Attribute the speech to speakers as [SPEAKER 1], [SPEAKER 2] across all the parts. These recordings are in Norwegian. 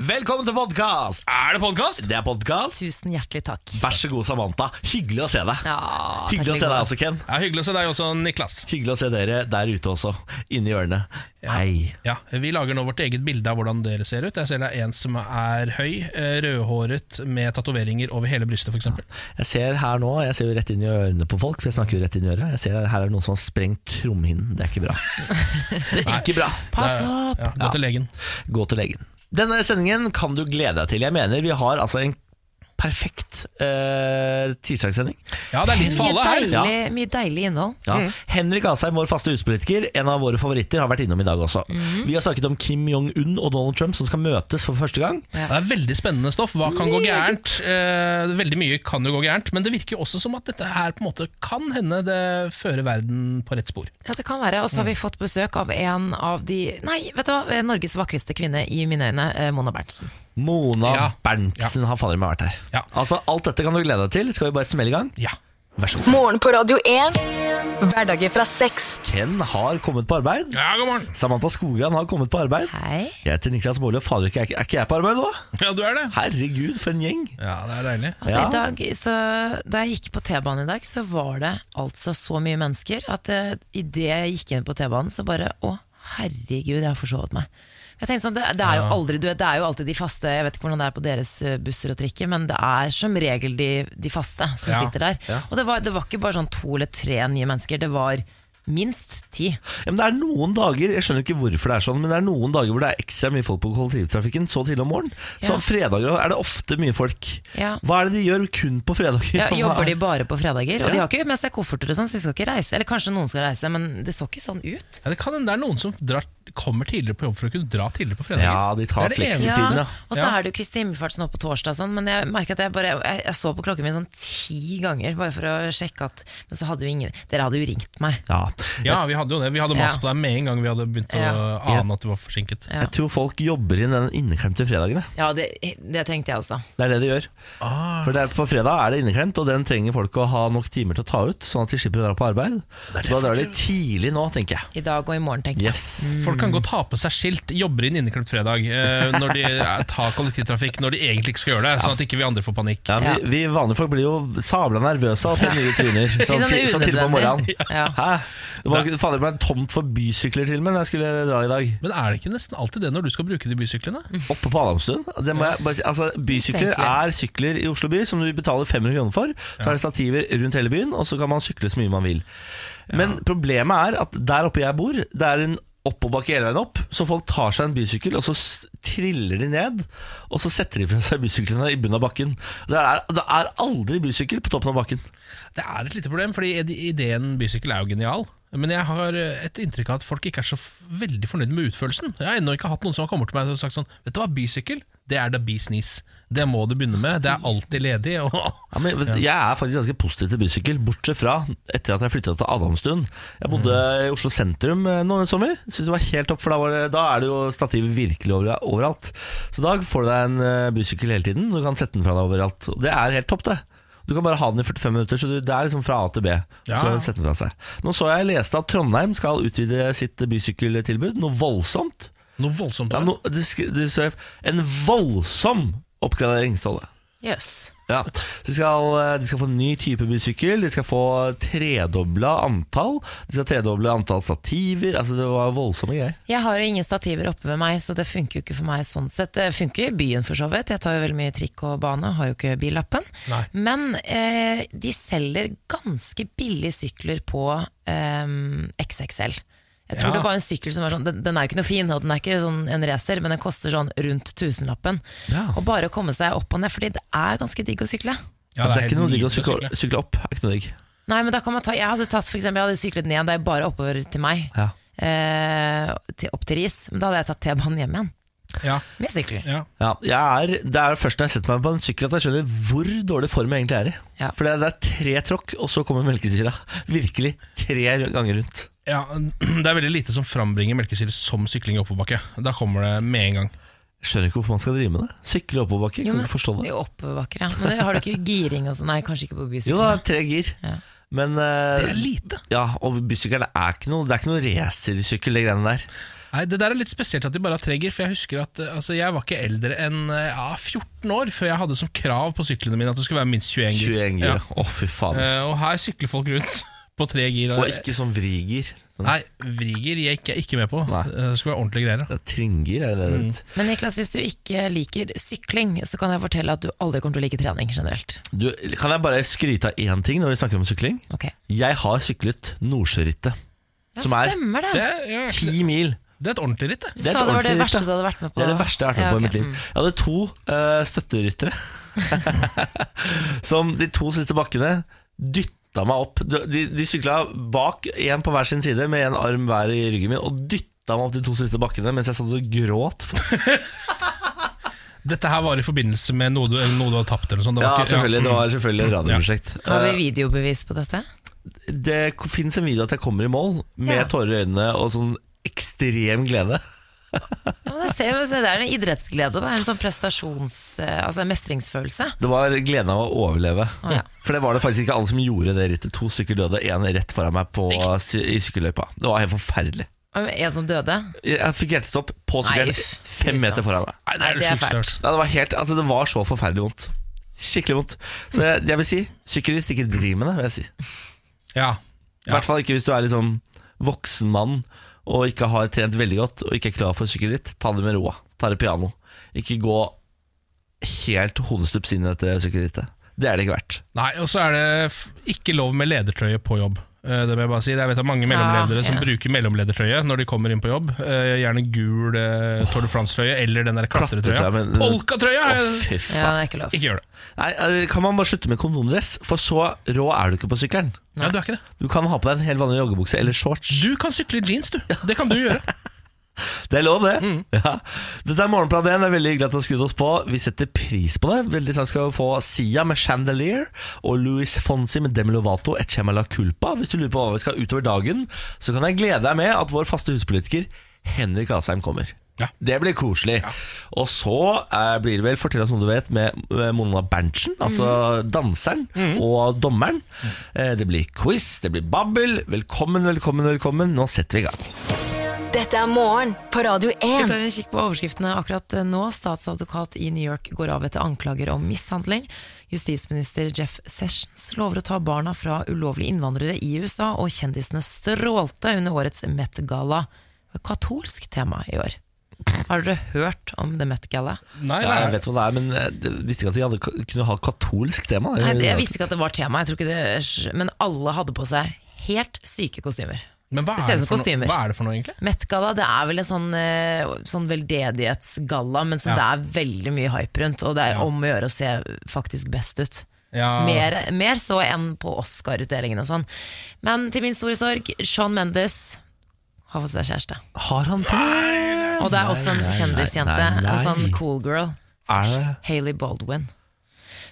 [SPEAKER 1] Velkommen til podkast!
[SPEAKER 2] Er det podkast?
[SPEAKER 1] Det er podkast.
[SPEAKER 3] Tusen hjertelig takk.
[SPEAKER 1] Vær så god, Samantha. Hyggelig å se deg.
[SPEAKER 3] Ja,
[SPEAKER 1] Hyggelig
[SPEAKER 3] takk
[SPEAKER 1] å
[SPEAKER 3] like
[SPEAKER 1] se deg
[SPEAKER 3] godt.
[SPEAKER 1] også, Ken.
[SPEAKER 2] Ja, hyggelig å se deg også, Niklas.
[SPEAKER 1] Hyggelig å se dere der ute også, inni hjørnet. Hei.
[SPEAKER 2] Ja, Vi lager nå vårt eget bilde av hvordan dere ser ut. Jeg ser det er en som er høy, eh, rødhåret med tatoveringer over hele brystet, f.eks.
[SPEAKER 1] Jeg ser her nå, jeg ser jo rett inn i ørene på folk, for jeg snakker jo rett inn i øret. Jeg ser her, her er det noen som har sprengt trommehinnen. Det er ikke bra. Det er ikke bra.
[SPEAKER 3] Pass opp!
[SPEAKER 2] Ja, gå til legen.
[SPEAKER 1] Gå til legen. Denne sendingen kan du glede deg til. Jeg mener vi har altså en perfekt eh, tirsdagssending.
[SPEAKER 2] Ja, det er litt for
[SPEAKER 3] Mye
[SPEAKER 2] alle her.
[SPEAKER 3] deilig, mye deilig innhold.
[SPEAKER 1] Ja.
[SPEAKER 4] Mm.
[SPEAKER 2] Mm.
[SPEAKER 1] Henrik Asheim, vår faste huspolitiker, en av våre favoritter, har vært innom i dag også.
[SPEAKER 2] Mm.
[SPEAKER 1] Vi har snakket om Kim Jong-un og Donald Trump som skal møtes for første gang.
[SPEAKER 2] Det er veldig spennende stoff. Hva kan gå gærent? Eh, veldig mye kan jo gå gærent, men det virker jo også som at dette her på en måte kan hende det fører verden på rett spor.
[SPEAKER 3] Ja, det kan være. Og så har
[SPEAKER 1] Mm.
[SPEAKER 3] vi fått besøk av en av de Nei, vet du hva, Eh, Norges vakreste kvinne i mine øyne, eh, Mona Berntsen.
[SPEAKER 1] Mona
[SPEAKER 2] Ja.
[SPEAKER 1] Berntsen har fader meg vært her.
[SPEAKER 2] Ja.
[SPEAKER 1] Altså, alt dette kan du glede deg til. Skal vi bare smelle i gang?
[SPEAKER 2] Ja.
[SPEAKER 1] Vær så god.
[SPEAKER 4] Morgen på Radio 1. Hverdager fra seks.
[SPEAKER 1] Ken har kommet på arbeid.
[SPEAKER 2] Ja, god morgen.
[SPEAKER 1] Samantha Skogran har kommet på arbeid.
[SPEAKER 3] Hei.
[SPEAKER 1] Jeg heter Niklas Baarli, og fader, ikke- er ikke- er ikke jeg på arbeid nå?
[SPEAKER 2] Ja, du er det.
[SPEAKER 1] Herregud, for en gjeng.
[SPEAKER 2] Ja, det er deilig.
[SPEAKER 3] Altså,
[SPEAKER 1] Ja.
[SPEAKER 3] i dag, så, da jeg gikk på T-banen i dag, så var det altså så mye mennesker at eh, i idet jeg gikk inn på T-banen, så bare Å, herregud, jeg har forsovet meg. Jeg tenkte sånn, det, det, er jo aldri, du vet, det er jo alltid de faste, jeg vet ikke hvordan det er på deres eh, busser og trikker, men det er som regel de, de faste som
[SPEAKER 2] Ja,
[SPEAKER 3] sitter der. Og det var, det var ikke bare sånn to eller tre nye mennesker, det var minst ti.
[SPEAKER 1] Ja, men det er noen dager, jeg skjønner ikke hvorfor det er sånn, men det er noen dager hvor det er ekstra mye folk på kollektivtrafikken så tidlig om morgenen. Så
[SPEAKER 3] Ja.
[SPEAKER 1] fredager er det ofte mye folk.
[SPEAKER 3] Ja.
[SPEAKER 1] Hva er det de gjør kun på fredager?
[SPEAKER 3] Ja,
[SPEAKER 1] Hva
[SPEAKER 3] jobber de
[SPEAKER 1] er-
[SPEAKER 3] bare på fredager? Og de
[SPEAKER 1] Ja.
[SPEAKER 3] har ikke med seg kofferter og sånn, så de skal ikke reise. Eller kanskje noen skal reise, men det så ikke sånn ut.
[SPEAKER 2] Ja, det kan hende det er noen som drar, kommer tidligere på jobb for å kunne dra tidligere på fredager.
[SPEAKER 1] Ja, de tar
[SPEAKER 2] Det er det
[SPEAKER 1] fleksitiden,
[SPEAKER 2] eneste.
[SPEAKER 1] ja.
[SPEAKER 3] Og så
[SPEAKER 2] Ja.
[SPEAKER 3] er det jo Kristi himmelfart nå på torsdag, og sånn, men jeg merker at jeg bare jeg, jeg så på klokken min sånn ti ganger bare for å sjekke at Men så hadde jo ingen Dere hadde jo ringt meg.
[SPEAKER 1] Ja.
[SPEAKER 2] Ja, vi hadde jo det. Vi hadde
[SPEAKER 3] Ja.
[SPEAKER 2] mast på deg med en gang vi hadde begynt å
[SPEAKER 3] Ja.
[SPEAKER 2] ane at du var forsinket.
[SPEAKER 3] Ja.
[SPEAKER 1] Jeg tror folk jobber inn den inneklemte fredagen. jeg.
[SPEAKER 3] Ja, det, det tenkte jeg også.
[SPEAKER 1] Det er det de gjør. For det er, på fredag er det inneklemt, og den trenger folk å ha nok timer til å ta ut, sånn at de slipper å dra på arbeid. Da drar de tidlig nå, tenker jeg.
[SPEAKER 3] I dag og i morgen, tenkte jeg.
[SPEAKER 1] Yes.
[SPEAKER 2] Folk kan godt ha på seg skilt 'jobber inn inneklemt fredag' eh, når de eh, tar kollektivtrafikk når de egentlig ikke skal gjøre det, sånn at ikke vi andre får panikk.
[SPEAKER 1] Ja, vi, vi vanlige folk blir jo sabla nervøse av å se nye tryner. Sånn
[SPEAKER 3] sånn
[SPEAKER 1] ti- sånn tidlig på morgenen.
[SPEAKER 3] unødvendig. Ja.
[SPEAKER 1] Hæ? Det var ikke- fader det ble tomt for bysykler til og med når jeg skulle dra i dag.
[SPEAKER 2] Men er det ikke nesten alltid det når du skal bruke de bysyklene?
[SPEAKER 1] Oppe på Adamstuen. Det må jeg bare si. Altså, bysykler
[SPEAKER 3] Mistenkelig.
[SPEAKER 1] er sykler i Oslo by som du betaler 500 kroner for. Så er det stativer rundt hele byen, og så kan man sykle så mye man vil. Men problemet er at der oppe jeg bor, det er en oppoverbakke hele veien opp, så folk tar seg en bysykkel, og så s- triller de ned, og så setter de fra seg bysyklene i bunnen av bakken. Det er, det er aldri bysykkel på toppen av bakken.
[SPEAKER 2] Det er et lite problem, fordi ide- ideen bysykkel er jo genial. Men jeg har eh, et inntrykk av at folk ikke er så f- veldig fornøyd med utførelsen. Jeg har ennå ikke hatt noen som har kommet til meg og sagt sånn Vet du hva, bysykkel, det er da bisnis. Det må du begynne med. Det er alltid ledig. Og
[SPEAKER 1] Ja, men Jeg er faktisk ganske positiv til bysykkel, bortsett fra etter at jeg flytta til Adamstuen. Jeg bodde i Oslo sentrum eh, nå en sommer. Synes det var helt topp, for da, var det, da er det jo stativ virkelig over, overalt. Så da får du deg en eh, bysykkel hele tiden. Du kan sette den fra deg overalt. Og Det er helt topp, det. Du kan bare ha den i 45 minutter, så du, det er liksom fra A til B.
[SPEAKER 2] Ja.
[SPEAKER 1] Så sette den fra seg. Nå så jeg leste at Trondheim skal utvide sitt bysykkeltilbud noe voldsomt.
[SPEAKER 2] noe voldsomt.
[SPEAKER 1] Ja,
[SPEAKER 2] der.
[SPEAKER 1] no, det, sk- det, skrev en voldsom oppgradering, Ståle.
[SPEAKER 3] Jøss.
[SPEAKER 1] Ja, de skal, eh, de skal få en ny type bysykkel, de skal få tredobla antall, de skal tredoble antall stativer, altså det var voldsomme greier.
[SPEAKER 3] Jeg har jo ingen stativer oppe ved meg, så det funker jo ikke for meg sånn sett. Det funker jo i byen for så vidt, jeg tar jo veldig mye trikk og bane, har jo ikke billappen.
[SPEAKER 2] Nei.
[SPEAKER 3] Men eh, de selger ganske billige sykler på eh, XXL. Jeg tror
[SPEAKER 2] Ja.
[SPEAKER 3] det var en sykkel som var sånn, den, den er jo ikke noe fin, og den er ikke sånn en racer, men den koster sånn rundt tusenlappen.
[SPEAKER 1] Ja.
[SPEAKER 3] Og bare å komme seg opp og ned, fordi det er ganske digg å sykle.
[SPEAKER 1] det,
[SPEAKER 2] Ja,
[SPEAKER 1] er
[SPEAKER 2] helt
[SPEAKER 1] ikke noe digg å
[SPEAKER 2] nydelig
[SPEAKER 1] sykle, sykle opp, er ikke noe digg.
[SPEAKER 3] Nei, men da kan man ta, jeg hadde tatt for eksempel, jeg hadde syklet ned, det er bare oppover til meg,
[SPEAKER 1] Ja.
[SPEAKER 3] eh, til, opp til Ris, men da hadde jeg tatt T-banen hjem igjen,
[SPEAKER 2] Ja,
[SPEAKER 3] med sykkel.
[SPEAKER 2] ja.
[SPEAKER 1] Ja, jeg er, det er først når jeg setter meg på en sykkel at jeg skjønner hvor dårlig form jeg egentlig er i.
[SPEAKER 3] Ja.
[SPEAKER 1] For det, det er tre tråkk, og så kommer melkesyra. Virkelig tre ganger rundt.
[SPEAKER 2] Ja, Det er veldig lite som frambringer melkesyre som sykling i oppoverbakke. Da kommer det med en gang.
[SPEAKER 1] Skjønner ikke hvorfor man skal drive med det. Sykle oppoverbakke.
[SPEAKER 3] Jo,
[SPEAKER 1] Kan
[SPEAKER 3] men-
[SPEAKER 1] ikke forstå det.
[SPEAKER 3] Jo, oppoverbakker, ja. Men det har du ikke giring og sånn? Nei, kanskje ikke på
[SPEAKER 1] Jo, det
[SPEAKER 3] bysykkel.
[SPEAKER 1] er tre gir.
[SPEAKER 3] Ja.
[SPEAKER 1] Men eh,
[SPEAKER 2] Det er lite.
[SPEAKER 1] ja, og bysykkelen er ikke noe Det er ikke noe racersykkel, de greiene der.
[SPEAKER 2] Nei, Det der er litt spesielt at de bare har tre gir. For jeg husker at eh, altså, jeg var ikke eldre enn eh, ja, 14 år før jeg hadde som krav på syklene mine at det skulle være minst 21 gir.
[SPEAKER 1] 21 gir. Å,
[SPEAKER 2] Ja.
[SPEAKER 1] fy faen.
[SPEAKER 2] Eh, og her sykler folk rundt på tre gir.
[SPEAKER 1] Og ikke sånn vrigir. Sånn,
[SPEAKER 2] Nei, vrigir gikk jeg ikke med på.
[SPEAKER 1] Nei.
[SPEAKER 2] Eh, Det skulle være ordentlige greier. da.
[SPEAKER 1] det er Tringgir, er det det det heter?
[SPEAKER 3] Men Niklas, hvis du ikke liker sykling, så kan jeg fortelle at du aldri kommer til å like trening generelt.
[SPEAKER 1] Du, Kan jeg bare skryte av én ting når vi snakker om sykling?
[SPEAKER 3] Ok.
[SPEAKER 1] Jeg har syklet Nordsjørittet.
[SPEAKER 3] Ja,
[SPEAKER 1] Som er-
[SPEAKER 3] stemmer det!
[SPEAKER 2] Det, er- ja, det
[SPEAKER 1] Ti mil.
[SPEAKER 2] er et ordentlig ritt, det.
[SPEAKER 3] Du
[SPEAKER 1] er et
[SPEAKER 3] sa det var det
[SPEAKER 1] ordentlig ritt,
[SPEAKER 3] verste
[SPEAKER 1] da.
[SPEAKER 3] du hadde vært med på.
[SPEAKER 1] Det er det verste jeg har vært med
[SPEAKER 3] Ja,
[SPEAKER 1] på i
[SPEAKER 3] ok. Mm.
[SPEAKER 1] mitt liv. Jeg hadde to eh, støtteryttere som de to siste bakkene dytta meg opp. De, de, de sykla bak, én på hver sin side, med en arm hver i ryggen min, og dytta meg opp de to siste bakkene mens jeg satt og gråt.
[SPEAKER 2] Dette her var i forbindelse med noe du, eller noe du hadde tapt. eller noe sånt. Det
[SPEAKER 1] Ja,
[SPEAKER 2] var ikke-
[SPEAKER 1] selvfølgelig. Det
[SPEAKER 2] mm.
[SPEAKER 1] var selvfølgelig et radioprosjekt.
[SPEAKER 3] Mm. Har vi videobevis på dette?
[SPEAKER 1] Eh, Det fins en video at jeg kommer i mål med
[SPEAKER 3] Ja.
[SPEAKER 1] tårer i øynene og sånn ekstrem glede.
[SPEAKER 3] Ja, men det, ser, jo- det er en idrettsglede. Det er en sånn prestasjons... eh, Altså en mestringsfølelse.
[SPEAKER 1] Det var gleden av å overleve.
[SPEAKER 3] Å, ja.
[SPEAKER 1] For det var det faktisk ikke alle som gjorde det rittet. To stykker døde, én rett foran meg på, sy- i sykkelløypa. Det var helt forferdelig.
[SPEAKER 3] Og En som døde?
[SPEAKER 1] Jeg fikk hjertestopp på
[SPEAKER 3] Nei,
[SPEAKER 1] sykkelen
[SPEAKER 3] uff,
[SPEAKER 1] fem
[SPEAKER 3] grusomt.
[SPEAKER 1] meter foran meg.
[SPEAKER 2] Nei, det
[SPEAKER 3] Nei,
[SPEAKER 2] er
[SPEAKER 3] det
[SPEAKER 2] det
[SPEAKER 3] er
[SPEAKER 2] sjukeste jeg har hørt.
[SPEAKER 1] Ja, det, var helt, altså, det var så forferdelig vondt. Skikkelig vondt. Så jeg, jeg vil si, sykkelritt ikke driv med det. vil jeg si I
[SPEAKER 2] Ja. Ja.
[SPEAKER 1] hvert fall ikke hvis du er litt sånn voksen mann og ikke har trent veldig godt og ikke er klar for sykkelritt. Ta det med roa. Ta det piano. Ikke gå helt hodestups inn i dette sykkelrittet. Det er det ikke verdt.
[SPEAKER 2] Nei, og så er det f- ikke lov med ledertrøye på jobb. Eh, Det må jeg bare si. Jeg vet at mange mellomledere
[SPEAKER 3] Ah, Ja,
[SPEAKER 2] som
[SPEAKER 3] ja.
[SPEAKER 2] bruker mellomledertrøye når de kommer inn på jobb. Eh, Gjerne gul eh, Tour de France-trøye eller den der
[SPEAKER 1] Klatretrøye,
[SPEAKER 2] klatretrøya.
[SPEAKER 1] men-
[SPEAKER 2] Polkatrøye!
[SPEAKER 1] Å,
[SPEAKER 2] eh,
[SPEAKER 1] fy
[SPEAKER 3] Ja,
[SPEAKER 1] faen.
[SPEAKER 3] det er ikke lov.
[SPEAKER 2] Ikke gjør det.
[SPEAKER 1] Nei, eh, kan man bare slutte med kondomdress? For så rå er du ikke på sykkelen.
[SPEAKER 2] Ja, du er ikke det.
[SPEAKER 1] Du kan ha på deg en helt vanlig joggebukse eller shorts.
[SPEAKER 2] Du kan sykle i jeans, du. Det kan du gjøre.
[SPEAKER 1] Det er lov, det. Ja. Dette er Morgenplan 1. Det er veldig hyggelig at du har skrudd oss på. Vi setter pris på det. Veldig snart skal vi få Sia med 'Chandelier' og Louis Fonsi med 'Demi Lovato et Chema la culpa'. Hvis du lurer på hva vi skal utover dagen, så kan jeg glede deg med at vår faste huspolitiker Henrik Asheim kommer.
[SPEAKER 2] Ja.
[SPEAKER 1] Det blir koselig. Og så eh, blir det vel 'Fortell oss noe du vet' med eh, Mona Berntsen, altså danseren og dommeren. Eh, Det blir quiz, det blir babbel. Velkommen, velkommen, velkommen. Nå setter vi i gang.
[SPEAKER 4] Dette er morgen på Radio
[SPEAKER 3] Vi
[SPEAKER 4] 1.
[SPEAKER 3] tar en kikk på overskriftene akkurat eh, nå. Statsadvokat i New York går av etter anklager om mishandling. Justisminister Jeff Sessions lover å ta barna fra ulovlige innvandrere i USA, og kjendisene strålte under årets Met-gala. Katolsk tema i år. Har dere hørt om The Met-gala?
[SPEAKER 2] Nei,
[SPEAKER 1] Ja, jeg
[SPEAKER 2] nei.
[SPEAKER 1] vet hva det er, men jeg det- visste ikke at de hadde, ka- kunne ha katolsk tema.
[SPEAKER 3] Nei, det- Jeg visste ikke at det var tema, jeg tror ikke det, men alle hadde på seg helt syke kostymer.
[SPEAKER 2] Men hva
[SPEAKER 3] Det ser
[SPEAKER 2] er
[SPEAKER 3] ut
[SPEAKER 2] det, for
[SPEAKER 3] som
[SPEAKER 2] noe,
[SPEAKER 3] kostymer.
[SPEAKER 2] hva er det for noe, egentlig?
[SPEAKER 3] Met-gala det er vel en sånn, eh, sånn veldedighetsgalla, men som
[SPEAKER 2] Ja.
[SPEAKER 3] det er veldig mye hype rundt. Og det er
[SPEAKER 2] Ja.
[SPEAKER 3] om å gjøre å se faktisk best ut.
[SPEAKER 1] Ah.
[SPEAKER 2] Ja.
[SPEAKER 3] Mer, mer så enn på Oscar-utdelingen og sånn. Men til min store sorg, Sean Mendes har fått seg kjæreste.
[SPEAKER 1] Har han det?
[SPEAKER 3] Og det er også en
[SPEAKER 1] nei, nei,
[SPEAKER 3] kjendisjente,
[SPEAKER 1] nei, nei.
[SPEAKER 3] en sånn cool girl,
[SPEAKER 1] Er det?
[SPEAKER 3] Hailey Baldwin.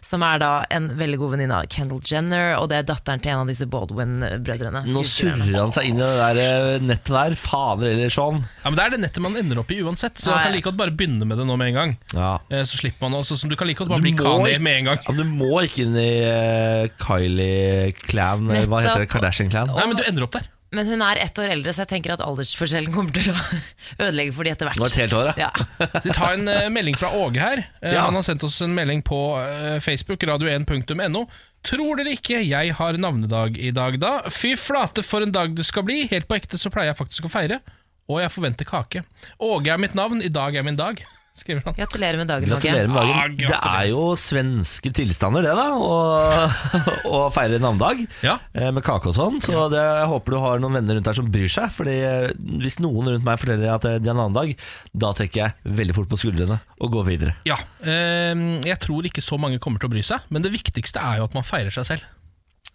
[SPEAKER 3] Som er da en veldig god venninne av Kendal Jenner, og det er datteren til en av disse Baldwin-brødrene.
[SPEAKER 1] Nå
[SPEAKER 3] skuespillerne.
[SPEAKER 1] surrer han seg inn i det der eh, nettet der. Fader eller sånn.
[SPEAKER 2] Ja, men Det er det nettet man ender opp i uansett, så
[SPEAKER 3] Nei.
[SPEAKER 2] jeg kan like godt bare begynne med det nå med en gang.
[SPEAKER 1] Ja.
[SPEAKER 2] Eh, Så slipper man også, som Du kan like godt bare
[SPEAKER 1] Du
[SPEAKER 2] bli
[SPEAKER 1] må
[SPEAKER 2] Kani
[SPEAKER 1] ikke-
[SPEAKER 2] med en gang.
[SPEAKER 1] Ja, du må ikke inn i eh, Kylie Clan, eh, hva heter det?
[SPEAKER 3] Nettopp.
[SPEAKER 1] Kardashian-clan.
[SPEAKER 2] Nei, men du ender opp der.
[SPEAKER 3] Men hun er ett år eldre, så jeg tenker at aldersforskjellen kommer til å ødelegge for de etter
[SPEAKER 1] Det var et
[SPEAKER 3] hvert.
[SPEAKER 1] helt år, ja.
[SPEAKER 3] Ja.
[SPEAKER 2] Vi tar en eh, melding fra Åge her. Eh,
[SPEAKER 1] Ja.
[SPEAKER 2] Han har sendt oss en melding på eh, Facebook, radio1.no. Tror dere ikke jeg har navnedag i dag, da? Fy flate for en dag det skal bli! Helt på ekte så pleier jeg faktisk å feire. Og jeg forventer kake. Åge er mitt navn, i dag er min dag, skriver han.
[SPEAKER 3] Gratulerer med dagen,
[SPEAKER 1] Gratulerer
[SPEAKER 3] Åge.
[SPEAKER 1] med
[SPEAKER 2] Ah,
[SPEAKER 1] dagen.
[SPEAKER 2] gratulerer.
[SPEAKER 1] Det er jo svenske tilstander, det, da. Å- Å feire navnedag
[SPEAKER 2] Ja.
[SPEAKER 1] eh, med kake og sånn. Så det, jeg håper du har noen venner rundt deg som bryr seg. Fordi eh, hvis noen rundt meg forteller at eh, de har navnedag, da trekker jeg veldig fort på skuldrene og går videre.
[SPEAKER 2] Ja, eh, Jeg tror ikke så mange kommer til å bry seg, men det viktigste er jo at man feirer seg selv.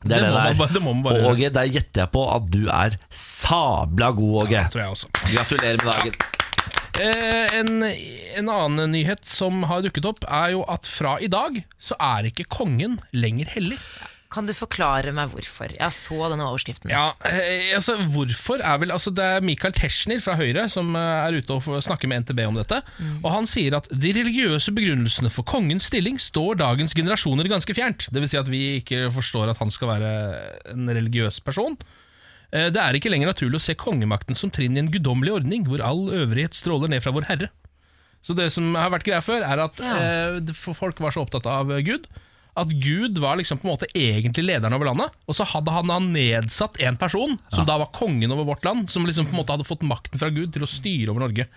[SPEAKER 1] Det er
[SPEAKER 2] Det
[SPEAKER 1] det
[SPEAKER 2] må
[SPEAKER 1] det
[SPEAKER 2] man
[SPEAKER 1] er.
[SPEAKER 2] bare- det må man bare
[SPEAKER 1] og
[SPEAKER 2] gjøre.
[SPEAKER 1] Åge, der gjetter jeg på at du er sabla god, Åge.
[SPEAKER 2] Tror jeg også.
[SPEAKER 1] Gratulerer med dagen.
[SPEAKER 2] Eh, en, en annen nyhet som har dukket opp, er jo at fra i dag så er ikke kongen lenger hellig.
[SPEAKER 3] Kan du forklare meg hvorfor? Jeg så denne overskriften.
[SPEAKER 2] Ja, eh, altså hvorfor er vel altså Det er Michael Tetzschner fra Høyre som eh, er ute og får- snakker med NTB om dette. Og Han sier at de religiøse begrunnelsene for kongens stilling står dagens generasjoner ganske fjernt. Dvs. Si at vi ikke forstår at han skal være en religiøs person. Eh, Det er ikke lenger naturlig å se kongemakten som trinn i en guddommelig ordning, hvor all øvrighet stråler ned fra vår Herre. Så det som har vært greia før, er at
[SPEAKER 3] Ja.
[SPEAKER 2] eh, det- for folk var så opptatt av eh, Gud at Gud var liksom på en måte egentlig lederen over landet, og så hadde han da nedsatt en person, som da var kongen over vårt land, som liksom på en måte hadde fått makten fra Gud til å styre over Norge.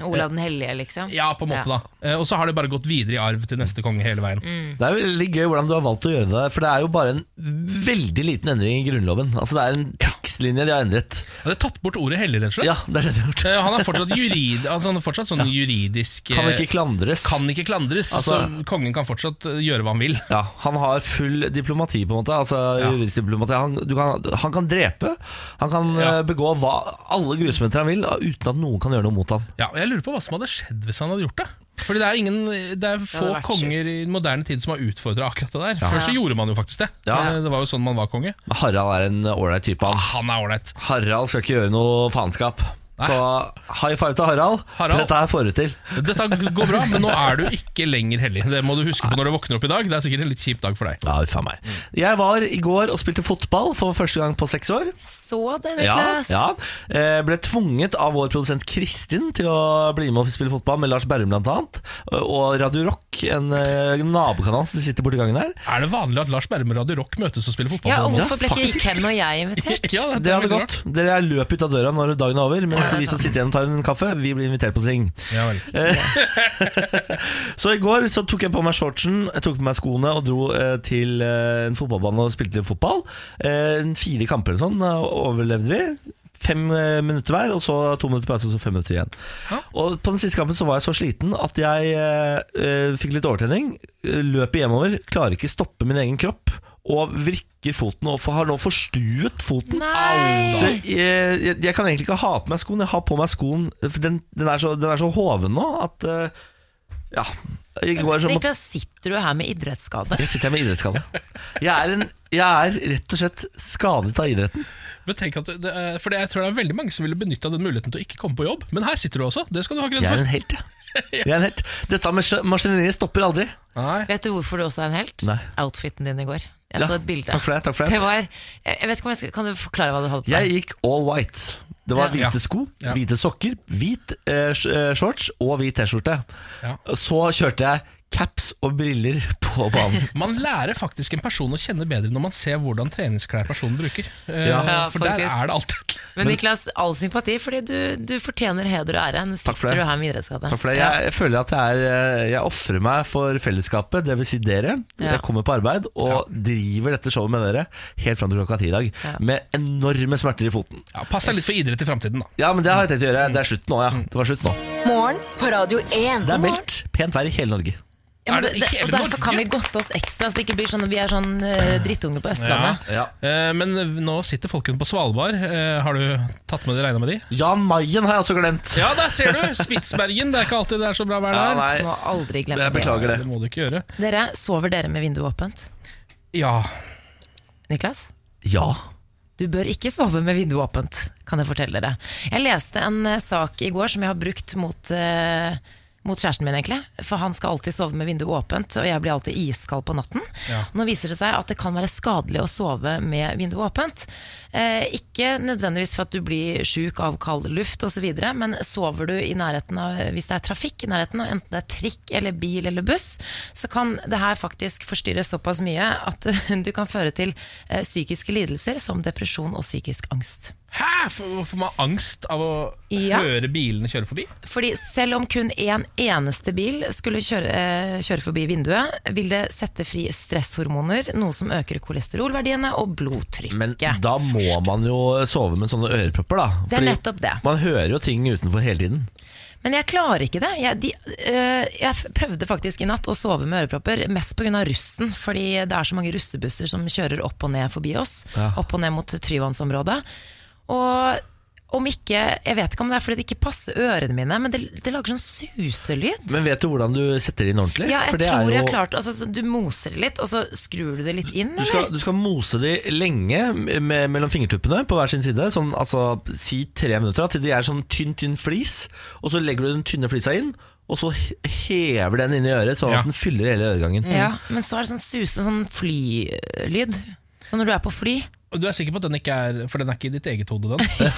[SPEAKER 3] Olav den hellige, liksom?
[SPEAKER 2] Ja, på en måte da. Mm. Eh, Og så har det bare gått videre i arv til neste konge hele veien.
[SPEAKER 1] Det er veldig gøy hvordan du har valgt å gjøre det. For det er jo bare en veldig liten endring i Grunnloven. Altså Det er en tekstlinje de har endret.
[SPEAKER 2] Ja, det er tatt bort ordet hellig, rett og slett.
[SPEAKER 1] Ja, det er det de har gjort.
[SPEAKER 2] Eh, Han er fortsatt, jurid, altså han er fortsatt sånn juridisk
[SPEAKER 1] Kan
[SPEAKER 2] eh,
[SPEAKER 1] ikke klandres.
[SPEAKER 2] kan ikke klandres,
[SPEAKER 1] Altså-
[SPEAKER 2] så kongen kan fortsatt eh, gjøre hva han vil.
[SPEAKER 1] Ja, Han har full diplomati, på en måte. Altså juridisk diplomati han, du kan, han kan drepe. Han kan
[SPEAKER 2] Ja.
[SPEAKER 1] eh, begå hva, alle grusomheter han vil, uten at noen kan gjøre noe mot han
[SPEAKER 2] Ja, og Jeg lurer på hva som hadde skjedd hvis han hadde gjort det. Fordi Det er, ingen, det er få
[SPEAKER 3] vært
[SPEAKER 2] konger
[SPEAKER 3] sjukt.
[SPEAKER 2] i moderne tid som har utfordra akkurat det der. Før så
[SPEAKER 3] Ja.
[SPEAKER 2] gjorde man jo faktisk det.
[SPEAKER 1] Ja.
[SPEAKER 2] Eh, Det var jo sånn man var
[SPEAKER 1] Men
[SPEAKER 2] konge.
[SPEAKER 1] Harald er en ålreit type.
[SPEAKER 2] Ah,
[SPEAKER 1] Han.
[SPEAKER 2] Han er ålreit.
[SPEAKER 1] Harald skal ikke gjøre noe faenskap. Så high five til Harald,
[SPEAKER 2] Harald.
[SPEAKER 1] for dette her får du til.
[SPEAKER 2] Dette går bra, men nå er du ikke lenger hellig. Det må du huske på når du våkner opp i dag. Det er sikkert en litt kjip dag for deg.
[SPEAKER 1] Ja, uff a meg. Jeg var i går og spilte fotball for første gang på seks år.
[SPEAKER 3] Jeg så det,
[SPEAKER 1] Ja,
[SPEAKER 3] Niklas.
[SPEAKER 1] ja. Eh, Ble tvunget av vår produsent Kristin til å bli med og spille fotball med Lars Berrum blant annet. Eh, Og Radio Rock, en eh, nabokanal som sitter borti gangen her.
[SPEAKER 2] Er det vanlig at Lars Berrum og Radio Rock møtes og spiller fotball?
[SPEAKER 3] Ja,
[SPEAKER 2] på
[SPEAKER 3] og
[SPEAKER 2] en måte?
[SPEAKER 3] hvorfor ble ikke
[SPEAKER 1] faktisk.
[SPEAKER 3] Ken og jeg invitert?
[SPEAKER 2] Ja, det,
[SPEAKER 1] Det hadde gått. Dere løp ut av døra når dagen er over, mens
[SPEAKER 3] Ja, det er
[SPEAKER 1] vi som
[SPEAKER 3] sant.
[SPEAKER 1] sitter igjen og tar en kaffe, vi blir invitert på ting.
[SPEAKER 2] Ja, vel.
[SPEAKER 1] Så i går så tok jeg på meg shortsen, jeg tok på meg skoene og dro eh, til eh, en fotballbane og spilte fotball. Eh, en fire kamper eller sånn eh, overlevde vi. Fem eh, minutter hver, og så to minutter pause, og så fem minutter igjen.
[SPEAKER 2] Ja.
[SPEAKER 1] Og på den siste kampen så var jeg så sliten at jeg eh, eh, fikk litt overtenning. eh, Løper hjemover, klarer ikke stoppe min egen kropp. Og vrikker foten, og for- har nå forstuet foten. Så
[SPEAKER 3] Nei!
[SPEAKER 1] jeg, jeg, jeg kan egentlig ikke ha på meg skoen. Jeg har på meg skoen For den, den, er, så, den er så hoven nå at eh, Ja. I går så måtte
[SPEAKER 3] Niklas, sitter du her med idrettsskade?
[SPEAKER 1] Jeg sitter her med idrettsskalle. Jeg, er en- jeg er rett og slett skadet av idretten.
[SPEAKER 2] Men tenk at det, er- for det- jeg tror det er veldig mange som ville benytta den muligheten til å ikke komme på jobb. Men her sitter du også. Det skal du ha
[SPEAKER 1] Jeg er
[SPEAKER 2] kred for.
[SPEAKER 1] en helt, jeg. jeg er en helt. Dette mas- maskineriet stopper aldri.
[SPEAKER 2] Nei.
[SPEAKER 3] Vet du hvorfor du også er en helt?
[SPEAKER 1] Nei.
[SPEAKER 3] Outfiten din i går.
[SPEAKER 1] Ja,
[SPEAKER 3] Jeg så Altså et bilde.
[SPEAKER 1] Takk for det. Takk for
[SPEAKER 3] Det
[SPEAKER 1] det.
[SPEAKER 3] var, jeg vet ikke om jeg skal, Kan du forklare hva du hadde på
[SPEAKER 1] Jeg
[SPEAKER 3] deg?
[SPEAKER 1] gikk all white. Det var
[SPEAKER 2] Ja.
[SPEAKER 1] hvite sko,
[SPEAKER 2] Ja.
[SPEAKER 1] hvite sokker, hvit eh, sh- eh, shorts og hvit T-skjorte.
[SPEAKER 2] Ja.
[SPEAKER 1] Så kjørte jeg caps og briller på banen.
[SPEAKER 2] Man lærer faktisk en person å kjenne bedre når man ser hvordan treningsklær personen bruker. Eh,
[SPEAKER 1] Ja.
[SPEAKER 3] Ja,
[SPEAKER 2] for der
[SPEAKER 3] faktisk.
[SPEAKER 2] er det alltid
[SPEAKER 3] Men Niklas, all sympati, fordi du, du fortjener heder og ære. Nå
[SPEAKER 1] Takk for
[SPEAKER 3] sitter
[SPEAKER 1] det.
[SPEAKER 3] du her med idrettsskade.
[SPEAKER 1] Takk for det. Jeg, jeg føler at jeg, er, eh, jeg offrer meg for fellesskapet, dvs. Si dere.
[SPEAKER 3] Ja.
[SPEAKER 1] Jeg kommer på arbeid og driver dette showet med dere helt fram til klokka ti i dag.
[SPEAKER 3] Ja.
[SPEAKER 1] Med enorme smerter i foten.
[SPEAKER 2] ja, Pass deg litt for idrett i framtiden, da.
[SPEAKER 1] Ja, men det har jeg tenkt å
[SPEAKER 3] Mm.
[SPEAKER 1] gjøre. Det er slutt nå, ja. Det var slutt nå.
[SPEAKER 4] Morgen på Radio 1.
[SPEAKER 1] Det er meldt pent vær i hele Norge.
[SPEAKER 3] Ja, men
[SPEAKER 2] Er det
[SPEAKER 3] det,
[SPEAKER 2] ikke
[SPEAKER 3] og
[SPEAKER 2] hele
[SPEAKER 3] derfor kan vi
[SPEAKER 2] Norge?
[SPEAKER 3] godte oss ekstra, så det ikke blir sånn at vi er sånn eh, drittunge på Østlandet.
[SPEAKER 1] Ja.
[SPEAKER 2] Eh, men nå sitter folkene på Svalbard. Eh, har du tatt med deg regna med de?
[SPEAKER 1] Jan Mayen har jeg også glemt.
[SPEAKER 2] Ja, der ser du! Spitsbergen. Det er ikke alltid det er så bra vær
[SPEAKER 1] Ja,
[SPEAKER 2] der.
[SPEAKER 1] nei,
[SPEAKER 3] Må aldri glemme
[SPEAKER 1] jeg beklager det.
[SPEAKER 2] det må du ikke gjøre.
[SPEAKER 3] det. Dere, sover dere med vinduet åpent?
[SPEAKER 2] Ja.
[SPEAKER 3] Niklas?
[SPEAKER 1] Ja.
[SPEAKER 3] Du bør ikke sove med vinduet åpent, kan jeg fortelle dere. Jeg leste en eh, sak i går som jeg har brukt mot, eh, mot kjæresten min, egentlig. For han skal alltid sove med vinduet åpent, og jeg blir alltid iskald på natten.
[SPEAKER 2] Ja.
[SPEAKER 3] Nå viser det seg at det kan være skadelig å sove med vinduet åpent. Eh, ikke nødvendigvis for at du blir sjuk av kald luft osv., men sover du i nærheten av, hvis det er trafikk i nærheten, og enten det er trikk eller bil eller buss, så kan det her faktisk forstyrre såpass mye at du kan føre til eh, psykiske lidelser som depresjon og psykisk angst.
[SPEAKER 2] Hæ? Får får man angst av å
[SPEAKER 3] Ja.
[SPEAKER 2] høre bilene kjøre forbi?
[SPEAKER 3] Fordi selv om kun en eneste bil skulle kjøre, eh, kjøre forbi vinduet, vil det sette fri stresshormoner, noe som øker kolesterolverdiene og blodtrykket.
[SPEAKER 1] Men da må man jo sove med sånne ørepropper, da.
[SPEAKER 3] Det er
[SPEAKER 1] Fordi
[SPEAKER 3] nettopp det.
[SPEAKER 1] Man hører jo ting utenfor hele tiden.
[SPEAKER 3] Men jeg klarer ikke det. Jeg, de, øh, jeg f- prøvde faktisk i natt å sove med ørepropper, mest pga. russen. Fordi det er så mange russebusser som kjører opp og ned forbi oss. Opp og ned mot Tryvannsområdet. Og Om ikke, Jeg vet ikke om det er fordi det ikke passer ørene mine, men det, det lager sånn suselyd.
[SPEAKER 1] Men vet du hvordan du setter det inn ordentlig?
[SPEAKER 3] Ja, jeg
[SPEAKER 1] For det er
[SPEAKER 3] tror jeg
[SPEAKER 1] jo-
[SPEAKER 3] har klart altså, så Du moser det litt, og så skrur du det litt inn,
[SPEAKER 1] Du skal,
[SPEAKER 3] eller?
[SPEAKER 1] du skal mose de lenge med, mellom fingertuppene på hver sin side. Sånn, altså, si tre minutter, da, til de er sånn tynn, tynn flis. Og så legger du den tynne flisa inn, og så he- hever den inn i øret, sånn
[SPEAKER 2] Ja.
[SPEAKER 1] at den fyller hele øregangen.
[SPEAKER 3] Ja, men så er det sånn suse, sånn flylyd. Så når du er på fly
[SPEAKER 2] Og du er sikker på at den ikke er For den er ikke i ditt eget hode, den?
[SPEAKER 3] Jeg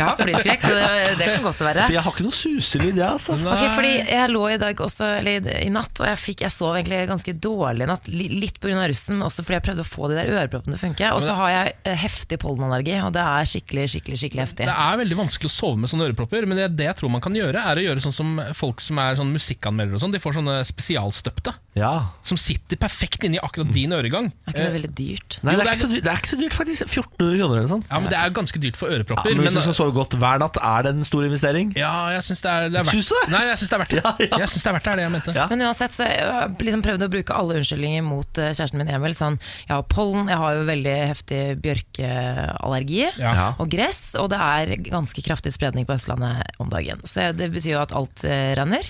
[SPEAKER 3] har flyskrekk, så det, det kan godt være.
[SPEAKER 1] For jeg har ikke noe suselyd, jeg, altså.
[SPEAKER 2] Mm.
[SPEAKER 3] Ok, fordi jeg lå i dag også, eller i- i natt, og jeg, fikk, jeg sov egentlig ganske dårlig i natt. li- Litt pga. russen, også fordi jeg prøvde å få de der øreproppene til å funke. Og så har jeg eh, heftig pollenallergi, og det er skikkelig, skikkelig, skikkelig heftig.
[SPEAKER 2] Det er veldig vanskelig å sove med sånne ørepropper, men det, det jeg tror man kan gjøre, er å gjøre sånn som folk som er sånn musikkanmeldere og sånn, de får sånne spesialstøpte.
[SPEAKER 1] Ja.
[SPEAKER 2] Som sitter perfekt inni akkurat
[SPEAKER 1] Mm.
[SPEAKER 2] din øregang.
[SPEAKER 3] Er ikke det veldig dyrt?
[SPEAKER 1] Nei, det er,
[SPEAKER 2] Jo, det er-
[SPEAKER 1] ikke så dyrt, det er ikke så dyrt, faktisk. 1400 kroner eller noe sånt.
[SPEAKER 2] Eh, Ja, men Det er ganske dyrt for
[SPEAKER 1] Ja,
[SPEAKER 2] ørepropper.
[SPEAKER 1] men hvis du
[SPEAKER 2] men-
[SPEAKER 1] skal sove godt hver natt, er det en stor investering?
[SPEAKER 2] Ja, jeg syns det er, det er verdt
[SPEAKER 1] Syns du det?
[SPEAKER 2] Nei, jeg syns det er verdt det.
[SPEAKER 1] Ja, ja.
[SPEAKER 2] Jeg synes det er verdt det, er det jeg mente.
[SPEAKER 1] Ja.
[SPEAKER 3] Men uansett så jeg har liksom prøvd å bruke alle unnskyldninger mot eh, kjæresten min Emil. Sånn, jeg har pollen, jeg har jo veldig heftig bjørkeallergi
[SPEAKER 2] Ja.
[SPEAKER 3] og gress, og det er ganske kraftig spredning på Østlandet om dagen. Så det betyr jo at alt eh, renner.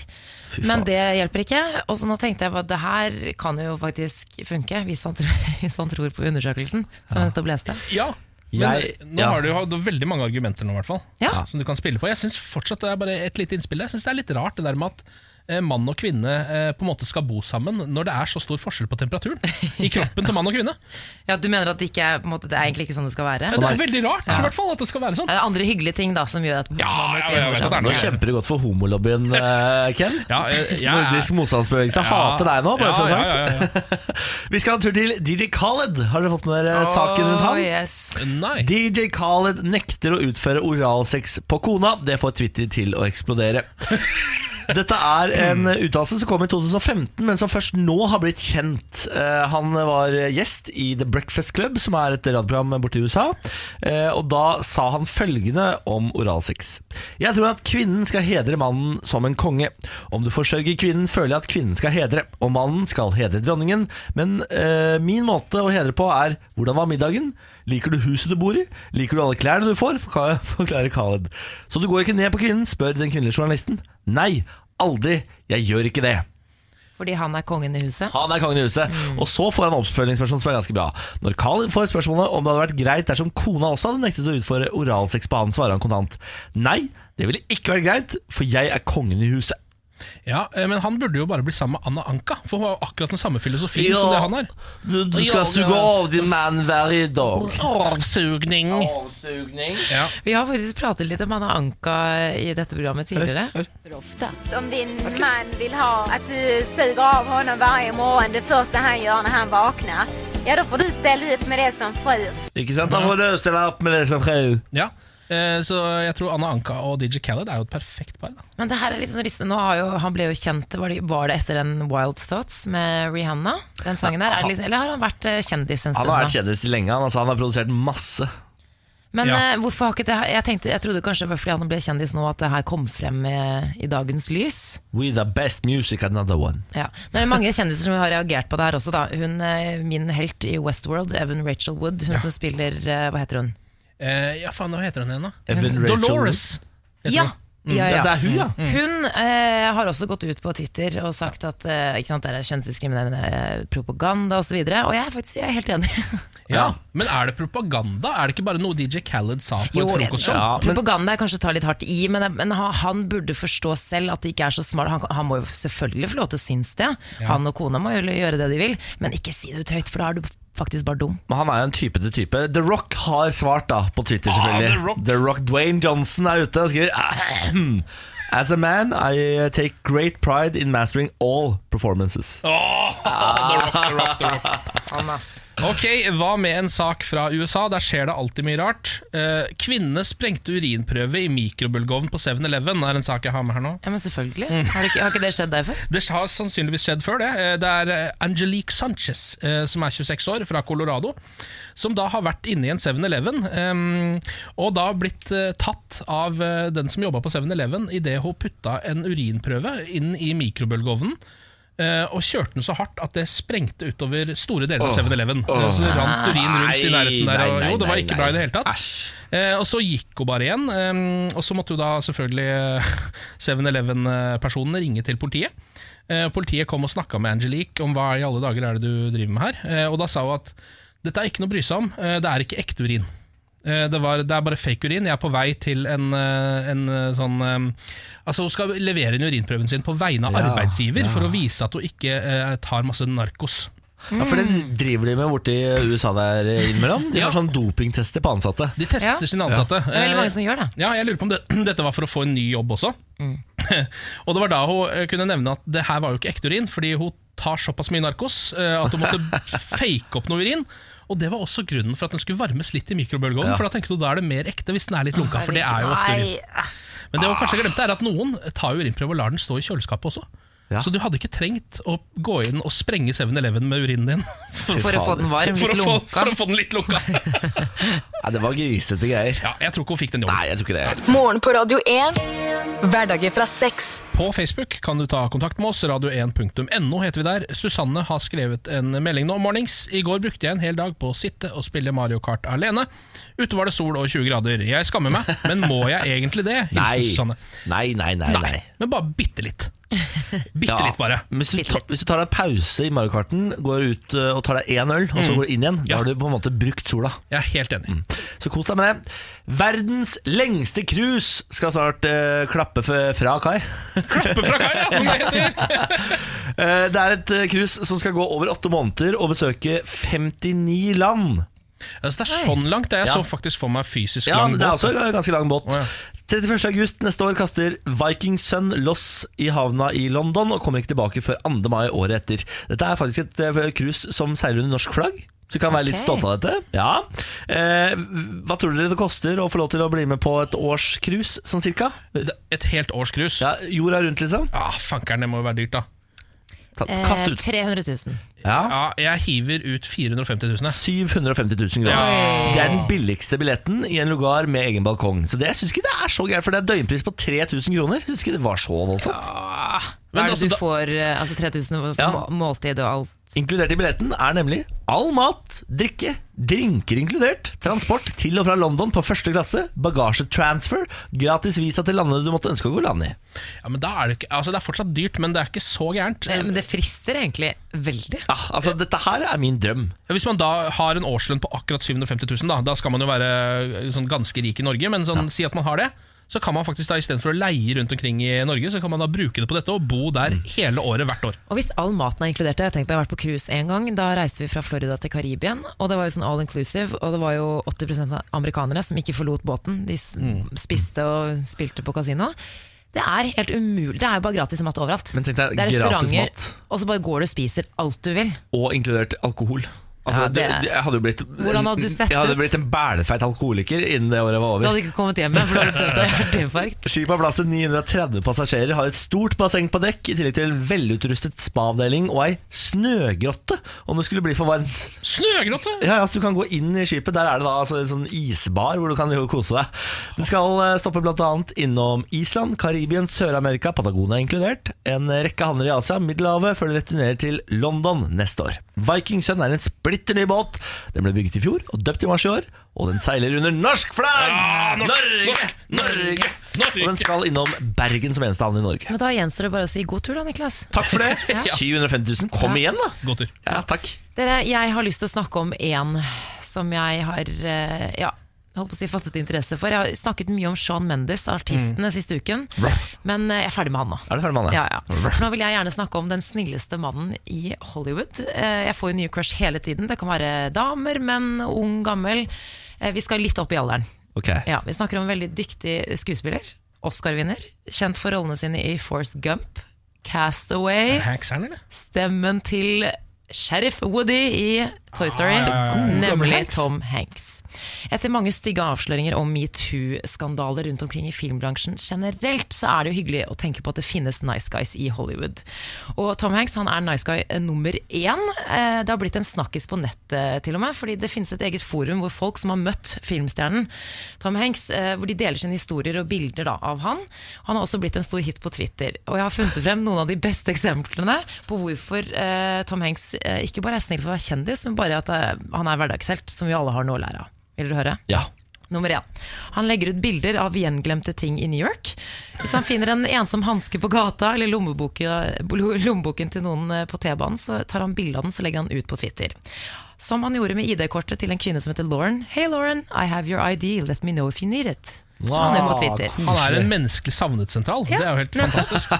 [SPEAKER 3] Men det hjelper ikke. Og så nå tenkte jeg at det her kan jo faktisk funke, hvis han, tror, hvis han tror på undersøkelsen som jeg nettopp leste.
[SPEAKER 2] Ja, men eh,
[SPEAKER 1] Jeg-
[SPEAKER 2] nå
[SPEAKER 1] ja.
[SPEAKER 2] har du jo hatt veldig mange argumenter nå, i hvert fall.
[SPEAKER 3] Ja.
[SPEAKER 2] Som du kan spille på. Jeg syns fortsatt det er bare et lite innspill. Jeg syns det er litt rart det der med at eh, mann og kvinne eh, på en måte skal bo sammen når det er så stor forskjell på temperaturen i kroppen til mann og kvinne.
[SPEAKER 3] Ja, Du mener at det, ikke er, på en måte, det er egentlig ikke sånn det skal være?
[SPEAKER 2] Ja, det er veldig rart i hvert fall at det skal være sånn.
[SPEAKER 3] Er det andre hyggelige ting da som gjør at
[SPEAKER 2] Ja,
[SPEAKER 3] man-
[SPEAKER 2] ja, jeg vet at det
[SPEAKER 1] Nå
[SPEAKER 2] er noe greier.
[SPEAKER 1] kjemper du godt for homolobbyen, eh, Ken.
[SPEAKER 2] Ja, eh, jeg er-
[SPEAKER 1] Nordisk motstandsbevegelse. Jeg hater deg nå, bare
[SPEAKER 2] ja,
[SPEAKER 1] så sagt.
[SPEAKER 2] ja, ja, ja.
[SPEAKER 1] Vi skal ha en tur til DJ Khaled. Har dere fått med dere saken rundt
[SPEAKER 3] sånn. Å,
[SPEAKER 1] ham?
[SPEAKER 3] yes.
[SPEAKER 2] Nei.
[SPEAKER 1] DJ Khaled nekter å utføre oralsex på kona. Det får Twitter til å eksplodere. Dette er en uttalelse som kom i 2015, men som først nå har blitt kjent. Eh, Han var gjest i The Breakfast Club, som er et radioprogram borte i USA. eh, Og da sa han følgende om oralsex. Jeg tror at kvinnen skal hedre mannen som en konge. Om du forsørger kvinnen, føler jeg at kvinnen skal hedre, og mannen skal hedre dronningen. Men eh, min måte å hedre på er hvordan var middagen? Liker du huset du bor i? Liker du alle klærne du får? Forka- Forklarer Khaled. Så du går ikke ned på kvinnen, spør den kvinnelige journalisten. Nei, aldri. Jeg gjør ikke det.
[SPEAKER 3] Fordi han er kongen i huset?
[SPEAKER 1] Han er kongen i huset.
[SPEAKER 2] Mm.
[SPEAKER 1] Og så får han oppfølgingsspørsmål som er ganske bra. Når Carl får spørsmålet om det hadde vært greit dersom kona også hadde nektet å utføre oralsex på han, svarer han kontant nei, det ville ikke vært greit, for jeg er kongen i huset.
[SPEAKER 2] Ja, eh, men han burde jo bare bli sammen med Anna Anka, for hun har jo akkurat den samme filosofien
[SPEAKER 1] Ja.
[SPEAKER 2] som det han har.
[SPEAKER 1] Du, du
[SPEAKER 2] Ja,
[SPEAKER 1] skal
[SPEAKER 2] det-
[SPEAKER 1] suge av din mann hver dag.
[SPEAKER 2] Avsugning.
[SPEAKER 1] Avsugning.
[SPEAKER 2] Ja.
[SPEAKER 3] Vi har faktisk pratet litt om Anna Anka i dette programmet tidligere.
[SPEAKER 5] Om din man vill ha att du suger av honom varje morgon, det första han gör när han vaknar, ja då får du ställa upp med det som fru.
[SPEAKER 1] Ikke sant? Da får du stille opp med det som fru.
[SPEAKER 2] Ja. Eh, Så jeg tror Anna Anka og DJ Khaled er jo et perfekt par. Da.
[SPEAKER 3] Men det her er litt sånn rystende. Nå har jo, han ble jo kjent var det, var det etter den Wild Thoughts med Rihanna? Den sangen der, er det liksom, Eller har han vært eh, kjendis en
[SPEAKER 1] Han har
[SPEAKER 3] stund? da?
[SPEAKER 1] vært kjendis lenge. Han, altså, han har produsert masse.
[SPEAKER 3] Men
[SPEAKER 2] Ja.
[SPEAKER 3] eh, hvorfor har ikke det her jeg, tenkte, jeg trodde kanskje det var fordi han ble kjendis nå at det her kom frem eh, i dagens lys.
[SPEAKER 1] We the best music, another one.
[SPEAKER 3] Ja. Nå er det mange kjendiser som har reagert på det her også. Da. Hun, eh, min helt i Westworld, Evan Rachel Wood, hun som spiller eh, Hva heter hun?
[SPEAKER 2] Eh, ja, faen, hva heter hun igjen, da?
[SPEAKER 1] Evan Rachel
[SPEAKER 2] Dolores. heter
[SPEAKER 3] Ja!
[SPEAKER 2] hun. Mm,
[SPEAKER 3] Ja,
[SPEAKER 1] Ja,
[SPEAKER 3] ja.
[SPEAKER 1] det er hun, ja.
[SPEAKER 3] Hun eh, har også gått ut på Twitter og sagt at eh, ikke sant, det er kjønnsdiskriminerende eh, propaganda osv. Og, så videre, og jeg er faktisk jeg er helt enig.
[SPEAKER 2] Ja. Men er det propaganda? Er det ikke bare noe DJ Khaled sa på
[SPEAKER 3] Jo,
[SPEAKER 2] et frokostshow?
[SPEAKER 1] ja. men-
[SPEAKER 3] propaganda er kanskje å ta litt hardt i, men, men ha- han burde forstå selv at det ikke er så smart. Han, han må jo selvfølgelig få lov til å synes det. Han og kona må jo gjøre det de vil, men ikke si det ut høyt, for da er du faktisk bare dum.
[SPEAKER 1] Men han er jo en type til type. The Rock har svart da på Twitter, selvfølgelig.
[SPEAKER 2] Ah, The Rock.
[SPEAKER 1] Dwayne Johnson er ute og skriver «Ahem. As a man, I uh, take great pride in mastering all performances.
[SPEAKER 2] Åh, the rock, the rock, the rock.
[SPEAKER 3] Han, ass.
[SPEAKER 2] Ok, Hva med en sak fra USA? Der skjer det alltid mye rart. Eh, kvinne sprengte urinprøve i mikrobølgeovn på 7-Eleven. er en sak jeg har med her nå.
[SPEAKER 3] Ja, men selvfølgelig. Har, det ikke, har ikke det skjedd deg før?
[SPEAKER 2] Det har sannsynligvis skjedd før det. Eh, Det er eh, Angelique Sanchez, eh, som er 26 år, fra Colorado, som da har vært inne i en 7-Eleven, eh, og da blitt eh, tatt av eh, den som jobba på 7-Eleven idet hun putta en urinprøve inn i mikrobølgeovnen. eh, og kjørte den så hardt at det sprengte utover store deler av
[SPEAKER 1] Åh.
[SPEAKER 2] 7-Eleven.
[SPEAKER 1] Åh.
[SPEAKER 2] Så det rant urin rundt i nærheten der. Og, jo, det var ikke bra i det hele tatt.
[SPEAKER 1] Æsj.
[SPEAKER 2] Eh, og så gikk hun bare igjen. eh, og så måtte jo da selvfølgelig eh, 7-Eleven-personene ringe til politiet. Eh, politiet kom og snakka med Angelique om hva i alle dager er det du driver med her. Eh, og da sa hun at dette er ikke noe å bry seg om, eh, det er ikke ekte urin. Eh, Det, var, det er bare fake urin. Jeg er på vei til en, eh, en eh, sånn eh, Altså Hun skal levere inn urinprøven sin på vegne av
[SPEAKER 1] Ja,
[SPEAKER 2] arbeidsgiver for å vise at hun ikke eh, tar masse narkos.
[SPEAKER 1] Ja, for det
[SPEAKER 2] Mm.
[SPEAKER 1] driver de med borti USA der innimellom. De
[SPEAKER 2] Ja.
[SPEAKER 1] har sånn dopingtester på ansatte.
[SPEAKER 2] De tester
[SPEAKER 3] Ja.
[SPEAKER 2] sine ansatte.
[SPEAKER 3] Det er veldig
[SPEAKER 2] Eh,
[SPEAKER 3] mange som gjør det.
[SPEAKER 2] Ja, jeg lurer på om det, dette var for å få en ny jobb også.
[SPEAKER 3] Mm.
[SPEAKER 2] og det var da hun eh, kunne nevne at det her var jo ikke ekte urin, fordi hun tar såpass mye narkos eh, at hun måtte fake opp noe urin. Og det var også grunnen for at den skulle varmes litt i mikrobølgeovnen. For da tenkte du da er det mer ekte hvis den er litt lunka, for det er jo ofte urin.
[SPEAKER 3] Nei, Ah. ass.
[SPEAKER 2] Men det hun kanskje glemte, er at noen tar urinprøve og lar den stå i kjøleskapet også.
[SPEAKER 1] Ja.
[SPEAKER 2] Så du hadde ikke trengt å gå inn og sprenge 7-Eleven med urinen din
[SPEAKER 3] For å få den varm,
[SPEAKER 2] for,
[SPEAKER 3] litt
[SPEAKER 2] å få,
[SPEAKER 3] lunka.
[SPEAKER 2] for å få den litt lunka.
[SPEAKER 1] Nei, det var grisete greier.
[SPEAKER 2] ja, jeg tror ikke hun fikk den jobben.
[SPEAKER 1] Nei, jeg tror ikke det.
[SPEAKER 4] Morgen på Radio 1. Hverdager fra seks.
[SPEAKER 2] På Facebook kan du ta kontakt med oss, radio1.no heter vi der. Susanne har skrevet en melding nå om mornings. I går brukte jeg en hel dag på å sitte og spille Mario Kart alene. Ute var det sol og 20 grader. Jeg skammer meg, men må jeg egentlig det? Hilsen
[SPEAKER 1] Nei,
[SPEAKER 2] Susanne.
[SPEAKER 1] nei, nei. nei, nei.
[SPEAKER 2] Men bare bitte litt. Bitte litt, bare.
[SPEAKER 1] Men Hvis du,
[SPEAKER 3] Bitte
[SPEAKER 1] ta, hvis du tar deg pause i Mario Karten, går ut eh, og tar deg én øl, og så går du inn igjen,
[SPEAKER 2] Mm. Ja.
[SPEAKER 1] da har du på en måte brukt sola.
[SPEAKER 2] Jeg er helt enig.
[SPEAKER 1] Så kos deg med det. Verdens lengste cruise skal snart eh, klappe f- fra kai.
[SPEAKER 2] Klappe fra kaia, som det heter!
[SPEAKER 1] Eh, det er et eh, cruise som skal gå over åtte måneder og besøke 59 land.
[SPEAKER 2] Altså, det er sånn langt. Det er
[SPEAKER 1] Ja.
[SPEAKER 2] så faktisk for meg fysisk
[SPEAKER 1] Ja,
[SPEAKER 2] lang
[SPEAKER 1] det er altså-
[SPEAKER 2] båt.
[SPEAKER 1] også en ganske lang båt.
[SPEAKER 2] Å, ja.
[SPEAKER 1] 31. august neste år kaster Viking Sun loss i havna i London og kommer ikke tilbake før 2. mai året etter. Dette er faktisk et eh, cruise som seiler under norsk flagg. Så vi kan være litt
[SPEAKER 3] Ok.
[SPEAKER 1] stolte av dette. Ja. Eh, hva tror dere det koster å få lov til å bli med på et års cruise, sånn cirka?
[SPEAKER 2] Et helt års cruise. Ja.
[SPEAKER 1] Ja, jorda rundt, liksom?
[SPEAKER 2] Ah, Fankeren, det må jo være dyrt, da.
[SPEAKER 1] Ta,
[SPEAKER 3] Eh,
[SPEAKER 1] kast ut.
[SPEAKER 3] 300 000.
[SPEAKER 1] Ja.
[SPEAKER 2] Ja, jeg hiver ut 450 000. jeg.
[SPEAKER 1] 750 000 kroner.
[SPEAKER 2] Ja.
[SPEAKER 1] Det er den billigste billetten i en lugar med egen balkong. Så det jeg syns ikke det er så gærent, for det er døgnpris på 3000 kroner. Jeg synes ikke det var så voldsomt.
[SPEAKER 3] Hva
[SPEAKER 2] Men
[SPEAKER 3] er
[SPEAKER 2] altså,
[SPEAKER 3] det du
[SPEAKER 2] da-
[SPEAKER 3] får? eh, Altså 3000 for
[SPEAKER 1] Ja.
[SPEAKER 3] må- måltid og alt.
[SPEAKER 1] Inkludert i billetten er nemlig all mat, drikke, drinker inkludert, transport til og fra London på første klasse, bagasjetransfer, gratis visa til landene du måtte ønske å gå land i.
[SPEAKER 2] Ja, men da er det, ikke, altså det er fortsatt dyrt, men det er ikke så gærent.
[SPEAKER 3] Men, men det frister egentlig veldig.
[SPEAKER 1] Ja, altså, dette her er min drøm.
[SPEAKER 2] Hvis man da har en årslønn på akkurat 750 000, da, da skal man jo være eh, sånn ganske rik i Norge, men sånn, si at man har det. Så kan man faktisk da istedenfor å leie rundt omkring i Norge, så kan man da bruke det på dette og bo der hele året hvert år.
[SPEAKER 3] Og hvis all maten er inkludert, jeg har tenkt på, jeg har vært på cruise en gang, da reiste vi fra Florida til Karibien, og det var jo sånn all inclusive, og det var jo 80 av amerikanere som ikke forlot båten, de s-
[SPEAKER 1] Mm.
[SPEAKER 3] spiste og spilte på kasino. Det er helt umulig, det er jo bare gratis mat overalt.
[SPEAKER 1] Men tenk deg,
[SPEAKER 3] det er
[SPEAKER 1] gratis
[SPEAKER 3] restauranter,
[SPEAKER 1] mat.
[SPEAKER 3] og så bare går du og spiser alt du vil.
[SPEAKER 1] Og inkludert alkohol. Altså,
[SPEAKER 3] Ja, det-
[SPEAKER 1] det- det- jeg hadde jo blitt,
[SPEAKER 3] Hvordan hadde du sett
[SPEAKER 1] Jeg hadde
[SPEAKER 3] ut?
[SPEAKER 1] blitt en bælefeit alkoholiker innen det året var over.
[SPEAKER 3] Du hadde ikke kommet hjem, for du hadde dødd av hjerteinfarkt.
[SPEAKER 1] Skipet har plass til 930 passasjerer, har et stort basseng på dekk, i tillegg til en velutrustet spaavdeling og ei snøgrotte om det skulle bli for varmt.
[SPEAKER 2] Snøgrotte!
[SPEAKER 1] Ja, ja, så Du kan gå inn i skipet. Der er det da altså, en sånn isbar hvor du kan jo kose deg. Det skal eh, stoppe bl.a. innom Island, Karibien, Sør-Amerika, Patagonia inkludert. En rekke havner i Asia, Middelhavet, før det returnerer til London neste år. Viking Sun er en splitter ny båt. Den ble bygget i fjor og døpt i mars i år. Og den seiler under norsk flagg!
[SPEAKER 2] Ja, norsk,
[SPEAKER 1] Norge!
[SPEAKER 2] norsk, Norge, Norge.
[SPEAKER 1] Og den skal innom Bergen som eneste havn i Norge.
[SPEAKER 3] Men da gjenstår det bare å si god tur da, Niklas.
[SPEAKER 1] Takk for det. 750 000. Kom
[SPEAKER 3] Ja.
[SPEAKER 1] igjen, da.
[SPEAKER 2] God tur.
[SPEAKER 1] Ja, takk.
[SPEAKER 3] Dere, jeg har lyst til å snakke om en som jeg har eh, ja, holdt på å si fattet interesse for. Jeg har snakket mye om Sean Mendes, artisten, den siste uken. Men eh, jeg er ferdig med han nå.
[SPEAKER 1] Mm. Er du ferdig med han?
[SPEAKER 3] Ja, ja. For Nå vil jeg gjerne snakke om den snilleste mannen i Hollywood. Eh, Jeg får jo nye crush hele tiden. Det kan være damer, menn, ung, gammel. Eh, Vi skal litt opp i alderen.
[SPEAKER 1] Ok.
[SPEAKER 3] Ja, vi snakker om en veldig dyktig skuespiller. Oscar-vinner. Kjent for rollene sine i Force Gump, Castaway,
[SPEAKER 2] Hanks er den, eller?
[SPEAKER 3] stemmen til Sheriff Woody i Toy Story,
[SPEAKER 2] Ah, ja, ja, ja, ja.
[SPEAKER 1] Gamle
[SPEAKER 3] nemlig
[SPEAKER 1] Hanks.
[SPEAKER 3] Tom Hanks. Etter mange stygge avsløringer om metoo-skandaler rundt omkring i filmbransjen generelt, så er det jo hyggelig å tenke på at det finnes nice guys i Hollywood. Og Tom Hanks han er nice guy eh, nummer én. Eh, Det har blitt en snakkis på nettet, til og med, fordi det finnes et eget forum hvor folk som har møtt filmstjernen Tom Hanks, eh, hvor de deler sine historier og bilder da, av han. Han har også blitt en stor hit på Twitter. Og jeg har funnet frem noen av de beste eksemplene på hvorfor eh, Tom Hanks eh, ikke bare er snill for å være kjendis, men bare at eh, han er hverdagshelt, som vi alle har noe å lære av. Vil du høre?
[SPEAKER 1] Ja.
[SPEAKER 3] Nummer én. Han legger ut bilder av gjenglemte ting i New York. Hvis han finner en ensom hanske på gata eller lommeboka- lommeboken til noen eh, på T-banen, så tar han bilde av den så legger han ut på Twitter. Som han gjorde med ID-kortet til en kvinne som heter Lauren. Hey Lauren, I have your ID, let me know if you need it. Så han er på Twitter.
[SPEAKER 2] Han er en menneskelig savnet-sentral. Det er jo helt fantastisk.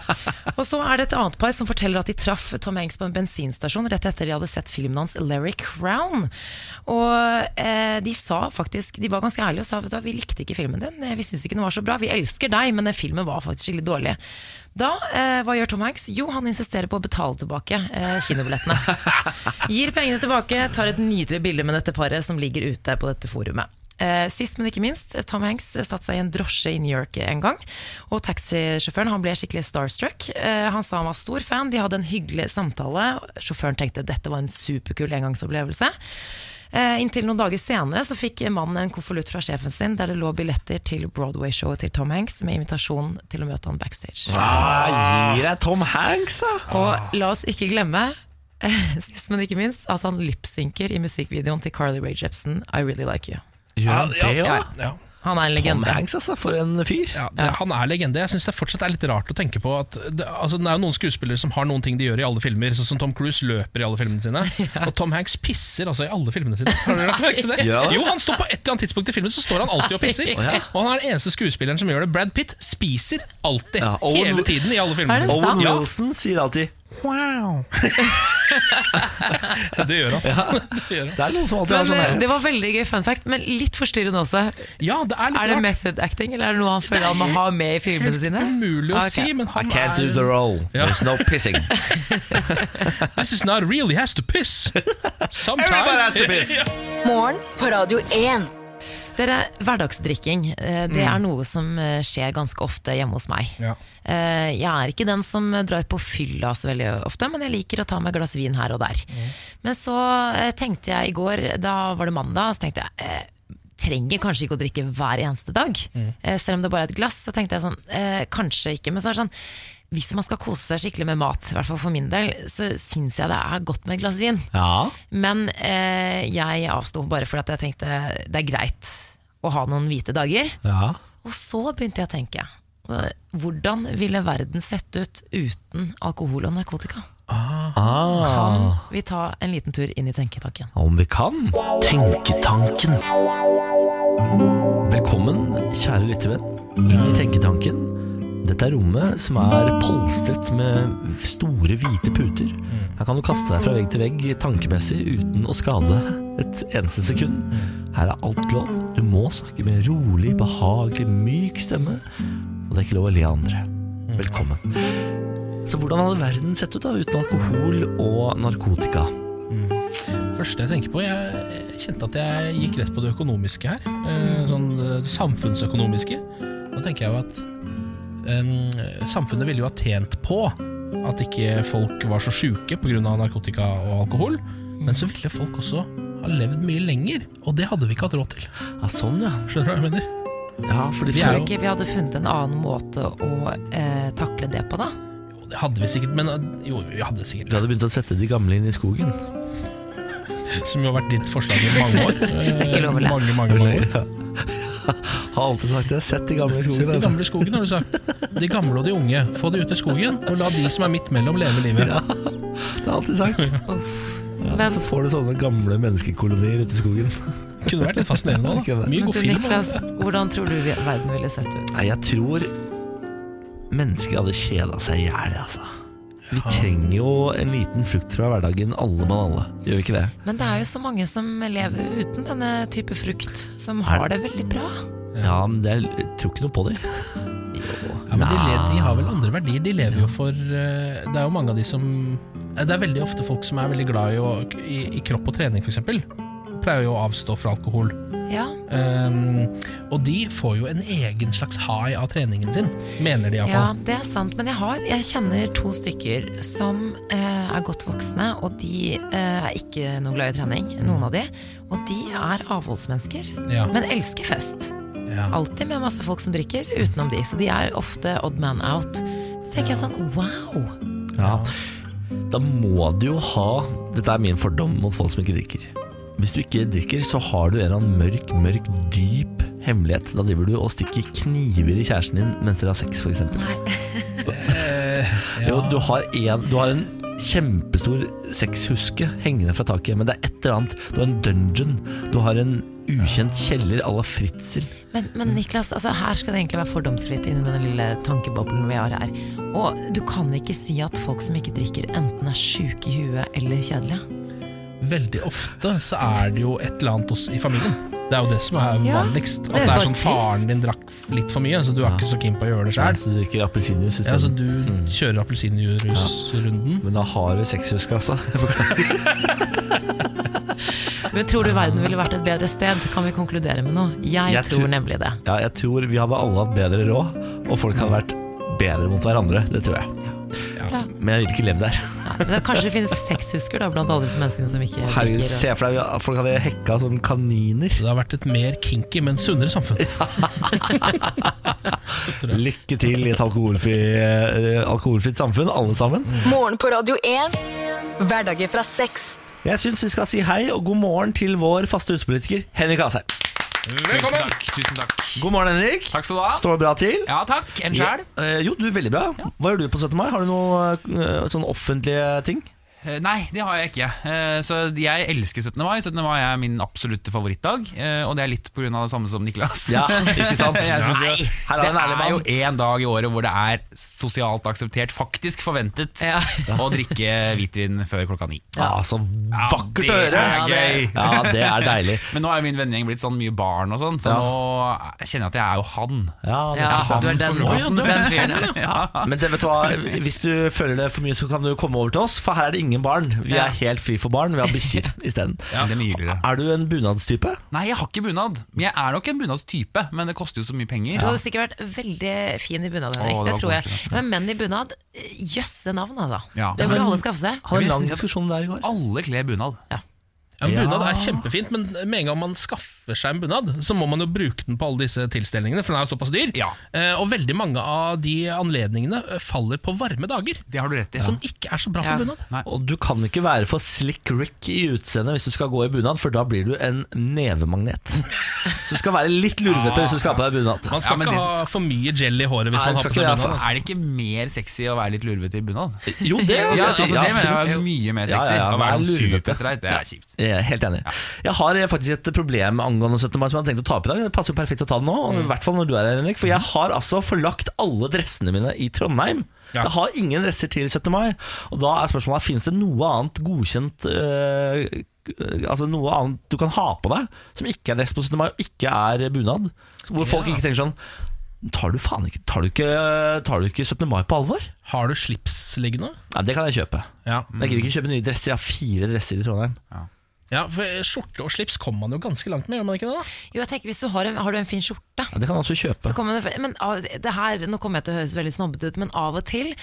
[SPEAKER 3] Og så er det et annet par som forteller at de traff Tom Hanks på en bensinstasjon rett etter de hadde sett filmen hans 'Larry Crown'. Og eh, de sa faktisk, de var ganske ærlige og sa vet du, hva, vi likte ikke filmen din. Eh, Vi syns ikke den var så bra. Vi elsker deg, men den filmen var faktisk skikkelig dårlig. Da, eh, Hva gjør Tom Hanks? Jo, han insisterer på å betale tilbake eh, kinobillettene. Gir pengene tilbake, tar et nydelig bilde med dette paret som ligger ute på dette forumet. Eh, Sist, men ikke minst, Tom Hanks satte seg i en drosje i New York en gang. Og taxisjåføren han ble skikkelig starstruck. Eh, Han sa han var stor fan, de hadde en hyggelig samtale. Sjåføren tenkte dette var en superkul engangsopplevelse. Eh, Inntil noen dager senere så fikk mannen en konvolutt fra sjefen sin der det lå billetter til Broadway-showet til Tom Hanks med invitasjon til å møte han backstage.
[SPEAKER 1] Ah, gir deg Tom Hanks, da!
[SPEAKER 3] Og la oss ikke glemme, sist, men ikke minst, at han lipsynker i musikkvideoen til Carly Rae Jepsen, I Really Like You.
[SPEAKER 1] Gjør han det òg?
[SPEAKER 2] ja, ja.
[SPEAKER 3] Han
[SPEAKER 1] Ah,
[SPEAKER 3] er en
[SPEAKER 1] Tom
[SPEAKER 3] legende.
[SPEAKER 1] Hanks, altså. For en fyr.
[SPEAKER 2] Ja, det, han er legende. Jeg synes det fortsatt er litt rart å tenke på at det, altså, det er jo noen skuespillere som har noen ting de gjør i alle filmer, sånn som Tom Cruise løper i alle filmene sine. Og Tom Hanks pisser altså i alle filmene sine. Har dere lagt merke til det?
[SPEAKER 1] Gjør han det?
[SPEAKER 2] Jo, han står på et eller annet tidspunkt i filmen Så står han alltid og pisser. Og han er den eneste skuespilleren som gjør det. Brad Pitt spiser alltid.
[SPEAKER 1] Ja, Owen-
[SPEAKER 2] hele tiden i alle filmene
[SPEAKER 3] Er det
[SPEAKER 2] sine.
[SPEAKER 1] Owen
[SPEAKER 3] sant?
[SPEAKER 2] Ja.
[SPEAKER 1] Wilson sier alltid 'wow'.
[SPEAKER 2] Det gjør han. Det gjør han.
[SPEAKER 1] Det er noen som alltid har
[SPEAKER 3] Men,
[SPEAKER 1] sånn
[SPEAKER 3] eh,
[SPEAKER 1] her.
[SPEAKER 3] det var veldig gøy fun fact, men litt forstyrrende også.
[SPEAKER 2] Ja, det er litt
[SPEAKER 3] Er det
[SPEAKER 2] rart.
[SPEAKER 3] method acting, eller er det noe han føler han må ha med i filmene sine? Ah,
[SPEAKER 2] Umulig å
[SPEAKER 3] Ok.
[SPEAKER 2] si, men
[SPEAKER 1] Ah, I
[SPEAKER 2] han
[SPEAKER 1] can't do
[SPEAKER 2] er
[SPEAKER 1] the role.
[SPEAKER 2] Ja.
[SPEAKER 1] There's no pissing.
[SPEAKER 2] This is not real, he has to piss. Sometime.
[SPEAKER 1] Everybody has to piss.
[SPEAKER 4] Morgen på Radio 1.
[SPEAKER 3] Dere, Hverdagsdrikking eh, det er noe som eh, skjer ganske ofte hjemme hos meg.
[SPEAKER 2] Ja.
[SPEAKER 3] Eh, Jeg er ikke den som drar på fylla så veldig ofte, men jeg liker å ta meg et glass vin her og der. Men så eh, tenkte jeg i går, da var det mandag, så tenkte jeg eh, trenger kanskje ikke å drikke hver eneste dag. Eh, Selv om det bare er et glass, så tenkte jeg sånn, eh, kanskje ikke. Men så er det sånn, hvis man skal kose seg skikkelig med mat, i hvert fall for min del, så syns jeg det er godt med et glass vin.
[SPEAKER 1] Ja.
[SPEAKER 3] Men eh, jeg avsto bare fordi at jeg tenkte det er greit å ha noen hvite dager.
[SPEAKER 1] ja.
[SPEAKER 3] Og så begynte jeg å tenke. eh, Hvordan ville verden sett ut uten alkohol og narkotika? Ah. Kan
[SPEAKER 1] Ah.
[SPEAKER 3] vi ta en liten tur inn i tenketanken?
[SPEAKER 1] Om vi kan. Tenketanken. Velkommen, kjære lyttervenn, inn i Tenketanken. Dette er rommet som er polstret med store, hvite puter. Her kan du kaste deg fra vegg til vegg tankemessig uten å skade et eneste sekund. Her er alt lov. Du må snakke med en rolig, behagelig, myk stemme. Og det er ikke lov å le av andre. Velkommen. Så hvordan hadde verden sett ut da, uten alkohol og narkotika?
[SPEAKER 2] første jeg tenker på Jeg kjente at jeg gikk rett på det økonomiske her.
[SPEAKER 3] Mm.
[SPEAKER 2] eh, Sånn eh, det samfunnsøkonomiske. Da tenker jeg jo at em, samfunnet ville jo ha tjent på at ikke folk var så sjuke pga. narkotika og alkohol.
[SPEAKER 3] Mm.
[SPEAKER 2] Men så ville folk også ha levd mye lenger, og det hadde vi ikke hatt råd til.
[SPEAKER 1] Ja, sånn ja.
[SPEAKER 2] Skjønner du hva jeg mener?
[SPEAKER 1] Ja, fordi
[SPEAKER 2] Vi er
[SPEAKER 1] før-
[SPEAKER 2] jo-
[SPEAKER 3] Ikke vi hadde funnet en annen måte å eh, takle det på, da?
[SPEAKER 2] Jo, det hadde vi sikkert, men eh, jo, vi hadde sikkert
[SPEAKER 1] Vi hadde begynt å sette de gamle inn i skogen.
[SPEAKER 2] Som jo har vært ditt forslag i mange år. Det
[SPEAKER 3] er ikke lov å le.
[SPEAKER 2] Mange, mange, mange år.
[SPEAKER 1] Har alltid sagt det. Sett de gamle i
[SPEAKER 2] Sett
[SPEAKER 1] skogen.
[SPEAKER 2] de
[SPEAKER 1] Altså.
[SPEAKER 2] gamle i skogen, har du sagt. De gamle og de unge. Få de ut i skogen, og la de som er midt mellom, leve livet.
[SPEAKER 1] Det har alltid sagt. Ja,
[SPEAKER 3] Men-
[SPEAKER 1] Så får du sånne gamle menneskekolonier ute i skogen.
[SPEAKER 2] Kunne vært litt fascinerende òg, da.
[SPEAKER 1] Kunne det.
[SPEAKER 2] Mye
[SPEAKER 3] Men
[SPEAKER 2] god
[SPEAKER 3] du,
[SPEAKER 2] film. da.
[SPEAKER 3] Niklas, hvordan tror du vi- verden ville sett ut?
[SPEAKER 1] Nei, jeg tror mennesker hadde kjeda seg i hjel, altså. Vi trenger jo en liten flukt fra hverdagen, alle mann alle. Gjør vi ikke det?
[SPEAKER 3] Men det er jo så mange som lever uten denne type frukt, som har det veldig bra.
[SPEAKER 1] Ja, men det er, jeg tror ikke noe på det.
[SPEAKER 3] Jo.
[SPEAKER 2] Ja, men de, le- de har vel andre verdier. De lever jo for eh, Det er jo mange av de som eh, Det er veldig ofte folk som er veldig glad i, å, i, i kropp og trening, f.eks. Pleier jo å avstå fra alkohol.
[SPEAKER 3] Ja.
[SPEAKER 2] Um, og de får jo en egen slags high av treningen sin, mener de
[SPEAKER 3] ja,
[SPEAKER 2] iallfall.
[SPEAKER 3] det er sant. Men jeg, har, jeg kjenner to stykker som eh, er godt voksne, og de eh, er ikke noe glad i trening, noen av de. Og de er avholdsmennesker,
[SPEAKER 2] Ja.
[SPEAKER 3] men elsker fest.
[SPEAKER 2] Ja.
[SPEAKER 3] Alltid med masse folk som drikker, utenom de. Så de er ofte odd man out. Da tenker jeg sånn wow!
[SPEAKER 1] Ja. Da må du jo ha Dette er min fordom mot folk som ikke drikker. Hvis du ikke drikker, så har du en eller annen mørk, mørk, dyp hemmelighet. Da driver du og stikker kniver i kjæresten din mens dere har sex, f.eks. Jo, du har, en, du har en kjempestor sexhuske hengende fra taket, men det er et eller annet. Du har en dungeon. Du har en ukjent kjeller à la Fritzel.
[SPEAKER 3] Men, men Niklas, altså, her skal det egentlig være fordomsfritt inni denne lille tankeboblen vi har her. Og du kan ikke si at folk som ikke drikker, enten er sjuke i huet eller kjedelige.
[SPEAKER 2] Veldig ofte så er det jo et eller annet hos, i familien. Det er jo det som er
[SPEAKER 3] Ja,
[SPEAKER 2] vanligst. At
[SPEAKER 3] det er
[SPEAKER 2] det
[SPEAKER 3] bare
[SPEAKER 2] er sånn
[SPEAKER 3] trist.
[SPEAKER 2] faren din drakk litt for mye, så du er ikke så keen på å gjøre det sjøl.
[SPEAKER 1] Så du drikker appelsinjuice
[SPEAKER 2] Ja, altså- så
[SPEAKER 1] isteden.
[SPEAKER 2] du kjører appelsinjusrunden.
[SPEAKER 1] Men da har du sexhuske, altså.
[SPEAKER 3] Men tror du verden ville vært et bedre sted? Kan vi konkludere med noe? Jeg,
[SPEAKER 1] Jeg
[SPEAKER 3] tror
[SPEAKER 1] tror-
[SPEAKER 3] nemlig det.
[SPEAKER 1] Ja, jeg tror vi hadde alle hatt bedre råd, og folk hadde vært bedre mot hverandre. Det tror jeg.
[SPEAKER 3] Bra.
[SPEAKER 1] Men jeg vil ikke leve der.
[SPEAKER 3] Men da, kanskje det finnes sexhusker da, blant alle disse menneskene som ikke
[SPEAKER 1] Herregud,
[SPEAKER 3] drikker.
[SPEAKER 1] se for deg at folk hadde hekka som kaniner.
[SPEAKER 2] Det har vært et mer kinky, men sunnere samfunn.
[SPEAKER 1] Lykke til i et alkoholfri, eh, alkoholfritt samfunn, alle sammen.
[SPEAKER 4] Morgen på Radio 1. Hverdager fra seks.
[SPEAKER 1] Jeg syns vi skal si hei og god morgen til vår faste utepolitiker Henrik Asheim.
[SPEAKER 6] Velkommen! Tusen takk. Tusen takk.
[SPEAKER 1] God morgen, Henrik.
[SPEAKER 6] takk skal du ha.
[SPEAKER 1] Står det bra til?
[SPEAKER 6] Ja takk. En sjæl?
[SPEAKER 1] Eh, Jo, du er veldig bra. Hva gjør du på 17. mai? Har du noe eh, sånn offentlige ting?
[SPEAKER 6] Eh, Nei, det har jeg ikke. Eh, Så jeg elsker 17. mai. 17. mai er min absolutte favorittdag, eh, og det er litt pga. det samme som Niklas.
[SPEAKER 1] Ja, ikke sant?
[SPEAKER 6] Jeg synes jo,
[SPEAKER 1] Nei, her er
[SPEAKER 6] det
[SPEAKER 1] en ærlig
[SPEAKER 6] er
[SPEAKER 1] mann.
[SPEAKER 6] jo én dag i året hvor det er sosialt akseptert, faktisk forventet,
[SPEAKER 3] Ja.
[SPEAKER 6] å drikke hvitvin før klokka ni.
[SPEAKER 1] Ja, Ah, så
[SPEAKER 6] Ja,
[SPEAKER 1] vakkert
[SPEAKER 6] det
[SPEAKER 1] å høre!
[SPEAKER 6] er gøy.
[SPEAKER 1] Ja, det er deilig.
[SPEAKER 6] Men nå er jo min vennegjeng blitt sånn mye barn, og sånn så
[SPEAKER 1] Ja.
[SPEAKER 6] nå kjenner jeg at jeg er jo han.
[SPEAKER 1] Ja, det
[SPEAKER 3] Ja,
[SPEAKER 1] er
[SPEAKER 3] du er den,
[SPEAKER 6] frokosten.
[SPEAKER 3] den fyren. ja.
[SPEAKER 1] Men det, vet du hva, hvis du føler det for mye, så kan du komme over til oss, for her er det ingen barn. Vi er helt fri for barn, vi har bikkjer isteden.
[SPEAKER 6] Men Det er mye hyggeligere.
[SPEAKER 1] Er du en bunadstype?
[SPEAKER 6] Nei, jeg har ikke bunad. Men jeg er nok en bunadstype, men det koster jo så mye penger.
[SPEAKER 3] Du hadde sikkert vært veldig fin i bunad, Henrik.
[SPEAKER 6] Å, det
[SPEAKER 3] det,
[SPEAKER 6] var
[SPEAKER 3] tror jeg.
[SPEAKER 6] koselig.
[SPEAKER 3] Men menn i bunad, eh, jøsse navn, altså.
[SPEAKER 6] Ja.
[SPEAKER 3] Det burde alle skaffe seg.
[SPEAKER 1] Hadde en
[SPEAKER 6] Jeg
[SPEAKER 1] lang
[SPEAKER 6] visste-
[SPEAKER 1] diskusjon der i går.
[SPEAKER 6] Alle kler bunad.
[SPEAKER 2] Ja, men
[SPEAKER 1] Ja.
[SPEAKER 2] bunad er kjempefint, men med en gang man skaffer seg en bunad, så må man jo bruke den på alle disse tilstelningene, for den er jo såpass dyr.
[SPEAKER 6] Ja.
[SPEAKER 2] Eh, og veldig mange av de anledningene eh, faller på varme dager,
[SPEAKER 6] Det har du rett i.
[SPEAKER 2] som
[SPEAKER 3] Sånn-
[SPEAKER 2] ikke er så bra
[SPEAKER 3] Ja.
[SPEAKER 2] for bunad.
[SPEAKER 1] Og du kan ikke være for slick Rick i utseendet hvis du skal gå i bunad, for da blir du en nevemagnet. Så du skal være litt lurvete hvis du skal ha på deg bunad.
[SPEAKER 2] Man skal
[SPEAKER 6] Ja, men
[SPEAKER 2] ikke
[SPEAKER 6] det-
[SPEAKER 2] ha for mye gel i håret hvis
[SPEAKER 1] Nei,
[SPEAKER 2] man
[SPEAKER 1] du
[SPEAKER 2] har
[SPEAKER 1] skal ikke
[SPEAKER 2] på seg
[SPEAKER 1] det,
[SPEAKER 2] bunad.
[SPEAKER 1] altså.
[SPEAKER 6] Er det ikke mer sexy å være litt lurvete i bunad?
[SPEAKER 1] Jo, det vil
[SPEAKER 6] Ja,
[SPEAKER 1] jeg si.
[SPEAKER 6] altså, det mener jeg
[SPEAKER 1] absolutt.
[SPEAKER 6] er mye mer
[SPEAKER 1] Ja,
[SPEAKER 6] sexy.
[SPEAKER 1] ja, ja,
[SPEAKER 6] Å være
[SPEAKER 1] vær
[SPEAKER 6] noen
[SPEAKER 1] lurvete.
[SPEAKER 6] superstreit, det er kjipt.
[SPEAKER 1] Jeg er helt enig. Jeg har eh, faktisk et problem angående 17. mai som jeg hadde tenkt å ta opp i dag. Det passer jo perfekt å ta det nå, og i hvert fall når du er her, Henrik. For jeg har altså forlagt alle dressene mine i Trondheim.
[SPEAKER 2] Ja.
[SPEAKER 1] Jeg har ingen dresser til 17. mai. Og da er spørsmålet Fins det noe annet godkjent eh, eh, Altså noe annet du kan ha på deg som ikke er dress på 17. mai, og ikke er bunad? Hvor folk ikke tenker sånn Tar du faen ikke Tar du ikke, tar du ikke 17. mai på alvor?
[SPEAKER 2] Har du slips liggende?
[SPEAKER 1] Nei, det kan jeg kjøpe.
[SPEAKER 2] Ja. mm.
[SPEAKER 1] Men jeg gidder ikke kjøpe nye dresser. Jeg har fire dresser i Trondheim.
[SPEAKER 2] ja, for eh, skjorte og slips kommer man jo ganske langt med, gjør man ikke det? da?
[SPEAKER 3] Jo, jeg tenker, hvis du har, en, har du en fin skjorte,
[SPEAKER 1] Ja, det kan jeg også kjøpe.
[SPEAKER 3] så kommer det, men av, det her, Nå kommer jeg til å høres veldig snobbete ut, men av og til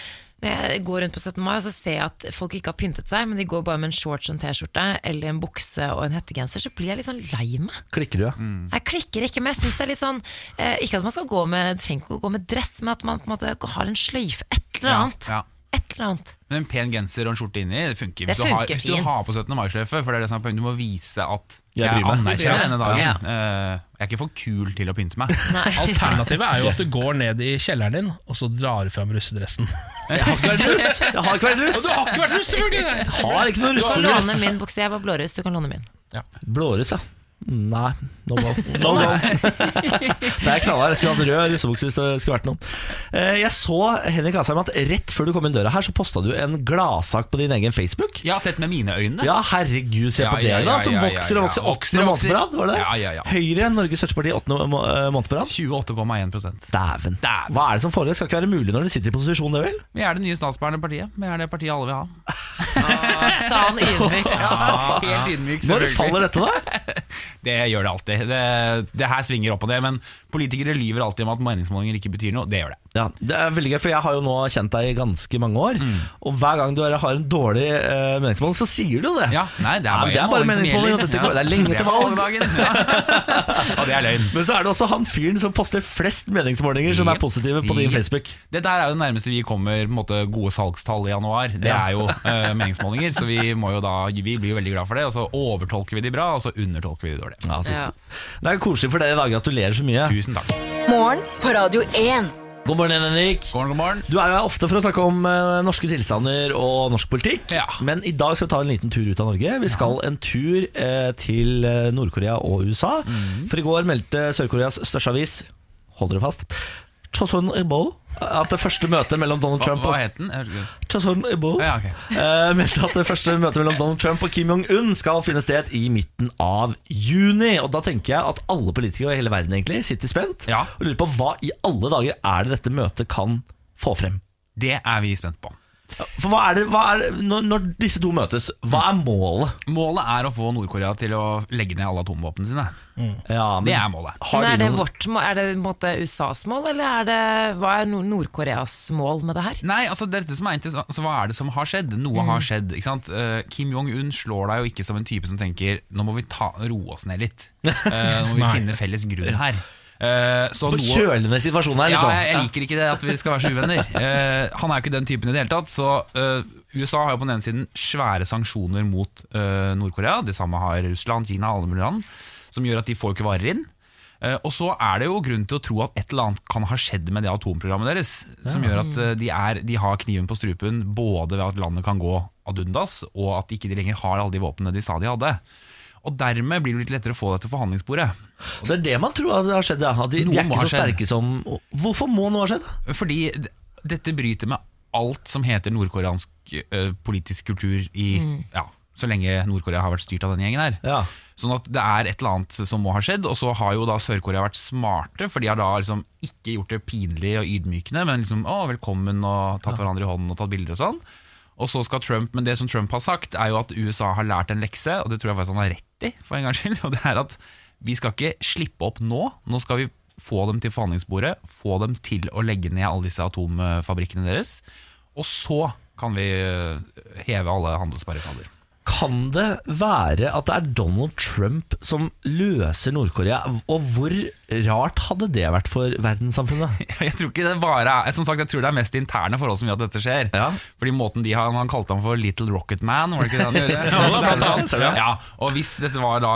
[SPEAKER 3] når jeg går rundt på 17. mai og så ser jeg at folk ikke har pyntet seg, men de går bare med en shorts og en T-skjorte eller en bukse og en hettegenser, så blir jeg litt sånn lei meg.
[SPEAKER 1] Klikker du, ja?
[SPEAKER 3] Jeg klikker ikke, men jeg synes det er litt sånn eh, Ikke at man skal gå med, trenger ikke å gå med dress, men at man på en måte har en sløyfe. Et eller
[SPEAKER 6] Ja,
[SPEAKER 3] annet.
[SPEAKER 6] ja.
[SPEAKER 3] Et eller annet.
[SPEAKER 6] Men en pen genser og en skjorte inni, det funker.
[SPEAKER 3] Det
[SPEAKER 6] hvis, du har,
[SPEAKER 3] funker
[SPEAKER 6] hvis du
[SPEAKER 3] fint.
[SPEAKER 6] har på 17. mai-sløyfe, for det er det som er poenget. Du må vise at
[SPEAKER 1] Jeg
[SPEAKER 6] jeg,
[SPEAKER 1] bryr meg.
[SPEAKER 6] anerkjenner
[SPEAKER 2] Ja.
[SPEAKER 6] denne dagen.
[SPEAKER 3] Ja.
[SPEAKER 6] Eh, jeg er ikke for kul til å pynte meg.
[SPEAKER 2] Alternativet er jo at du går ned i kjelleren din, og så drar du fram russedressen.
[SPEAKER 1] Jeg har ikke vært russ! Jeg har ikke vært russ!
[SPEAKER 2] Og du har ikke vært russ, selvfølgelig!
[SPEAKER 1] Jeg har ikke noe
[SPEAKER 3] Du kan låne
[SPEAKER 1] russedress!
[SPEAKER 3] min bukse. Jeg var blåruss, du kan låne min.
[SPEAKER 1] Blåruss, ja. Nei, no go. No go. Det er knallhard. Jeg skulle hatt rød russebukse hvis det skulle vært noe. Eh, Jeg så Henrik Asheim at rett før du kom inn døra her, så posta du en gladsak på din egen Facebook.
[SPEAKER 6] Jeg har sett med mine øyne.
[SPEAKER 1] Ja, herregud, se på
[SPEAKER 6] Ja, ja,
[SPEAKER 1] det, da.
[SPEAKER 6] ja,
[SPEAKER 1] Som
[SPEAKER 6] ja, ja,
[SPEAKER 1] vokser og
[SPEAKER 6] ja.
[SPEAKER 1] vokser.
[SPEAKER 6] Vokser
[SPEAKER 1] Åttende
[SPEAKER 6] og
[SPEAKER 1] måned
[SPEAKER 6] vokser.
[SPEAKER 1] på rad, var det det?
[SPEAKER 6] Ja, ja, ja.
[SPEAKER 1] Høyre enn Norges største parti åttende må- eh, måned på rad.
[SPEAKER 6] 28,1
[SPEAKER 1] Dæven.
[SPEAKER 6] Dæven.
[SPEAKER 1] Hva er det som foregår? Skal ikke være mulig når de sitter i posisjon, det vel?
[SPEAKER 6] Vi er det nye statsbærende partiet. Vi er det partiet alle vil ha.
[SPEAKER 3] Sa han ydmykt.
[SPEAKER 6] Helt ydmyk,
[SPEAKER 1] Når
[SPEAKER 6] selvfølgelig.
[SPEAKER 1] faller dette, da?
[SPEAKER 6] Det gjør det alltid. Det, det her svinger opp og det, men politikere lyver alltid om at meningsmålinger ikke betyr noe. Det gjør det.
[SPEAKER 1] Ja, det er veldig gøy, for Jeg har jo nå kjent deg i ganske mange år.
[SPEAKER 6] Mm.
[SPEAKER 1] Og hver gang du er- har en dårlig eh, meningsmåling, så sier du jo det.
[SPEAKER 6] Ja, nei, det er
[SPEAKER 1] Ja,
[SPEAKER 6] bare,
[SPEAKER 1] men det er
[SPEAKER 6] en
[SPEAKER 1] bare
[SPEAKER 6] måling som
[SPEAKER 1] meningsmåling,
[SPEAKER 6] gjelder.
[SPEAKER 1] og dette går- det er lenge
[SPEAKER 6] Det
[SPEAKER 1] til valg.
[SPEAKER 6] valgdagen. Ja. Og det er løgn.
[SPEAKER 1] Men så er det også han fyren som poster flest meningsmålinger som er
[SPEAKER 6] Jep.
[SPEAKER 1] positive på din
[SPEAKER 6] Jep.
[SPEAKER 1] Facebook.
[SPEAKER 6] Dette her er jo det nærmeste vi kommer på en måte, gode salgstall i januar. Det
[SPEAKER 1] Ja.
[SPEAKER 6] er jo eh, meningsmålinger, så vi, må jo da, vi blir jo veldig glad for det. Og så overtolker vi de bra, og så undertolker vi de dårlige.
[SPEAKER 1] Ja, så-
[SPEAKER 3] Ja.
[SPEAKER 1] Det er koselig for dere i dag. Gratulerer så mye.
[SPEAKER 6] Tusen takk.
[SPEAKER 4] Morgen på Radio 1.
[SPEAKER 1] God morgen, Henrik.
[SPEAKER 6] God morgen, god morgen.
[SPEAKER 1] Du er jo her ofte for å snakke om eh, norske tilstander og norsk politikk.
[SPEAKER 6] Ja.
[SPEAKER 1] Men i dag skal vi ta en liten tur ut av Norge. Vi skal en tur eh, til eh, Nord-Korea og USA.
[SPEAKER 6] Mhm.
[SPEAKER 1] For i går meldte Sør-Koreas største avis Hold dere fast. Chosun Ibo at det første møtet mellom Donald
[SPEAKER 6] Hva,
[SPEAKER 1] Trump
[SPEAKER 6] hva
[SPEAKER 1] og
[SPEAKER 6] het den? Jeg husker ikke.
[SPEAKER 1] Chosun Ibo
[SPEAKER 6] Ja, ok.
[SPEAKER 1] eh, meldte at det første møtet mellom Donald Trump og Kim Jong-un skal finne sted i midten av juni. Og Da tenker jeg at alle politikere i hele verden egentlig sitter spent
[SPEAKER 6] Ja.
[SPEAKER 1] og lurer på hva i alle dager er det dette møtet kan få frem.
[SPEAKER 6] Det er vi spent på.
[SPEAKER 1] For hva er det, hva er det når, når disse to møtes, hva er målet?
[SPEAKER 6] Målet er å få Nord-Korea til å legge ned alle atomvåpnene sine.
[SPEAKER 1] Ja, men
[SPEAKER 6] Det er målet.
[SPEAKER 1] har
[SPEAKER 3] Men
[SPEAKER 1] de
[SPEAKER 3] er det
[SPEAKER 1] noen-
[SPEAKER 3] vårt mål, er det på en måte USAs mål, eller er det, hva er Nord- Nord-Koreas mål med det her?
[SPEAKER 6] Nei, altså det er dette som er interessant altså, Hva er det som har skjedd? Noe har skjedd, ikke sant? Eh, Kim Jong-un slår deg jo ikke som en type som tenker Nå må vi ta, roe oss ned litt Eh, Nå må vi
[SPEAKER 2] Nei.
[SPEAKER 6] finne felles grunn her Eh, Så
[SPEAKER 1] På
[SPEAKER 6] noe
[SPEAKER 1] kjølende situasjonen her, liksom?
[SPEAKER 6] ja,
[SPEAKER 1] litt
[SPEAKER 6] jeg, jeg liker ikke det at vi skal være så uvenner Eh, Han er jo ikke den typen i det hele tatt Så eh, USA har jo på den ene siden svære sanksjoner mot eh, Nord-Korea Det samme har Russland, Kina, alle mulige land Som gjør at de får ikke varer inn Eh, og så er det jo grunn til å tro at et eller annet kan ha skjedd med det atomprogrammet deres, som gjør at eh, de, er, de har kniven på strupen både ved at landet kan gå ad undas, og at de ikke lenger har alle de våpnene de sa de hadde. Og dermed blir det litt lettere å få deg til forhandlingsbordet.
[SPEAKER 1] Så det er det man tror at det har skjedd. Ja. De, de
[SPEAKER 6] Noe
[SPEAKER 1] er ikke
[SPEAKER 6] må ha
[SPEAKER 1] så
[SPEAKER 6] skjedd.
[SPEAKER 1] sterke som Hvorfor må noe ha skjedd?
[SPEAKER 6] Fordi d- dette bryter med alt som heter nordkoreansk eh, politisk kultur i ja, så lenge Nord-Korea har vært styrt av denne gjengen her.
[SPEAKER 1] Ja.
[SPEAKER 6] Sånn at det er et eller annet som må ha skjedd. Og så har jo da Sør-Korea vært smarte, for de har da liksom ikke gjort det pinlig og ydmykende, men liksom å, velkommen og tatt hverandre i hånden og tatt bilder og sånn. Og så skal Trump, Men det som Trump har sagt, er jo at USA har lært en lekse, og det tror jeg faktisk han har rett i, for en gangs skyld. Og det er at vi skal ikke slippe opp nå. Nå skal vi få dem til forhandlingsbordet, få dem til å legge ned alle disse atomfabrikkene deres. Og så kan vi eh, heve alle handelsbarrikader.
[SPEAKER 1] Kan det være at det er Donald Trump som løser Nord-Korea? Og hvor rart hadde det vært for verdenssamfunnet?
[SPEAKER 6] Jeg tror ikke det bare er Som sagt, jeg tror det er mest interne forhold som gjør at dette skjer.
[SPEAKER 1] Ja.
[SPEAKER 6] Fordi måten de har Han kalte ham for Little Rocket Man, var det ikke det han gjorde?
[SPEAKER 1] blant annet, ser du.
[SPEAKER 6] ja, og hvis dette var da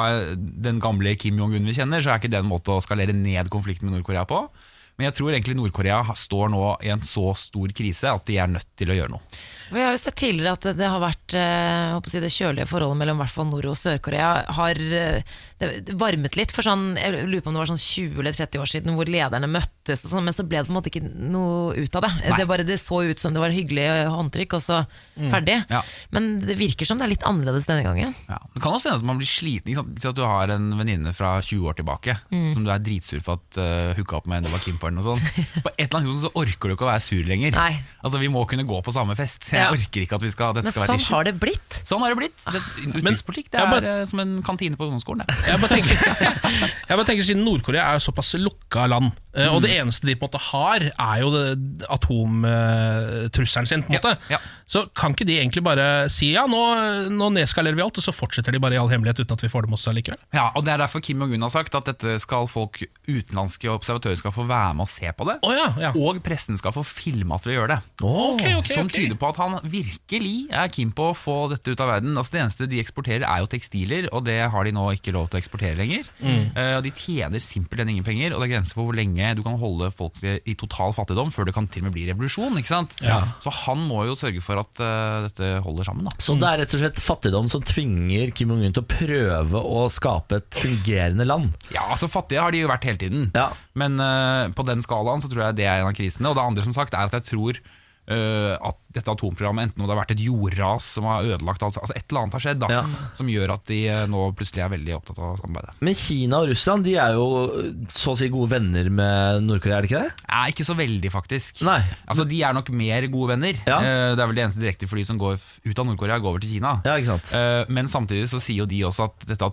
[SPEAKER 6] den gamle Kim Jong-un vi kjenner, så er ikke det en måte å skalere ned konflikten med Nord-Korea på. Men jeg tror egentlig Nord-Korea ha- står nå i en så stor krise at de er nødt til å gjøre noe.
[SPEAKER 3] Vi har jo sett tidligere at det har vært eh, håper å si, det kjølige forholdet mellom hvert fall Nord- og Sør-Korea har eh, det- det varmet litt for sånn, jeg lurer på om det var sånn 20 eller 30 år siden hvor lederne møttes og sånn, men så ble det på en måte ikke noe ut av det. Det, bare, det så ut som det var hyggelig håndtrykk, og så ferdig.
[SPEAKER 6] Mm. Ja.
[SPEAKER 3] Men det virker som det er litt annerledes denne gangen.
[SPEAKER 6] Ja. Det kan også hende at man blir sliten. Ikke sant? Si At du har en venninne fra 20 år tilbake
[SPEAKER 3] Mm.
[SPEAKER 6] som du er dritsur for at uh, hooka opp med en det var Kim på. eller noe sånt. På et eller annet tidspunkt så orker du ikke å være sur lenger.
[SPEAKER 3] Nei.
[SPEAKER 6] Altså Vi må kunne gå på samme fest. Jeg
[SPEAKER 3] Ja.
[SPEAKER 6] orker ikke at vi skal, dette
[SPEAKER 3] Men
[SPEAKER 6] skal være
[SPEAKER 3] sånn
[SPEAKER 6] issue.
[SPEAKER 3] har det Ah. blitt.
[SPEAKER 6] Sånn har det blitt. Det, utenrikspolitikk det
[SPEAKER 2] jeg
[SPEAKER 6] er
[SPEAKER 2] bare-
[SPEAKER 6] eh, som en kantine på ungdomsskolen. det.
[SPEAKER 2] Jeg bare tenker, jeg bare tenker Siden Nord-Korea er jo såpass lukka land, eh, og det eneste de på en måte har, er jo atomtrusselen sin, på en
[SPEAKER 6] Ja,
[SPEAKER 2] måte.
[SPEAKER 6] ja.
[SPEAKER 2] Så kan ikke de egentlig bare si ja, nå, nå nedskalerer vi alt, og så fortsetter de bare i all hemmelighet uten at vi får det med oss allikevel?
[SPEAKER 6] Ja, og Det er derfor Kim Jong-un har sagt at dette skal folk utenlandske observatører skal få være med og se på det.
[SPEAKER 2] Å ja, ja. sånn
[SPEAKER 6] Og pressen skal få filme at vi gjør det.
[SPEAKER 1] Oh.
[SPEAKER 2] Ok, ok,
[SPEAKER 6] som
[SPEAKER 2] ok.
[SPEAKER 6] tyder på at han virkelig er keen på å få dette ut av verden. Altså Det eneste de eksporterer, er jo tekstiler,
[SPEAKER 2] Mm.
[SPEAKER 6] og det har de nå ikke lov til å eksportere lenger. Eh, Og De tjener simpelthen ingen penger, og det er grenser for hvor lenge lenge du kan holde folk i i total fattigdom før det kan til og med bli revolusjon. ikke sant? Så han må jo sørge for at eh, dette holder sammen. da.
[SPEAKER 1] Så det er rett og slett fattigdom som tvinger Kim Jong-un til å prøve å skape et fungerende land.
[SPEAKER 6] Ja, altså Fattige har de jo vært hele tiden,
[SPEAKER 1] Ja.
[SPEAKER 6] men eh, på den skalaen så tror jeg det er en av krisene. Og det andre som sagt er at jeg tror eh, at dette atomprogrammet, enten om det har vært et jordras som har ødelagt alt, altså et eller annet har skjedd da,
[SPEAKER 1] Ja.
[SPEAKER 6] som gjør at de eh, nå plutselig er veldig opptatt av samarbeidet.
[SPEAKER 1] Men Kina og Russland de er jo så å si gode venner med Nord-Korea, er det ikke det?
[SPEAKER 6] Nei, ikke så veldig faktisk.
[SPEAKER 1] Nei.
[SPEAKER 6] Altså De er nok mer gode venner.
[SPEAKER 1] Ja.
[SPEAKER 6] Eh, det er vel det eneste direktefly som går f- ut av Nord-Korea, går over til Kina.
[SPEAKER 1] Ja, ikke sant?
[SPEAKER 6] Eh, men samtidig så sier jo de også at dette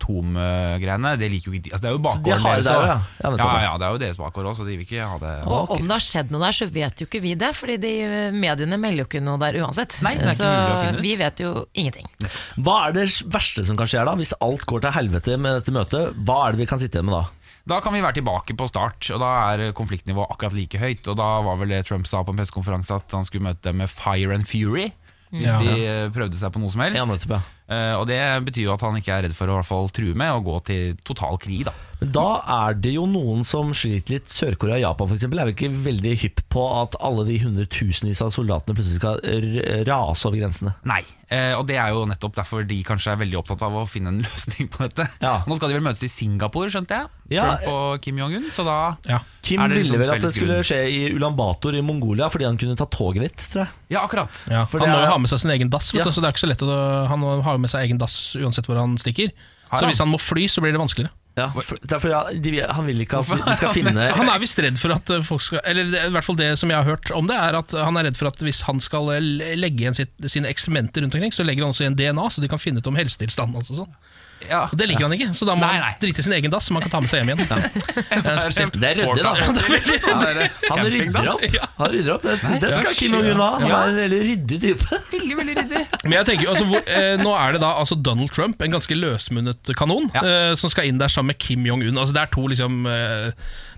[SPEAKER 6] atomgreiene, det liker jo ikke de. Altså, det er jo bakgården
[SPEAKER 1] har det
[SPEAKER 6] deres. også.
[SPEAKER 1] der, ja. Ja, nettopp,
[SPEAKER 6] ja,
[SPEAKER 1] ja.
[SPEAKER 6] ja, det er jo deres bakgård òg, så de vil ikke ha det.
[SPEAKER 3] Og om det har skjedd noe der, så vet jo ikke vi det. Fordi de eh, mediene melder jo ikke noe der uansett.
[SPEAKER 6] Nei, det er ikke
[SPEAKER 3] så
[SPEAKER 6] mulig å finne ut.
[SPEAKER 3] vi vet jo ingenting.
[SPEAKER 1] Eh, Hva er det verste som kan skje her da? Hvis alt går til helvete med dette møtet, hva er det vi kan sitte igjen med da?
[SPEAKER 6] Da kan vi være tilbake på start, og da er konfliktnivået akkurat like høyt. Og da var vel det Trump sa på en pressekonferanse at han skulle møte dem med fire and fury. Hvis
[SPEAKER 2] Ja.
[SPEAKER 6] de eh, prøvde seg på noe som helst.
[SPEAKER 1] Ja, nettopp, ja.
[SPEAKER 6] Eh, og det betyr jo at han ikke er redd for å i hvert fall true med å gå til total krig, da.
[SPEAKER 1] Men da er det jo noen som sliter litt. Sør-Korea og Japan for eksempel, er jo ikke veldig hypp på at alle de hundretusenvis av soldatene plutselig skal r- rase over grensene.
[SPEAKER 6] Nei. Eh, og det er jo nettopp derfor de kanskje er veldig opptatt av å finne en løsning på dette.
[SPEAKER 1] Ja.
[SPEAKER 6] Nå skal de vel møtes i Singapore, skjønte jeg.
[SPEAKER 1] Ja.
[SPEAKER 6] Trump og Kim Jong-un. Så da
[SPEAKER 2] Ja.
[SPEAKER 1] Kim
[SPEAKER 6] er det
[SPEAKER 1] ville
[SPEAKER 6] liksom
[SPEAKER 1] vel at det
[SPEAKER 6] felles
[SPEAKER 1] skulle
[SPEAKER 6] grunn.
[SPEAKER 1] skje i Ulan Bator i Mongolia fordi han kunne ta toget dit, tror jeg.
[SPEAKER 6] Ja, akkurat.
[SPEAKER 2] Ja,
[SPEAKER 1] For
[SPEAKER 2] han
[SPEAKER 1] det
[SPEAKER 2] må
[SPEAKER 1] er-
[SPEAKER 2] jo ha med seg sin egen dass, vet
[SPEAKER 1] Ja.
[SPEAKER 2] du, så det er ikke så lett å, han har jo med seg egen dass uansett hvor han stikker.
[SPEAKER 6] Har
[SPEAKER 2] Så
[SPEAKER 6] han?
[SPEAKER 2] hvis han må fly, så blir det vanskeligere.
[SPEAKER 1] Ja, for, det er fordi han- de, han vil ikke at de skal finne
[SPEAKER 2] Han er visst redd for at eh, folk skal Eller det, i hvert fall det som jeg har hørt om det, er at han er redd for at hvis han skal eh, legge igjen sitt, sine eksperimenter rundt omkring, så legger han også igjen DNA, så de kan finne ut om helsetilstanden hans og sånn.
[SPEAKER 6] Ja.
[SPEAKER 2] Og det liker han ikke, så da må
[SPEAKER 6] Nei,
[SPEAKER 2] han
[SPEAKER 6] nei.
[SPEAKER 2] drite i sin egen dass, som han kan ta med seg hjem igjen. Det er spesielt.
[SPEAKER 1] Det er ryddig, da. Han rydder opp.
[SPEAKER 2] Ja.
[SPEAKER 1] Han rydder opp. Det, det skal Kim Jong-un ha. Han er en veldig ryddig type.
[SPEAKER 6] Veldig, veldig ryddig.
[SPEAKER 2] Men jeg tenker, jo, altså, hvor, eh, Nå er det da altså Donald Trump, en ganske løsmunnet kanon,
[SPEAKER 6] Ja.
[SPEAKER 2] eh, som skal inn der sammen med Kim Jong-un. Altså, det, er to, liksom, eh,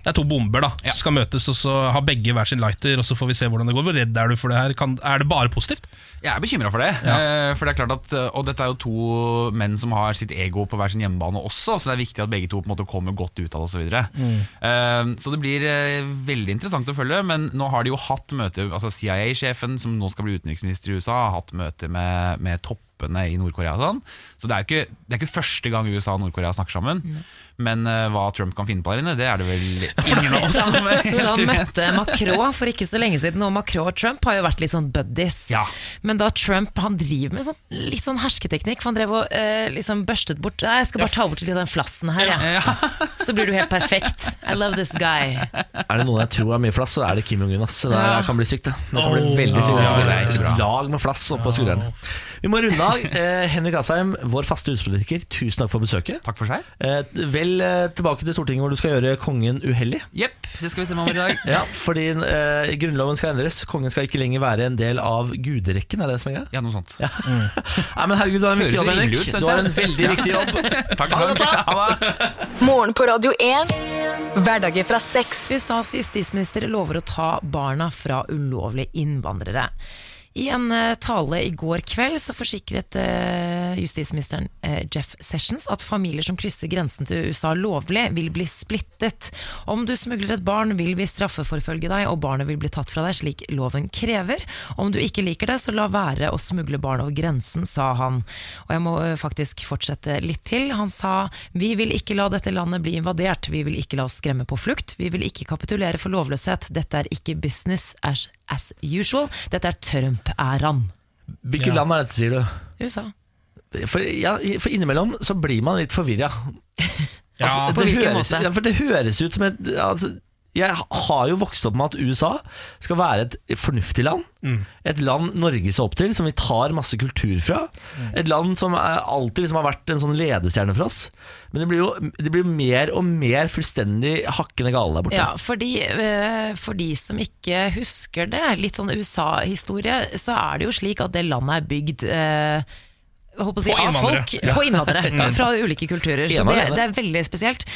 [SPEAKER 2] det er to bomber da som skal møtes, og så har begge hver sin lighter. Og Så får vi se hvordan det går. Hvor redd er du for det her? Kan, er det bare positivt?
[SPEAKER 6] Jeg er bekymra for det. eh, For det er klart at, eh, Og dette er jo to menn som har sitt ego på hver sin hjemmebane også, så det er viktig at begge to på en måte kommer godt ut av det osv. Så, videre. Eh, så det blir eh, veldig interessant å følge. Men nå har de jo hatt møte altså CIA-sjefen, som nå skal bli utenriksminister i USA, har hatt møte med, med toppene i Nord-Korea. og Sånn. Så det er, jo ikke, det er ikke første gang USA og Nord-Korea snakker sammen. Men eh, hva Trump kan finne på der inne, det er det vel ingen av oss som
[SPEAKER 3] Da
[SPEAKER 6] helt vet.
[SPEAKER 3] møtte Macron for ikke så lenge siden, og Macron og Trump har jo vært litt sånn buddies.
[SPEAKER 6] Ja.
[SPEAKER 3] Men da Trump han driver med sånn, litt sånn hersketeknikk, for han drev og eh, liksom børstet bort Nei, jeg skal bare ta bort litt av den flassen her, ja. Så blir du helt perfekt. I love this guy.
[SPEAKER 1] Er det noen jeg tror har mye flass, så er det Kim Jong-un. ass. Det der kan bli stygt. Det Det kan bli veldig stygt.
[SPEAKER 6] ja, det er
[SPEAKER 1] Det
[SPEAKER 6] ikke bra.
[SPEAKER 1] er Lag med flass oppå skulderen. Vi må runde av. Eh, Henrik Asheim, vår faste huspolitiker, tusen takk for besøket.
[SPEAKER 6] Takk for seg.
[SPEAKER 1] Eh, vel eh, tilbake til Stortinget, hvor du skal gjøre kongen uhellig.
[SPEAKER 6] Jepp, det skal vi stemme om i dag.
[SPEAKER 1] Ja, fordi eh, Grunnloven skal endres. Kongen skal ikke lenger være en del av guderekken, er det det som er greia?
[SPEAKER 6] Ja, noe sånt.
[SPEAKER 1] Nei, men herregud, du har en
[SPEAKER 6] Høres
[SPEAKER 1] viktig jobb,
[SPEAKER 6] jo rimelig
[SPEAKER 1] Henrik.
[SPEAKER 6] ut, synes
[SPEAKER 1] Du har
[SPEAKER 6] jeg.
[SPEAKER 1] en veldig viktig jobb.
[SPEAKER 6] Takk
[SPEAKER 1] Ha
[SPEAKER 6] for
[SPEAKER 1] det godt, da. Ha det.
[SPEAKER 4] Morgen på Radio 1. Hverdager fra seks.
[SPEAKER 3] USAs justisminister lover å ta barna fra ulovlige innvandrere. I en eh, tale i går kveld så forsikret eh, justisministeren eh, Jeff Sessions at familier som krysser grensen til USA lovlig, vil bli splittet. Om du smugler et barn, vil vi straffeforfølge deg, og barnet vil bli tatt fra deg slik loven krever. Om du ikke liker det, så la være å smugle barn over grensen, sa han. Og jeg må eh, faktisk fortsette litt til. Han sa vi vil ikke la dette landet bli invadert, vi vil ikke la oss skremme på flukt, vi vil ikke kapitulere for lovløshet. Dette er ikke business as, as usual, dette er Trump-æraen.
[SPEAKER 1] Hvilket land er dette, sier du?
[SPEAKER 3] USA.
[SPEAKER 1] For, ja, for innimellom så blir man litt forvirra.
[SPEAKER 2] Ja.
[SPEAKER 3] på hvilken
[SPEAKER 1] høres,
[SPEAKER 3] måte?
[SPEAKER 1] Ja, for det høres ut som et altså, Jeg har jo vokst opp med at USA skal være et fornuftig land. Et land Norge ser opp til, som vi tar masse kultur fra. Et land som er, alltid liksom har vært en sånn ledestjerne for oss. Men det blir jo det blir mer og mer fullstendig hakkende gale der borte.
[SPEAKER 3] Ja, fordi, eh, for de som ikke husker det, litt sånn USA-historie, så er det jo slik at det landet er bygd eh, jeg håper å si,
[SPEAKER 2] På
[SPEAKER 3] av
[SPEAKER 2] innvandrere.
[SPEAKER 3] folk, på innvandrere fra ulike kulturer. Så
[SPEAKER 1] Ene
[SPEAKER 3] det,
[SPEAKER 1] alene.
[SPEAKER 3] det er veldig spesielt.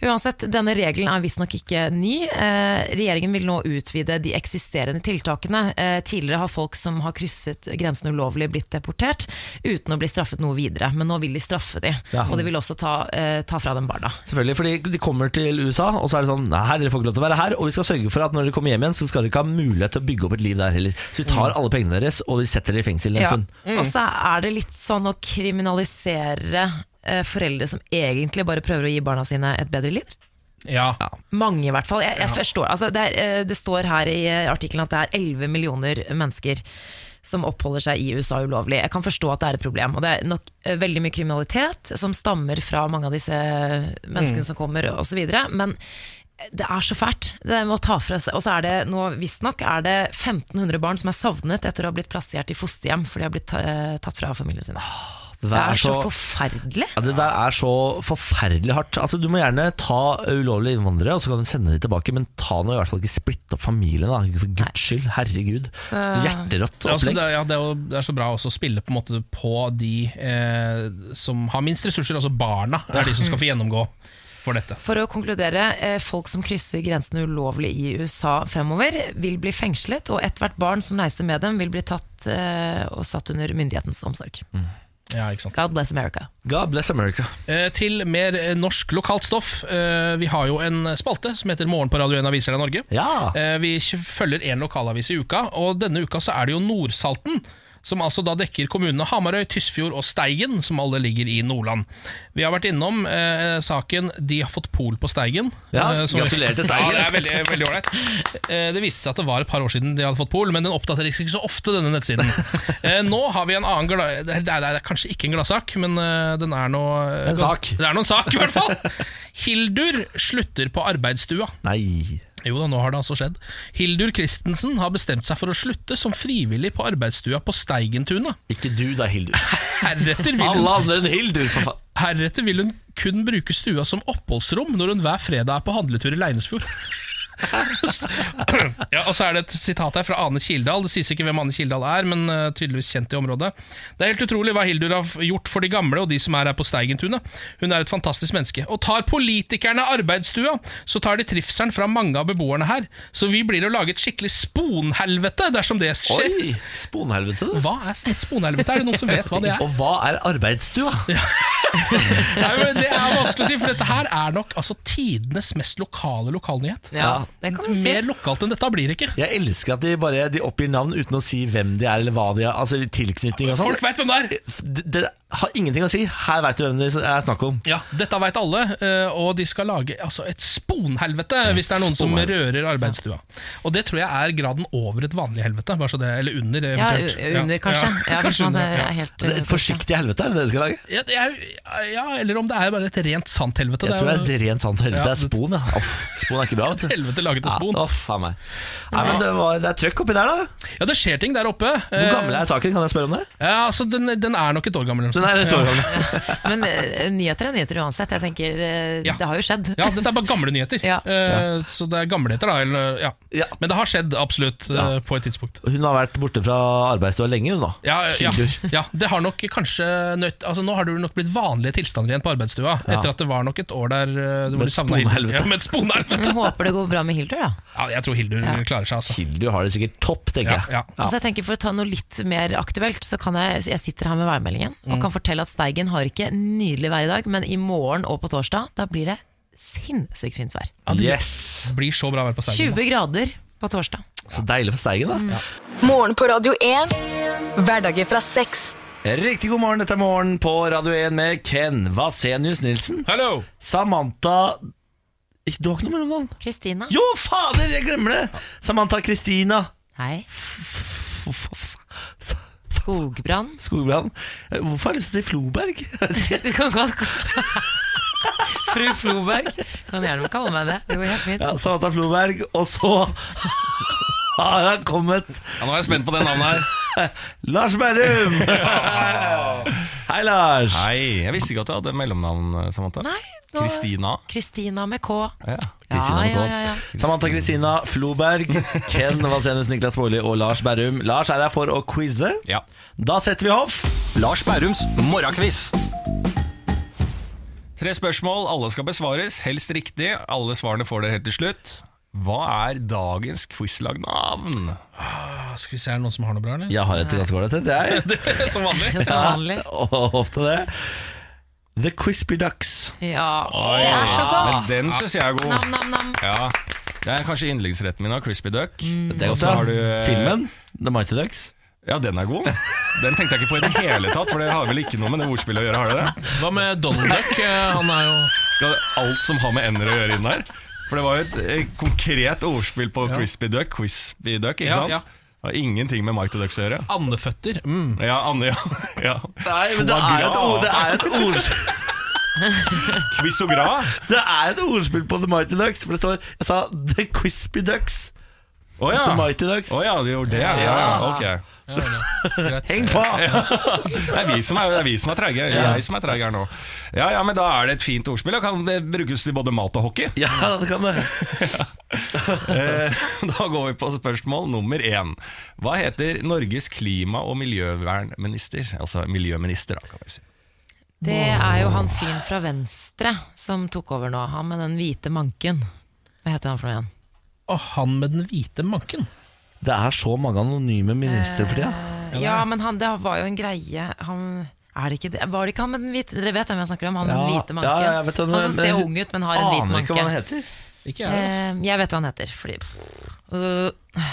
[SPEAKER 3] Uansett, denne regelen er visstnok ikke ny. Eh, regjeringen vil nå utvide de eksisterende tiltakene. Eh, tidligere har folk som har krysset grensen ulovlig blitt deportert uten å bli straffet noe videre. Men nå vil de straffe de,
[SPEAKER 1] Ja.
[SPEAKER 3] og de vil også ta, eh, ta fra dem barna.
[SPEAKER 1] Selvfølgelig, fordi De kommer til USA, og så er det sånn Nei, dere får ikke lov til å være her. Og vi skal sørge for at når dere kommer hjem igjen, så skal dere ikke ha mulighet til å bygge opp et liv der heller. Så vi tar alle pengene deres, og vi setter dere i fengsel en
[SPEAKER 3] Mm. Ja.
[SPEAKER 1] stund.
[SPEAKER 3] Og så er det litt sånn å kriminalisere eh, foreldre som egentlig bare prøver å gi barna sine et bedre liv.
[SPEAKER 2] Ja.
[SPEAKER 3] Mange, i hvert fall. Jeg, jeg forstår. Altså, det, er, eh, det står her i eh, artikkelen at det er 11 millioner mennesker som oppholder seg i USA ulovlig. Jeg kan forstå at det er et problem. Og det er nok eh, veldig mye kriminalitet som stammer fra mange av disse menneskene som kommer, osv. Men det er så fælt. Det må ta fra seg. Og så er det nå, visstnok, er det 1500 barn som er savnet etter å ha blitt plassert i fosterhjem, for de har blitt ta, eh, tatt fra familien sin.
[SPEAKER 1] Det
[SPEAKER 3] Det
[SPEAKER 1] der
[SPEAKER 3] er så forferdelig.
[SPEAKER 1] ja, det der er så forferdelig hardt. Altså, Du må gjerne ta ulovlige innvandrere og så kan du sende dem tilbake, men ta nå i hvert fall ikke splitt opp familien. da For guds skyld. Herregud.
[SPEAKER 3] Så-
[SPEAKER 1] Hjerterått
[SPEAKER 2] Det er, også,
[SPEAKER 1] opplegg.
[SPEAKER 2] det, er- ja, altså, det, er jo, det er så bra også å spille på, en måte på de eh, som har minst ressurser, altså barna, er de som skal få gjennomgå for dette.
[SPEAKER 3] For å konkludere, eh, folk som krysser grensene ulovlig i USA fremover, vil bli fengslet, og ethvert barn som reiser med dem, vil bli tatt eh, og satt under myndighetens omsorg.
[SPEAKER 2] Ja, ikke sant?
[SPEAKER 3] God bless America.
[SPEAKER 1] God bless America.
[SPEAKER 2] Eh, til mer eh, norsk lokalt stoff. Eh, vi har jo en spalte som heter Morgen på Radio 1 Aviser av Norge.
[SPEAKER 1] Ja.
[SPEAKER 2] Eh, Vi følger én lokalavis i uka, og denne uka så er det jo Nordsalten. Som altså da dekker kommunene Hamarøy, Tysfjord og Steigen, som alle ligger i Nordland. Vi har vært innom eh, saken 'De har fått pol på Steigen'. eh,
[SPEAKER 1] Ja,
[SPEAKER 2] som-
[SPEAKER 1] gratulerer til Steigen.
[SPEAKER 2] Ja, det er veldig veldig ålreit. Eh, det viste seg at det var et par år siden de hadde fått pol, men den oppdateres ikke så ofte, denne nettsiden. Eh, nå har vi en annen gla... Det er, det er, det er kanskje ikke en gladsak, men eh, den er nå
[SPEAKER 1] En sak.
[SPEAKER 2] Det er nå en sak, i hvert fall. Hildur slutter på arbeidsstua.
[SPEAKER 1] Nei.
[SPEAKER 2] Jo da, nå har det altså skjedd. Hildur Christensen har bestemt seg for å slutte som frivillig på arbeidsstua på Steigentunet.
[SPEAKER 1] Ikke du da, Hildur.
[SPEAKER 2] Heretter vil hun,
[SPEAKER 1] Alle andre enn Hildur, for faen.
[SPEAKER 2] heretter vil hun kun bruke stua som oppholdsrom når hun hver fredag er på handletur i Leinesfjord. ja, og så er det et sitat her fra Ane Kildahl. Det sies ikke hvem Ane Kildahl er, men eh, tydeligvis kjent i området. Det er helt utrolig hva Hildur har f- gjort for de gamle og de som er her på Steigentunet. Hun er et fantastisk menneske. Og tar politikerne arbeidsstua, så tar de trivselen fra mange av beboerne her. Så vi blir å lage et skikkelig sponhelvete dersom det skjer.
[SPEAKER 1] Oi! Sponhelvete, du.
[SPEAKER 2] Hva er et sponhelvete? Er det noen som vet hva det er?
[SPEAKER 1] Og hva er arbeidsstua?
[SPEAKER 2] Nei, men det er vanskelig å si, for dette her er nok altså, tidenes mest lokale lokalnyhet.
[SPEAKER 1] Ja,
[SPEAKER 3] det kan vi si.
[SPEAKER 2] Mer lokalt enn dette blir det ikke.
[SPEAKER 1] Jeg elsker at de bare de oppgir navn uten å si hvem de er, eller hva de er. Altså tilknytning og sånn.
[SPEAKER 2] Folk veit hvem det er!
[SPEAKER 1] Det, det har ingenting å si. Her veit du hvem det er snakk om.
[SPEAKER 2] Ja, Dette veit alle, eh, og de skal lage altså, et sponhelvete hvis det er noen som
[SPEAKER 1] sponhelvete.
[SPEAKER 2] rører arbeidsstua. Og det tror jeg er graden over et vanlig helvete. Bare så det, eller under, eh,
[SPEAKER 3] Ja,
[SPEAKER 2] eventuelt.
[SPEAKER 3] u- under, kanskje. Ja, kanskje man
[SPEAKER 2] under,
[SPEAKER 3] er
[SPEAKER 2] ja.
[SPEAKER 3] helt eh,
[SPEAKER 1] Et forsiktig helvete er det det de skal lage.
[SPEAKER 2] Ja, det er, ja, eller om det er bare et rent sant helvete.
[SPEAKER 1] Jeg tror
[SPEAKER 2] det er,
[SPEAKER 1] det er et rent sant helvete.
[SPEAKER 2] Ja.
[SPEAKER 1] Det er spon, ja. Uff, spon er ikke bra, vet du.
[SPEAKER 2] helvete laget av spon.
[SPEAKER 1] Ja, uff, faen meg. Nei, men det, var, det er trøkk oppi der, da.
[SPEAKER 2] Ja, det skjer ting der oppe. Eh,
[SPEAKER 1] Hvor gammel er saken? Kan jeg spørre om det?
[SPEAKER 2] Ja, altså, den, den er nok et år gammel. eller noe
[SPEAKER 1] Den
[SPEAKER 2] sånt.
[SPEAKER 1] er et år gammel.
[SPEAKER 3] Men eh, nyheter er nyheter uansett. Jeg tenker, eh,
[SPEAKER 2] Ja.
[SPEAKER 3] Det har jo skjedd.
[SPEAKER 2] Ja, dette er bare gamle nyheter.
[SPEAKER 3] Ja.
[SPEAKER 2] Eh, Så det er gamleheter, da. Eller, ja.
[SPEAKER 1] Ja.
[SPEAKER 2] Men det har skjedd, absolutt, eh,
[SPEAKER 1] Ja.
[SPEAKER 2] på et tidspunkt.
[SPEAKER 1] Hun har vært borte fra arbeidsstua lenge, hun nå.
[SPEAKER 2] Ja, eh, ja,
[SPEAKER 1] Skildur.
[SPEAKER 2] ja, det har nok kanskje nødt, altså Nå har det jo nok blitt vanlige tilstander igjen på arbeidsstua.
[SPEAKER 1] Ja.
[SPEAKER 2] Etter at det var nok et år der eh, det
[SPEAKER 1] Med
[SPEAKER 2] hvor
[SPEAKER 1] et
[SPEAKER 2] de savna Hildur.
[SPEAKER 1] sponhelvete.
[SPEAKER 2] Ja, med et sponhelvete.
[SPEAKER 3] Men Håper det går bra med Hildur, da.
[SPEAKER 2] Ja, jeg tror Hildur
[SPEAKER 3] Ja.
[SPEAKER 2] klarer seg, altså.
[SPEAKER 1] Hildur har det sikkert topp, tenker
[SPEAKER 2] Ja,
[SPEAKER 1] jeg.
[SPEAKER 2] ja.
[SPEAKER 3] Altså jeg tenker For å ta noe litt mer aktuelt, så kan jeg, jeg sitter her med værmeldingen og kan fortelle at Steigen har ikke nydelig vær i dag, men i morgen og på torsdag da blir det sinnssykt fint vær.
[SPEAKER 1] Yes!
[SPEAKER 2] Det blir så bra vær på Steigen.
[SPEAKER 3] 20 grader på torsdag.
[SPEAKER 1] Så deilig for Steigen,
[SPEAKER 2] Mm.
[SPEAKER 1] da.
[SPEAKER 4] Morgen på Radio 1. Hverdager fra seks.
[SPEAKER 1] Riktig god morgen, dette er Morgen på Radio 1 med Ken Vasenius Nilsen.
[SPEAKER 2] Hallo!
[SPEAKER 1] Samantha Ikke- Du har ikke noe mellomnavn?
[SPEAKER 3] Kristina.
[SPEAKER 1] Jo, fader, jeg glemmer det! Samantha Kristina
[SPEAKER 3] Hei.
[SPEAKER 1] F- f- f-
[SPEAKER 3] Skogbrann.
[SPEAKER 1] Skogbrand. Eh, Hvorfor har jeg lyst til å si Floberg? Jeg vet ikke.
[SPEAKER 3] Du kan godt Fru Floberg. Kan gjerne kalle meg det. Det går helt fint.
[SPEAKER 1] Ja, Samantha Floberg, og så har han kommet
[SPEAKER 6] nå er jeg spent på det navnet her.
[SPEAKER 1] Lars Berrum! Hei, Lars!
[SPEAKER 7] Hei, jeg visste ikke at du hadde mellomnavn, eh, Samantha.
[SPEAKER 3] Nei, nå-
[SPEAKER 7] Kristina.
[SPEAKER 3] Kristina med K.
[SPEAKER 7] Ja.
[SPEAKER 3] Ja,
[SPEAKER 7] Kristina
[SPEAKER 3] ja,
[SPEAKER 7] K.
[SPEAKER 3] ja, ja.
[SPEAKER 1] Samantha Kristina Floberg, Ken Vasenus Niklas Baarli og Lars Berrum. Lars er her for å quize.
[SPEAKER 7] Ja.
[SPEAKER 1] Da setter vi hoff.
[SPEAKER 7] Lars Bærums morgenquiz. Tre spørsmål, alle skal besvares, helst riktig. Alle svarene får dere helt til slutt. Hva er dagens quizlagnavn?
[SPEAKER 2] Ah, Skal vi se, er det noen som har noe bra, eller?
[SPEAKER 1] Jeg har et ganske ålreit et, jeg.
[SPEAKER 2] Som vanlig.
[SPEAKER 3] Som vanlig.
[SPEAKER 1] Og ofte det. The Crispy Ducks.
[SPEAKER 3] Ja. Det er så
[SPEAKER 7] Men
[SPEAKER 3] godt!
[SPEAKER 7] den syns jeg er god.
[SPEAKER 3] Nam-nam-nam.
[SPEAKER 7] Ja, Det er kanskje yndlingsretten min av Crispy Duck.
[SPEAKER 3] Mm.
[SPEAKER 1] Det er
[SPEAKER 7] Og
[SPEAKER 1] godt,
[SPEAKER 7] så har du,
[SPEAKER 1] da.
[SPEAKER 7] eh,
[SPEAKER 1] Filmen The Mighty Ducks.
[SPEAKER 7] Ja, den er god. Den tenkte jeg ikke på i det hele tatt, for det har vel ikke noe med det ordspillet å gjøre? har det det?
[SPEAKER 2] Hva med Donald Duck? Eh, Han er jo
[SPEAKER 7] Skal alt som har med ender å gjøre inn der? For det var jo et eh, konkret ordspill på Crispy Duck, Crispy Duck, ikke
[SPEAKER 2] Ja,
[SPEAKER 7] sant?
[SPEAKER 2] ja.
[SPEAKER 7] Det har ingenting med Mike the Ducks å gjøre.
[SPEAKER 2] andeføtter. Mm.
[SPEAKER 7] Ja, Anne, ja. ja.
[SPEAKER 1] Nei, men det er et, ord, det er et, ords-
[SPEAKER 7] Quiz og gra.
[SPEAKER 1] det er et ordspill på The Mighty Ducks, for det står Jeg sa The Crispy Ducks.
[SPEAKER 7] Å ja.
[SPEAKER 1] The Mighty Ducks.
[SPEAKER 7] Å ja, du gjorde det. Ja, ja, ok.
[SPEAKER 1] Heng på!
[SPEAKER 7] Det er vi som er, det er, vi som er treige. Det er jeg som er treig her nå. Ja, ja, men da er det et fint ordspill, og kan det brukes til både mat og hockey.
[SPEAKER 1] Ja, det kan det.
[SPEAKER 7] Eh, da går vi på spørsmål nummer én. Hva heter Norges klima- og miljøvernminister? Altså miljøminister, da, kan vi si.
[SPEAKER 3] Det er jo han fyren fra Venstre som tok over nå. Han med den hvite manken. Hva heter han for noe igjen?
[SPEAKER 2] Og han med den hvite manken.
[SPEAKER 1] Det er så mange anonyme ministre for tida.
[SPEAKER 3] Eh, Ja, men han, det var jo en greie han, er det ikke det? Var det ikke han med den hvite Dere vet hvem jeg snakker om? Han med den
[SPEAKER 1] Ja, ja,
[SPEAKER 3] hvite manken.
[SPEAKER 1] jeg vet hvem-
[SPEAKER 3] han som ser
[SPEAKER 1] men-
[SPEAKER 3] ung ut, men har en hvit
[SPEAKER 1] Aner ikke hva han
[SPEAKER 3] manke.
[SPEAKER 1] heter.
[SPEAKER 2] Ikke jeg, altså.
[SPEAKER 3] Eh, jeg vet hva han heter, fordi Øh,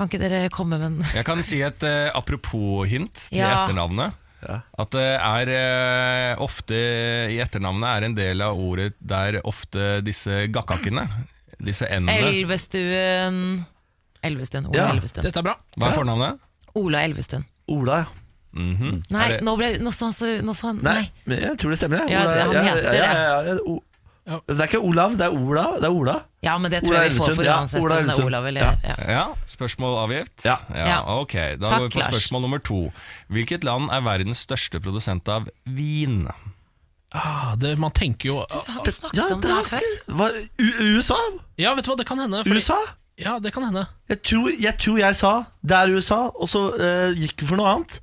[SPEAKER 3] Kan ikke dere komme med en
[SPEAKER 7] Jeg kan si et eh, apropos-hint til
[SPEAKER 3] Ja.
[SPEAKER 7] etternavnet. At det er eh, ofte i etternavnet er en del av ordet der ofte disse gakkakene, disse n-ene
[SPEAKER 3] Elvestuen Elvestuen, Ola
[SPEAKER 1] Ja.
[SPEAKER 3] Elvestuen.
[SPEAKER 2] Dette er bra.
[SPEAKER 7] Hva er fornavnet?
[SPEAKER 3] Ola Elvestuen.
[SPEAKER 1] Ola, ja.
[SPEAKER 7] Mhm.
[SPEAKER 3] Nei,
[SPEAKER 7] Er det-
[SPEAKER 3] nå ble nå så han så nå så han Nei.
[SPEAKER 1] Nei, men jeg tror det stemmer. jeg.
[SPEAKER 3] Ja,
[SPEAKER 1] Ola-
[SPEAKER 3] det- han
[SPEAKER 1] ja,
[SPEAKER 3] heter
[SPEAKER 1] ja, ja, ja, O-
[SPEAKER 2] Ja.
[SPEAKER 1] Det er ikke Olav, det er Ola. Det er Ola.
[SPEAKER 3] Ja, men det tror
[SPEAKER 1] Ola
[SPEAKER 3] jeg vi får
[SPEAKER 1] Elvestuen,
[SPEAKER 3] for
[SPEAKER 1] ja,
[SPEAKER 3] uansett
[SPEAKER 1] Ola
[SPEAKER 3] om det er
[SPEAKER 1] Elvestuen.
[SPEAKER 3] Olav eller
[SPEAKER 1] Ja.
[SPEAKER 3] ja.
[SPEAKER 7] Ja, spørsmål avgitt?
[SPEAKER 1] Ja.
[SPEAKER 3] Ja.
[SPEAKER 7] Ok, da
[SPEAKER 3] Takk,
[SPEAKER 7] går vi på
[SPEAKER 3] Lars.
[SPEAKER 7] spørsmål nummer to. Hvilket land er verdens største produsent av vin?
[SPEAKER 2] Ah, det, man tenker jo ah,
[SPEAKER 3] Har vi snakket
[SPEAKER 1] Ja,
[SPEAKER 3] om
[SPEAKER 1] det
[SPEAKER 3] det her
[SPEAKER 1] er,
[SPEAKER 3] før?
[SPEAKER 1] var, U USA?
[SPEAKER 2] Ja, vet du hva, det kan hende. fordi-
[SPEAKER 1] USA?
[SPEAKER 2] Ja, det kan hende.
[SPEAKER 1] Jeg tror, jeg tror jeg sa det er USA, og så eh, gikk vi for noe annet.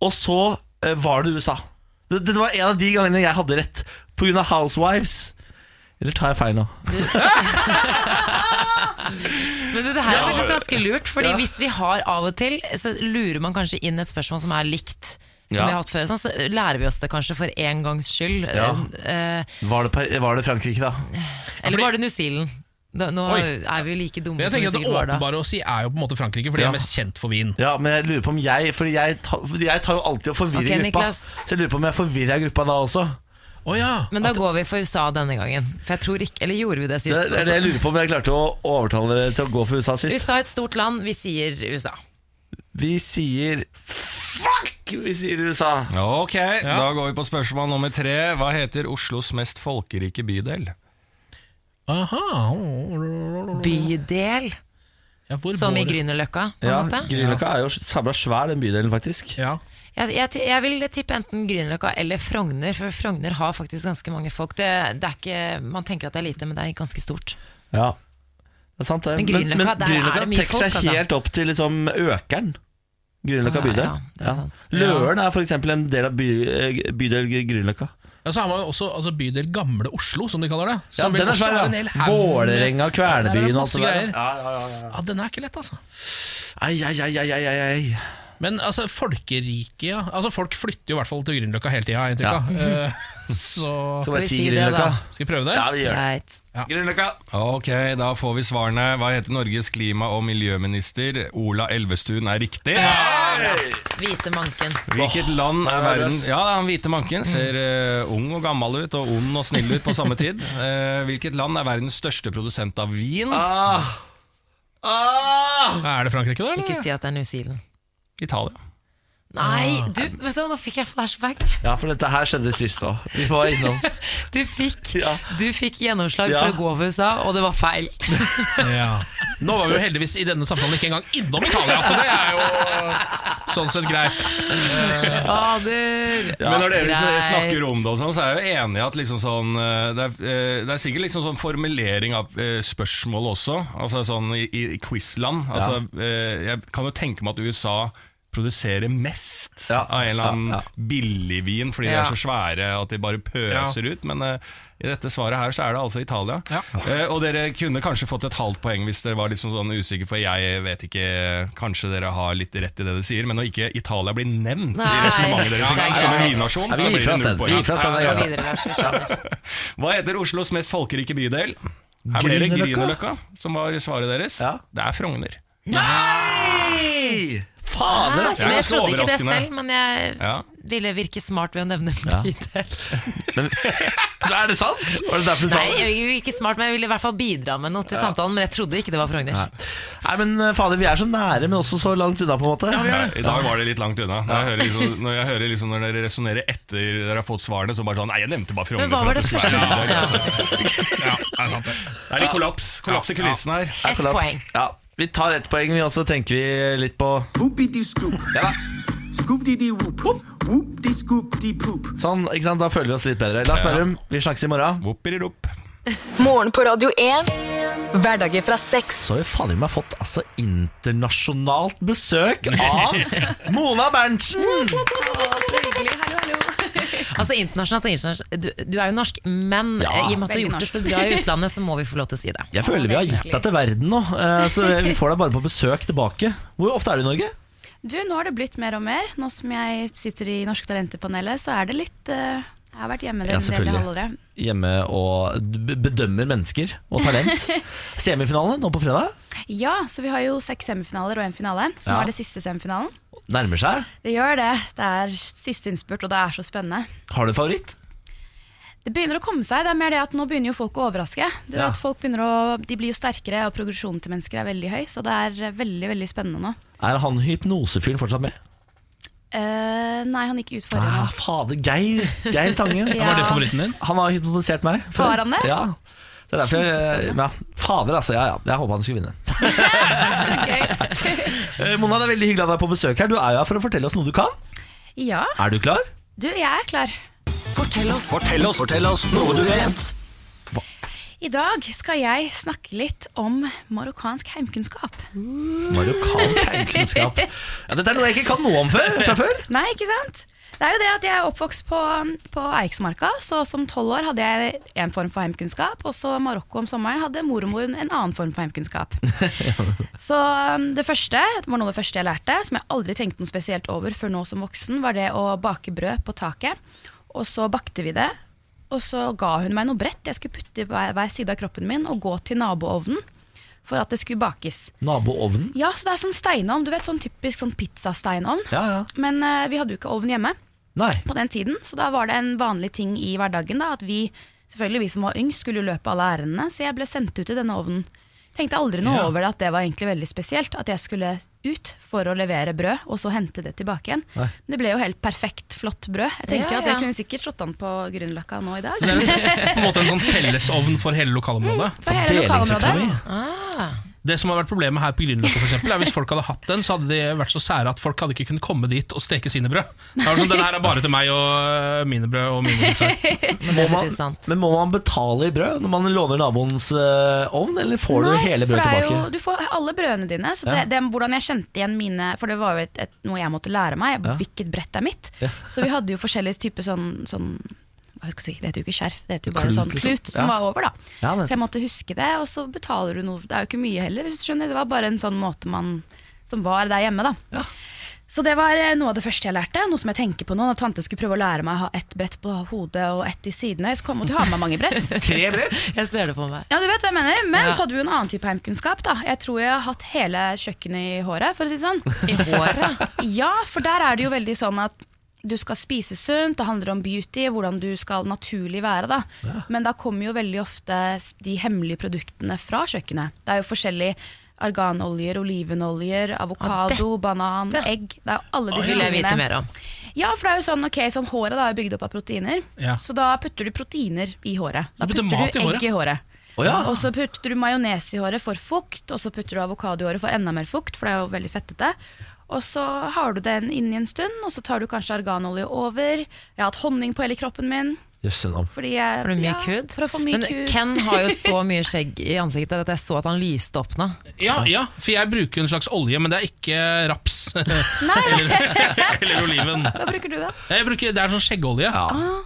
[SPEAKER 1] Og så eh, var det USA. Det, det var en av de gangene jeg hadde rett pga. Housewives. Eller tar jeg feil nå?
[SPEAKER 3] Men det, det her er faktisk ganske lurt, Fordi hvis vi har av og til, så lurer man kanskje inn et spørsmål som er likt. Som
[SPEAKER 1] Ja.
[SPEAKER 3] vi har hatt før, sånn, Så lærer vi oss det kanskje for en gangs skyld.
[SPEAKER 1] Ja.
[SPEAKER 3] Eh,
[SPEAKER 1] Var det, Per- var det Frankrike, da?
[SPEAKER 3] eller
[SPEAKER 2] fordi-
[SPEAKER 3] var det New Zealand? Da, nå
[SPEAKER 2] Oi.
[SPEAKER 3] er vi jo like dumme
[SPEAKER 2] Men jeg
[SPEAKER 3] som
[SPEAKER 2] tenker
[SPEAKER 3] vi
[SPEAKER 2] at Det
[SPEAKER 3] sikkert var da.
[SPEAKER 2] åpenbare å si er jo på en måte Frankrike, for de
[SPEAKER 1] Ja.
[SPEAKER 2] er mest kjent for vin.
[SPEAKER 1] Ja, men jeg lurer på om jeg For jeg, ta, for jeg tar jo alltid og forvirrer
[SPEAKER 3] Ok,
[SPEAKER 1] gruppa.
[SPEAKER 3] Niklas.
[SPEAKER 1] Så jeg lurer på om jeg forvirrer gruppa da også.
[SPEAKER 2] Å ja.
[SPEAKER 3] Men da går vi for USA denne gangen. For jeg tror ikke, Eller gjorde vi det
[SPEAKER 1] Det
[SPEAKER 3] sist? altså.
[SPEAKER 1] er det jeg lurer på om jeg klarte å overtale dere til å gå for USA sist.
[SPEAKER 3] USA er et stort land, vi sier USA.
[SPEAKER 1] Vi sier Fuck! Vi sier USA.
[SPEAKER 7] Ok, da går vi på spørsmål nummer tre. Hva heter Oslos mest folkerike bydel?
[SPEAKER 2] Aha.
[SPEAKER 3] Bydel,
[SPEAKER 2] Ja, hvor
[SPEAKER 3] som i
[SPEAKER 2] bor-
[SPEAKER 3] Grünerløkka. på en
[SPEAKER 1] Ja,
[SPEAKER 3] måte.
[SPEAKER 1] Grünerløkka er jo sabla svær, den bydelen, faktisk.
[SPEAKER 2] Ja.
[SPEAKER 3] Jeg, jeg, jeg vil tippe enten Grünerløkka eller Frogner, for Frogner har faktisk ganske mange folk. Det, det er ikke, man tenker at det er lite, men det er ganske stort.
[SPEAKER 1] Ja. Det er sant, det.
[SPEAKER 3] Men Grünerløkka, der er det mye
[SPEAKER 1] trekker seg
[SPEAKER 3] folk, altså.
[SPEAKER 1] helt opp til liksom Økeren. Grünerløkka
[SPEAKER 3] Ja,
[SPEAKER 1] bydel.
[SPEAKER 3] ja, det er sant.
[SPEAKER 1] Løren er for eksempel en del av by, eh, bydel Grünerløkka.
[SPEAKER 2] ja, så har man jo også altså, bydel Gamle Oslo, som de kaller det.
[SPEAKER 1] Ja,
[SPEAKER 2] Som vel
[SPEAKER 1] den er
[SPEAKER 2] også
[SPEAKER 1] svær,
[SPEAKER 2] har en hel
[SPEAKER 1] ja.
[SPEAKER 2] haug med-
[SPEAKER 1] Vålerenga,
[SPEAKER 2] Ja, det er
[SPEAKER 1] Kvernebyen og alt
[SPEAKER 2] masse
[SPEAKER 1] det der.
[SPEAKER 2] greier.
[SPEAKER 1] Ja, ja, ja, ja.
[SPEAKER 2] Ja, Den er ikke lett, altså.
[SPEAKER 1] Ai, ai, ai, ai, ai, ai, ai.
[SPEAKER 2] Men altså, folkerike ja. Altså, Folk flytter jo i hvert fall til Grünerløkka hele tida, har jeg inntrykk av. Eh, Så
[SPEAKER 1] Så
[SPEAKER 3] vi
[SPEAKER 1] bare si
[SPEAKER 3] si det,
[SPEAKER 1] Grünerløkka.
[SPEAKER 3] da?
[SPEAKER 2] skal vi prøve det?
[SPEAKER 1] Ja, vi gjør det.
[SPEAKER 3] Greit.
[SPEAKER 1] Grünerløkka.
[SPEAKER 7] Ok, da får vi svarene. Hva heter Norges klima- og miljøminister? Ola Elvestuen er riktig.
[SPEAKER 3] Hvite manken.
[SPEAKER 7] Hvilket land er
[SPEAKER 1] er
[SPEAKER 7] verden
[SPEAKER 1] løs.
[SPEAKER 7] Ja, han hvite manken ser eh, ung og gammel ut, og ond og snill ut på samme tid. Eh, hvilket land er verdens største produsent av vin?
[SPEAKER 1] Ah. Ah.
[SPEAKER 2] Er det Frankrike, da? eller?
[SPEAKER 3] Ikke si at det er New Zealand.
[SPEAKER 7] Italia.
[SPEAKER 3] Nei, du, vet du hva, nå fikk jeg flashback.
[SPEAKER 1] Ja, for dette her skjedde sist òg. Vi var innom.
[SPEAKER 3] Du fikk,
[SPEAKER 1] Ja.
[SPEAKER 3] du fikk gjennomslag
[SPEAKER 1] Ja.
[SPEAKER 3] for å gå over USA, og det var feil.
[SPEAKER 2] Nå var vi jo heldigvis i denne samtalen ikke engang innom Italia, så det er jo sånn sett greit.
[SPEAKER 3] Fader!
[SPEAKER 7] Men når dere liksom
[SPEAKER 3] Greit.
[SPEAKER 7] snakker om det, og sånn, så er jeg jo enig i at liksom sånn, eh, det, er, eh, det er sikkert liksom sånn formulering av eh, spørsmål også, altså sånn i, i quizland. Altså, eh, Jeg kan jo tenke meg at USA produserer mest
[SPEAKER 1] Ja,
[SPEAKER 7] av en eller annen
[SPEAKER 1] ja, ja.
[SPEAKER 7] billigvin fordi de
[SPEAKER 3] Ja.
[SPEAKER 7] er så svære at de bare pøser ut. Men eh, i dette svaret her så er det altså Italia.
[SPEAKER 2] Ja.
[SPEAKER 7] Eh, og dere kunne kanskje fått et halvt poeng hvis dere var liksom sånn usikre, for jeg vet ikke Kanskje dere har litt rett i det dere sier, men når ikke Italia blir nevnt i
[SPEAKER 3] Nei.
[SPEAKER 7] resonnementet deres
[SPEAKER 3] Ja, det
[SPEAKER 7] engang,
[SPEAKER 3] er
[SPEAKER 7] som en
[SPEAKER 3] greit.
[SPEAKER 7] vinnasjon,
[SPEAKER 1] Ja,
[SPEAKER 7] så
[SPEAKER 1] vi gir
[SPEAKER 7] blir
[SPEAKER 1] fra
[SPEAKER 7] det
[SPEAKER 1] oss
[SPEAKER 7] null
[SPEAKER 1] den. Vi gir
[SPEAKER 7] poeng.
[SPEAKER 1] fra oss den. det er
[SPEAKER 3] Gå
[SPEAKER 1] greit.
[SPEAKER 3] videre, Lars. Vi skjønner.
[SPEAKER 7] Hva heter Oslos mest folkerike bydel? Her blir det
[SPEAKER 1] Grünerløkka?
[SPEAKER 7] Grünerløkka, som var svaret deres.
[SPEAKER 1] Ja.
[SPEAKER 7] Det er Frogner.
[SPEAKER 1] Nei! Fader,
[SPEAKER 3] Nei,
[SPEAKER 1] altså.
[SPEAKER 3] men
[SPEAKER 7] det er
[SPEAKER 3] jeg
[SPEAKER 7] så
[SPEAKER 3] trodde ikke det
[SPEAKER 7] overraskende.
[SPEAKER 3] selv, men jeg
[SPEAKER 7] Ja.
[SPEAKER 3] ville virke smart ved å nevne
[SPEAKER 1] Ja.
[SPEAKER 3] bydel.
[SPEAKER 1] Er det sant? Var det derfor du sa
[SPEAKER 3] Nei,
[SPEAKER 1] det?
[SPEAKER 3] jeg ville ikke smart, men jeg ville i hvert fall bidra med noe til samtalen, men jeg trodde ikke det var Frogner.
[SPEAKER 1] Nei, men eh, fader, vi er så nære, men også så langt unna, på en måte.
[SPEAKER 7] Ja, I dag var det litt langt unna. Når jeg hører, liksom, når, jeg hører liksom når dere resonnerer etter dere har fått svarene, så bare sånn Nei, jeg nevnte bare Frogner.
[SPEAKER 3] Men hva
[SPEAKER 7] for
[SPEAKER 3] var
[SPEAKER 7] at
[SPEAKER 3] det
[SPEAKER 7] skulle
[SPEAKER 3] første
[SPEAKER 7] være
[SPEAKER 3] svaret?
[SPEAKER 7] en
[SPEAKER 3] Ja.
[SPEAKER 7] bydel».
[SPEAKER 2] Ja, det er sant det.
[SPEAKER 7] Det er litt kollaps, kollaps i kulissen her.
[SPEAKER 1] Det er
[SPEAKER 3] Ett
[SPEAKER 1] kollaps.
[SPEAKER 3] poeng.
[SPEAKER 1] Ja, vi tar ett poeng, vi også, tenker vi litt på
[SPEAKER 8] Whoopity-scoop.
[SPEAKER 1] Ja.
[SPEAKER 8] Scoop-dee-dee-whoop. Whoop-dee-scoop-dee-poop.
[SPEAKER 1] Sånn, ikke sant? Da føler vi oss litt bedre. Lars Berrum, vi snakkes i morgen.
[SPEAKER 7] Whoopididop.
[SPEAKER 4] Morgen på Radio 1. Hverdager fra seks.
[SPEAKER 1] Så har vi faen i meg fått altså internasjonalt besøk av Mona Berntsen!
[SPEAKER 3] Altså internasjonalt og internasjonalt. Du, du er jo norsk, men
[SPEAKER 1] Ja.
[SPEAKER 3] eh, i og med at du har gjort det så bra i utlandet, så må vi få lov til å si det.
[SPEAKER 1] Jeg føler vi har gitt deg til verden nå, eh, så vi får deg bare på besøk tilbake. Hvor ofte er du i Norge?
[SPEAKER 9] Du, nå har det blitt mer og mer. Nå som jeg sitter i Norske Talenter-panelet, så er det litt eh, Jeg har vært hjemme det
[SPEAKER 1] Ja,
[SPEAKER 9] en del i
[SPEAKER 1] selvfølgelig.
[SPEAKER 9] halvåret.
[SPEAKER 1] Hjemme og b- bedømmer mennesker og talent. Semifinale nå på fredag.
[SPEAKER 9] Ja, så vi har jo seks semifinaler og en finale. Så
[SPEAKER 1] Ja.
[SPEAKER 9] nå er det siste semifinalen.
[SPEAKER 1] Nærmer seg.
[SPEAKER 9] Det gjør det. Det er siste innspurt, og det er så spennende.
[SPEAKER 1] Har du en favoritt?
[SPEAKER 9] Det begynner å komme seg. Det er mer det at nå begynner jo folk å overraske. Du
[SPEAKER 1] Ja.
[SPEAKER 9] vet, folk begynner å, De blir jo sterkere, og progresjonen til mennesker er veldig høy. Så det er eh, veldig veldig spennende nå.
[SPEAKER 1] Er han hypnosefyren fortsatt med?
[SPEAKER 9] Eh, nei, han gikk ut forrige
[SPEAKER 1] Ah,
[SPEAKER 9] gang.
[SPEAKER 1] fader, Geir Geir Tangen.
[SPEAKER 9] Ja.
[SPEAKER 2] Var det favoritten din?
[SPEAKER 1] Han har hypnotisert meg. før.
[SPEAKER 9] Har han det?
[SPEAKER 1] Ja. Det er derfor jeg, ja. Fader, altså. Ja, ja. Jeg håpa han skulle vinne. Eh, Mona, det er veldig hyggelig å ha deg på besøk her. Du er jo her for å fortelle oss noe du kan.
[SPEAKER 9] Ja,
[SPEAKER 1] Er du klar?
[SPEAKER 9] du, jeg er klar.
[SPEAKER 4] Fortell oss.
[SPEAKER 1] Fortell oss, noe du vet.
[SPEAKER 9] I dag skal jeg snakke litt om marokkansk heimkunnskap.
[SPEAKER 1] Marokkansk heimkunnskap. Ja, dette er noe jeg ikke kan noe om før, fra før.
[SPEAKER 9] Nei, ikke sant? Det er jo det at jeg er oppvokst på, på Eiksmarka, så som tolv år hadde jeg en form for heimkunnskap, og så Marokko om sommeren hadde mormor en annen form for heimkunnskap. Så um, det første, det var noe av det første jeg lærte, som jeg aldri tenkte noe spesielt over før nå som voksen, var det å bake brød på taket, og så bakte vi det, og så ga hun meg noe brett jeg skulle putte i hver, hver side av kroppen min og gå til naboovnen for at det skulle bakes.
[SPEAKER 1] Naboovnen.
[SPEAKER 9] Ja, så det er sånn steinovn, du vet sånn typisk sånn pizzasteinovn.
[SPEAKER 1] Ja, ja.
[SPEAKER 9] Men eh, vi hadde jo ikke ovn hjemme
[SPEAKER 1] Nei.
[SPEAKER 9] på den tiden, så da var det en vanlig ting i hverdagen da, at vi, selvfølgelig vi som var yngst, skulle jo løpe alle ærendene, så jeg ble sendt ut i denne ovnen. Tenkte aldri noe over det, at det var egentlig veldig spesielt, at jeg skulle ut for å levere brød, og så hente det tilbake igjen.
[SPEAKER 1] Nei.
[SPEAKER 9] Men det ble jo helt perfekt flott brød. Jeg tenker
[SPEAKER 3] Ja,
[SPEAKER 9] at jeg
[SPEAKER 3] ja.
[SPEAKER 9] kunne sikkert slått an på Grünerløkka nå i dag.
[SPEAKER 2] Det er vel på en måte en sånn fellesovn for hele lokalområdet.
[SPEAKER 9] For hele
[SPEAKER 3] liksom
[SPEAKER 9] lokalområdet.
[SPEAKER 1] Delingsøkonomi.
[SPEAKER 2] Det som har vært problemet her på Grünerløkka, for eksempel, er hvis folk hadde hatt den, så hadde de vært så sære at folk hadde ikke kunnet komme dit og steke sine brød. Det var sånn, Den her er bare til meg og øh, mine brød og mine pizzaer.
[SPEAKER 1] Må man,
[SPEAKER 3] Det er sant.
[SPEAKER 1] men må man betale i brød når man låner naboens eh, ovn, eller får du
[SPEAKER 9] Nei,
[SPEAKER 1] hele
[SPEAKER 9] for
[SPEAKER 1] brødet
[SPEAKER 9] det er
[SPEAKER 1] tilbake?
[SPEAKER 9] Jo, du får alle brødene dine. Så det,
[SPEAKER 1] Ja.
[SPEAKER 9] det, hvordan jeg kjente igjen mine For det var jo et, et, noe jeg måtte lære meg.
[SPEAKER 1] Ja.
[SPEAKER 9] Hvilket brett er mitt?
[SPEAKER 1] Ja.
[SPEAKER 9] Så vi hadde jo forskjellige typer sånn, sånn hva skal jeg si, Det heter jo ikke skjerf, det heter jo bare
[SPEAKER 1] Klut,
[SPEAKER 9] sånn
[SPEAKER 1] liksom.
[SPEAKER 9] klut som
[SPEAKER 1] Ja.
[SPEAKER 9] var over, da.
[SPEAKER 1] Ja, men-
[SPEAKER 9] Så jeg måtte huske det, og så betaler du noe. Det er jo ikke mye heller, hvis du skjønner. Det var bare en sånn måte man som var der hjemme, da.
[SPEAKER 1] Ja.
[SPEAKER 9] Så det var eh, noe av det første jeg lærte. Noe som jeg tenker på nå Når tante skulle prøve å lære meg å ha ett brett på hodet og ett i sidene, så kom hun til å ha med meg mange brett.
[SPEAKER 1] Tre brett?
[SPEAKER 3] Jeg ser det på meg.
[SPEAKER 9] Ja, du vet hva jeg mener Men så hadde vi jo en annen type heimkunnskap da Jeg tror jeg har hatt hele kjøkkenet i håret For å si det sånn
[SPEAKER 3] I håret.
[SPEAKER 9] Ja, for der er det jo veldig sånn at du skal spise sunt, det handler om beauty, hvordan du skal naturlig være. Da. Men da kommer jo veldig ofte de hemmelige produktene fra kjøkkenet. Det er jo forskjellig arganoljer, olivenoljer, avokado, banan, egg. Det er alle
[SPEAKER 3] Det
[SPEAKER 9] disse
[SPEAKER 3] vil jeg vite
[SPEAKER 9] tingene.
[SPEAKER 3] mer om.
[SPEAKER 9] Ja, for det er jo sånn, ok, sånn Håret da er bygd opp av proteiner,
[SPEAKER 2] Ja.
[SPEAKER 9] så da putter du proteiner i håret. Da
[SPEAKER 2] Du putter
[SPEAKER 9] putter
[SPEAKER 2] mat
[SPEAKER 9] du
[SPEAKER 2] i håret?
[SPEAKER 9] egg i håret.
[SPEAKER 1] Å ja.
[SPEAKER 9] Og så putter du majones i håret for fukt, og så putter du avokado i håret for enda mer fukt, for det er jo veldig fettete. Og så har du den inni en stund, og så tar du kanskje arganolje over. Jeg har hatt honning på hele kroppen min.
[SPEAKER 1] Jøsse navn.
[SPEAKER 9] Fordi jeg,
[SPEAKER 3] Har du myk
[SPEAKER 9] ja,
[SPEAKER 3] hud?
[SPEAKER 9] For å få myk
[SPEAKER 3] Men
[SPEAKER 9] hud.
[SPEAKER 3] Ken har jo så mye skjegg i ansiktet der at jeg så at han lyste opp nå.
[SPEAKER 2] Ja, ja, for jeg bruker en slags olje, men det er ikke raps
[SPEAKER 9] Nei,
[SPEAKER 2] eller oliven.
[SPEAKER 9] hva bruker du da?
[SPEAKER 2] Jeg bruker, det er sånn skjeggolje.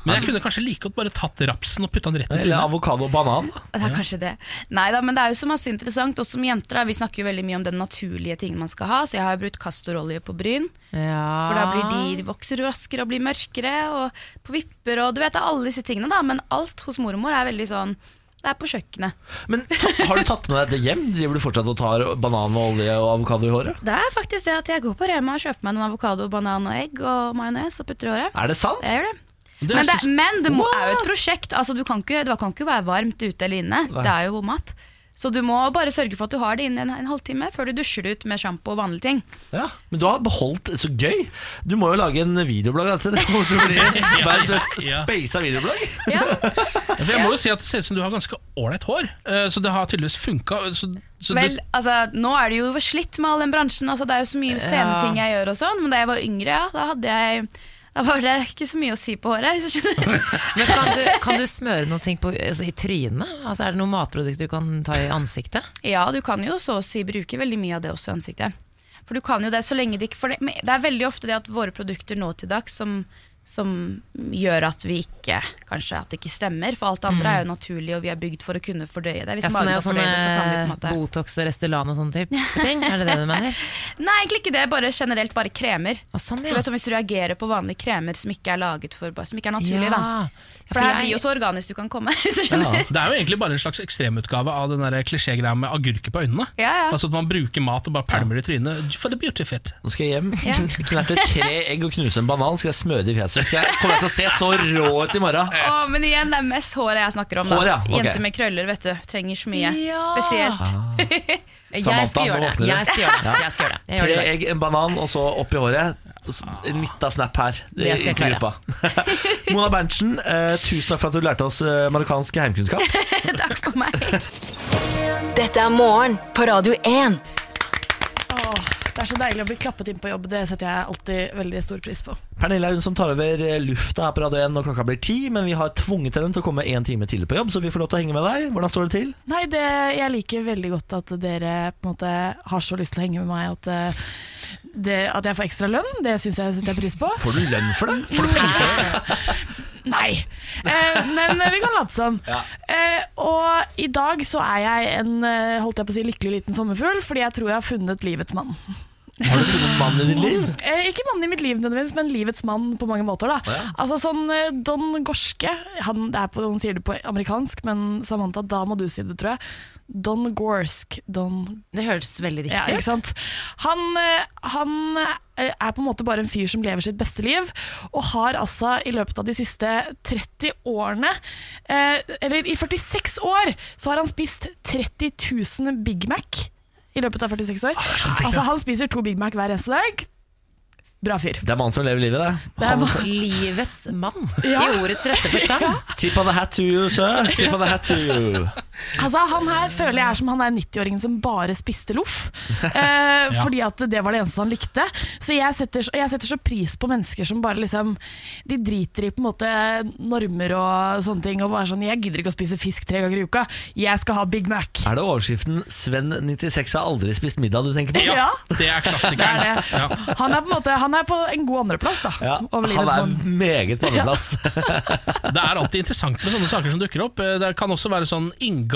[SPEAKER 2] Men jeg kunne kanskje like godt bare tatt rapsen og putta den rett i
[SPEAKER 1] Eller
[SPEAKER 2] trynet.
[SPEAKER 1] avokado og banan.
[SPEAKER 9] Det er kanskje det. Nei da, men det er jo så masse interessant. Også som jenter, da, vi snakker jo veldig mye om den naturlige tingen man skal ha, så jeg har brukt kastorolje på bryn.
[SPEAKER 3] Ja.
[SPEAKER 9] For da blir de, de vokser raskere og blir mørkere, og på vipper og du vet det er alle disse tingene, da. Men alt hos mormor er veldig sånn Det er på kjøkkenet.
[SPEAKER 1] Men ta, har du tatt med deg dette hjem? Driver du fortsatt og tar banan og olje og avokado i håret?
[SPEAKER 9] Det er faktisk det at jeg går på Rema og kjøper meg noen avokado, banan og egg og majones og putter i håret.
[SPEAKER 1] Er det sant?
[SPEAKER 9] Jeg gjør det.
[SPEAKER 2] Det er
[SPEAKER 9] Men det,
[SPEAKER 2] så-
[SPEAKER 9] men det må, er jo et prosjekt. Altså, du kan ikke, det kan ikke være varmt ute eller inne. Det er jo mat. Så du må bare sørge for at du har det inne en, en halvtime før du dusjer det ut med sjampo og vanlige ting.
[SPEAKER 1] Ja, Men du har beholdt Så gøy! Du må jo lage en videoblogg av dette. Det kommer til å bli verdens mest
[SPEAKER 2] Ja.
[SPEAKER 1] speisa videoblogg.
[SPEAKER 9] Ja.
[SPEAKER 2] For jeg må jo si at Det ser ut som du har ganske ålreit hår, eh, så det har tydeligvis funka. Så, så
[SPEAKER 9] Vel,
[SPEAKER 2] det,
[SPEAKER 9] altså, nå er det jo slitt med all den bransjen. Altså, det er jo så mye sceneting jeg gjør og sånn, men da jeg var yngre, ja, da hadde jeg da var det ikke så mye å si på håret. Hvis du skjønner.
[SPEAKER 3] Men kan du, kan du smøre noe ting på, altså, i trynet? Altså, er det noen matprodukter du kan ta i ansiktet?
[SPEAKER 9] Ja, du kan jo så å si bruke veldig mye av det også i ansiktet. For du kan jo det så lenge det ikke for det, men det er veldig ofte det at våre produkter nå til dags som, som gjør at vi ikke Kanskje at det ikke stemmer, for alt det andre er jo naturlig, og vi er bygd for å kunne fordøye det. Hvis
[SPEAKER 3] Ja, sånn,
[SPEAKER 9] magen
[SPEAKER 3] ja,
[SPEAKER 9] kan
[SPEAKER 3] sånn,
[SPEAKER 9] fordøye det, så kan vi på en måte
[SPEAKER 3] Botox og Restylan og sånne type ting? Er det det du mener?
[SPEAKER 9] Nei, egentlig ikke det. Bare generelt bare kremer.
[SPEAKER 3] Å, sånn,
[SPEAKER 9] Du
[SPEAKER 3] ja.
[SPEAKER 9] vet om Hvis du reagerer på vanlige kremer som ikke er laget for Som ikke er naturlige,
[SPEAKER 3] ja.
[SPEAKER 9] da.
[SPEAKER 3] Ja,
[SPEAKER 9] For det her
[SPEAKER 3] jeg-
[SPEAKER 9] blir jo så organisk du kan komme. Hvis du skjønner
[SPEAKER 2] det er jo egentlig bare en slags ekstremutgave av den der klisjégreia med agurker på øynene.
[SPEAKER 9] Ja, ja.
[SPEAKER 2] Altså at man bruker mat og bare pælmer det i trynet. For the beauty fit.
[SPEAKER 1] Nå skal jeg hjem, knerte tre egg og knuse en banan, skal jeg smøre det i fjeset. Skal jeg, kommer jeg til å se så rå ut i morgen?
[SPEAKER 9] Å, men igjen, det er mest håret jeg snakker om. Da.
[SPEAKER 1] Hår, ja, ok.
[SPEAKER 9] Jenter med krøller vet du, trenger så mye.
[SPEAKER 3] Ja.
[SPEAKER 10] Ah.
[SPEAKER 9] Spesielt.
[SPEAKER 3] Jeg
[SPEAKER 1] Samantha,
[SPEAKER 3] skal gjøre
[SPEAKER 1] nå
[SPEAKER 3] det.
[SPEAKER 1] våkner du.
[SPEAKER 3] Jeg skal gjøre det. Jeg skal gjøre det. Jeg gjør
[SPEAKER 1] Tre
[SPEAKER 3] det. i dag.
[SPEAKER 1] egg, en banan, og så opp i håret. Og så En lita snap her. i-
[SPEAKER 3] Det skal jeg
[SPEAKER 1] i gruppa. Mona Berntsen, eh, tusen takk for at du lærte oss eh, marokkansk heimkunnskap.
[SPEAKER 9] Takk for meg.
[SPEAKER 4] Dette er morgen på Radio 1.
[SPEAKER 10] Det er så deilig å bli klappet inn på jobb. Det setter jeg alltid veldig stor pris på.
[SPEAKER 1] Pernille er hun som tar over eh, lufta her på Radio 1 når klokka blir ti, men vi har tvunget henne til å komme en time tidlig på jobb, så vi får lov til å henge med deg. Hvordan står det til?
[SPEAKER 10] Nei, det, jeg liker veldig godt at dere på en måte har så lyst til å henge med meg at, eh, det, at jeg får ekstra lønn. Det syns jeg setter jeg pris på.
[SPEAKER 1] Får du lønn for det?
[SPEAKER 10] Nei! Eh, men vi kan late som. Eh, og i dag så er jeg en eh, holdt jeg på å si, lykkelig liten sommerfugl, fordi jeg tror jeg har funnet livets mann.
[SPEAKER 1] Har du funnet mannen i ditt liv?
[SPEAKER 10] Eh, ikke mannen i mitt liv nødvendigvis, men livets mann på mange måter. Da. Altså sånn eh, Don Gorske han, det er på, han sier det på amerikansk, men Samantha, da må du si det, tror jeg. Don Gorsk. Don
[SPEAKER 3] Det høres veldig
[SPEAKER 10] ja,
[SPEAKER 3] riktig
[SPEAKER 10] ikke
[SPEAKER 3] ut.
[SPEAKER 10] sant? Han, eh, han eh, er på en måte bare en fyr som lever sitt beste liv, og har altså i løpet av de siste 30 årene, eh, eller i 46 år, så har han spist 30 000 Big Mac i løpet av 46
[SPEAKER 3] Ah,
[SPEAKER 10] år. Altså, han spiser to Big Mac hver eneste dag. Bra fyr.
[SPEAKER 1] Det er mannen som lever livet, det.
[SPEAKER 10] Det er
[SPEAKER 1] Han,
[SPEAKER 10] bare-
[SPEAKER 3] Livets mann, i ordets rette forstand.
[SPEAKER 1] tip of the hat to you, sir. Tip of the hat to you.
[SPEAKER 10] Altså, han her føler jeg er som han er 90-åringen som bare spiste loff. Eh, Fordi at det var det eneste han likte. Så jeg setter, så- jeg setter så pris på mennesker som bare liksom De driter i på en måte normer og sånne ting. Og bare sånn Jeg gidder ikke å spise fisk tre ganger i uka. Jeg skal ha Big Mac.
[SPEAKER 1] Er det overskriften 'Sven96 har aldri spist middag' du tenker på?
[SPEAKER 10] Ja,
[SPEAKER 2] Det er
[SPEAKER 10] det er
[SPEAKER 2] klassikeren.
[SPEAKER 10] det. Han er på en måte Han er på en god andreplass, da.
[SPEAKER 1] Ja,
[SPEAKER 10] Over
[SPEAKER 1] han
[SPEAKER 10] livets
[SPEAKER 1] er
[SPEAKER 10] mann.
[SPEAKER 1] meget på andreplass.
[SPEAKER 2] Det er alltid interessant med sånne saker som dukker opp. Eh, Det kan også være sånn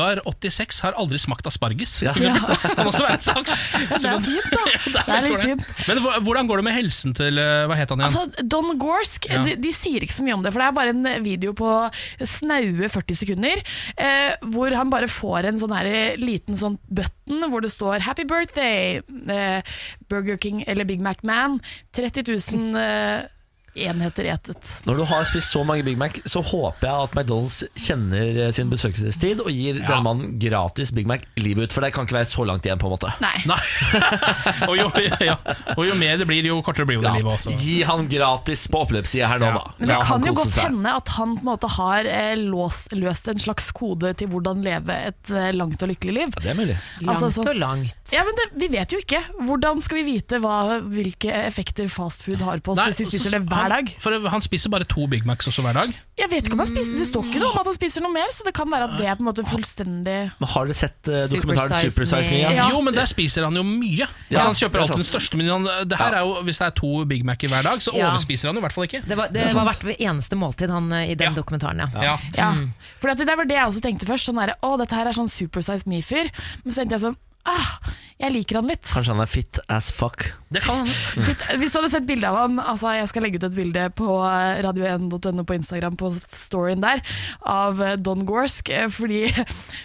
[SPEAKER 2] Ingar86 har aldri smakt asparges.
[SPEAKER 1] Ja.
[SPEAKER 2] for eksempel. Det kan også være en sak.
[SPEAKER 10] Ja, det er fint, da.
[SPEAKER 2] Ja,
[SPEAKER 10] Det er litt
[SPEAKER 2] helt ålreit. Men hva- hvordan går det med helsen til eh, Hva het han igjen?
[SPEAKER 10] Altså, Don Gorsk
[SPEAKER 2] Ja.
[SPEAKER 10] de, de sier ikke så mye om det, for det er bare en video på snaue 40 sekunder, eh, hvor han bare får en sånn her eh, liten sånn button hvor det står 'Happy birthday, eh, Burger King eller Big Mac Man'. 30 000 eh,
[SPEAKER 9] enheter etet.
[SPEAKER 1] Når du har spist så mange Big Mac, så håper jeg at McDonald's kjenner eh, sin besøkelsestid og gir denne mannen gratis Big Mac livet ut, for det kan ikke være så langt igjen, på en måte.
[SPEAKER 9] Nei.
[SPEAKER 2] Og jo, ja. og jo mer det blir, jo kortere blir jo det
[SPEAKER 1] Ja,
[SPEAKER 2] livet også.
[SPEAKER 1] Gi han gratis på oppløpssida her nå, da.
[SPEAKER 9] Men det
[SPEAKER 1] La han
[SPEAKER 9] kan jo
[SPEAKER 1] kose
[SPEAKER 9] godt
[SPEAKER 1] seg.
[SPEAKER 9] hende at han på en måte har eh, låst, løst en slags kode til hvordan leve et eh, langt og lykkelig liv.
[SPEAKER 1] Ja, det er mulig.
[SPEAKER 3] Langt
[SPEAKER 9] Altså, så-
[SPEAKER 3] og langt.
[SPEAKER 9] Ja, men det, Vi vet jo ikke. Hvordan skal vi vite hva, hvilke effekter fast food har på oss
[SPEAKER 2] Nei, altså,
[SPEAKER 9] hvis vi
[SPEAKER 2] så-
[SPEAKER 9] spiser det
[SPEAKER 2] han-
[SPEAKER 9] hver dag?
[SPEAKER 2] For han spiser bare to Big Macs også hver dag.
[SPEAKER 9] Jeg vet ikke om han spiser Det står ikke noe om at han spiser noe mer, så det kan være at det er på en måte fullstendig
[SPEAKER 1] Men har dere sett eh, dokumentaren
[SPEAKER 3] Supersize
[SPEAKER 1] Supersize Me?
[SPEAKER 3] Me?
[SPEAKER 1] ja?
[SPEAKER 2] Jo, men der spiser han jo mye.
[SPEAKER 1] Ja,
[SPEAKER 2] altså,
[SPEAKER 1] det
[SPEAKER 2] han
[SPEAKER 1] er
[SPEAKER 2] kjøper alltid
[SPEAKER 1] sant.
[SPEAKER 2] den største, men han, det her er jo, hvis det er to Big Mac-er hver dag, så
[SPEAKER 3] Ja.
[SPEAKER 2] overspiser han jo i hvert fall ikke.
[SPEAKER 3] Det var, det var hvert eneste måltid han eh, i den
[SPEAKER 2] Ja.
[SPEAKER 3] dokumentaren, ja.
[SPEAKER 2] Ja.
[SPEAKER 9] Ja, for at det var det jeg også tenkte først. Sånn der, å, dette her er sånn supersize me-fyr. Men så tenkte jeg sånn ah, jeg liker han litt.
[SPEAKER 1] Kanskje han er fit as fuck.
[SPEAKER 2] Det kan han.
[SPEAKER 9] Litt- Hvis du hadde sett bilde av han Altså Jeg skal legge ut et bilde på eh, radio1.no på Instagram på storyen der av eh, Don Gorsk. eh, Fordi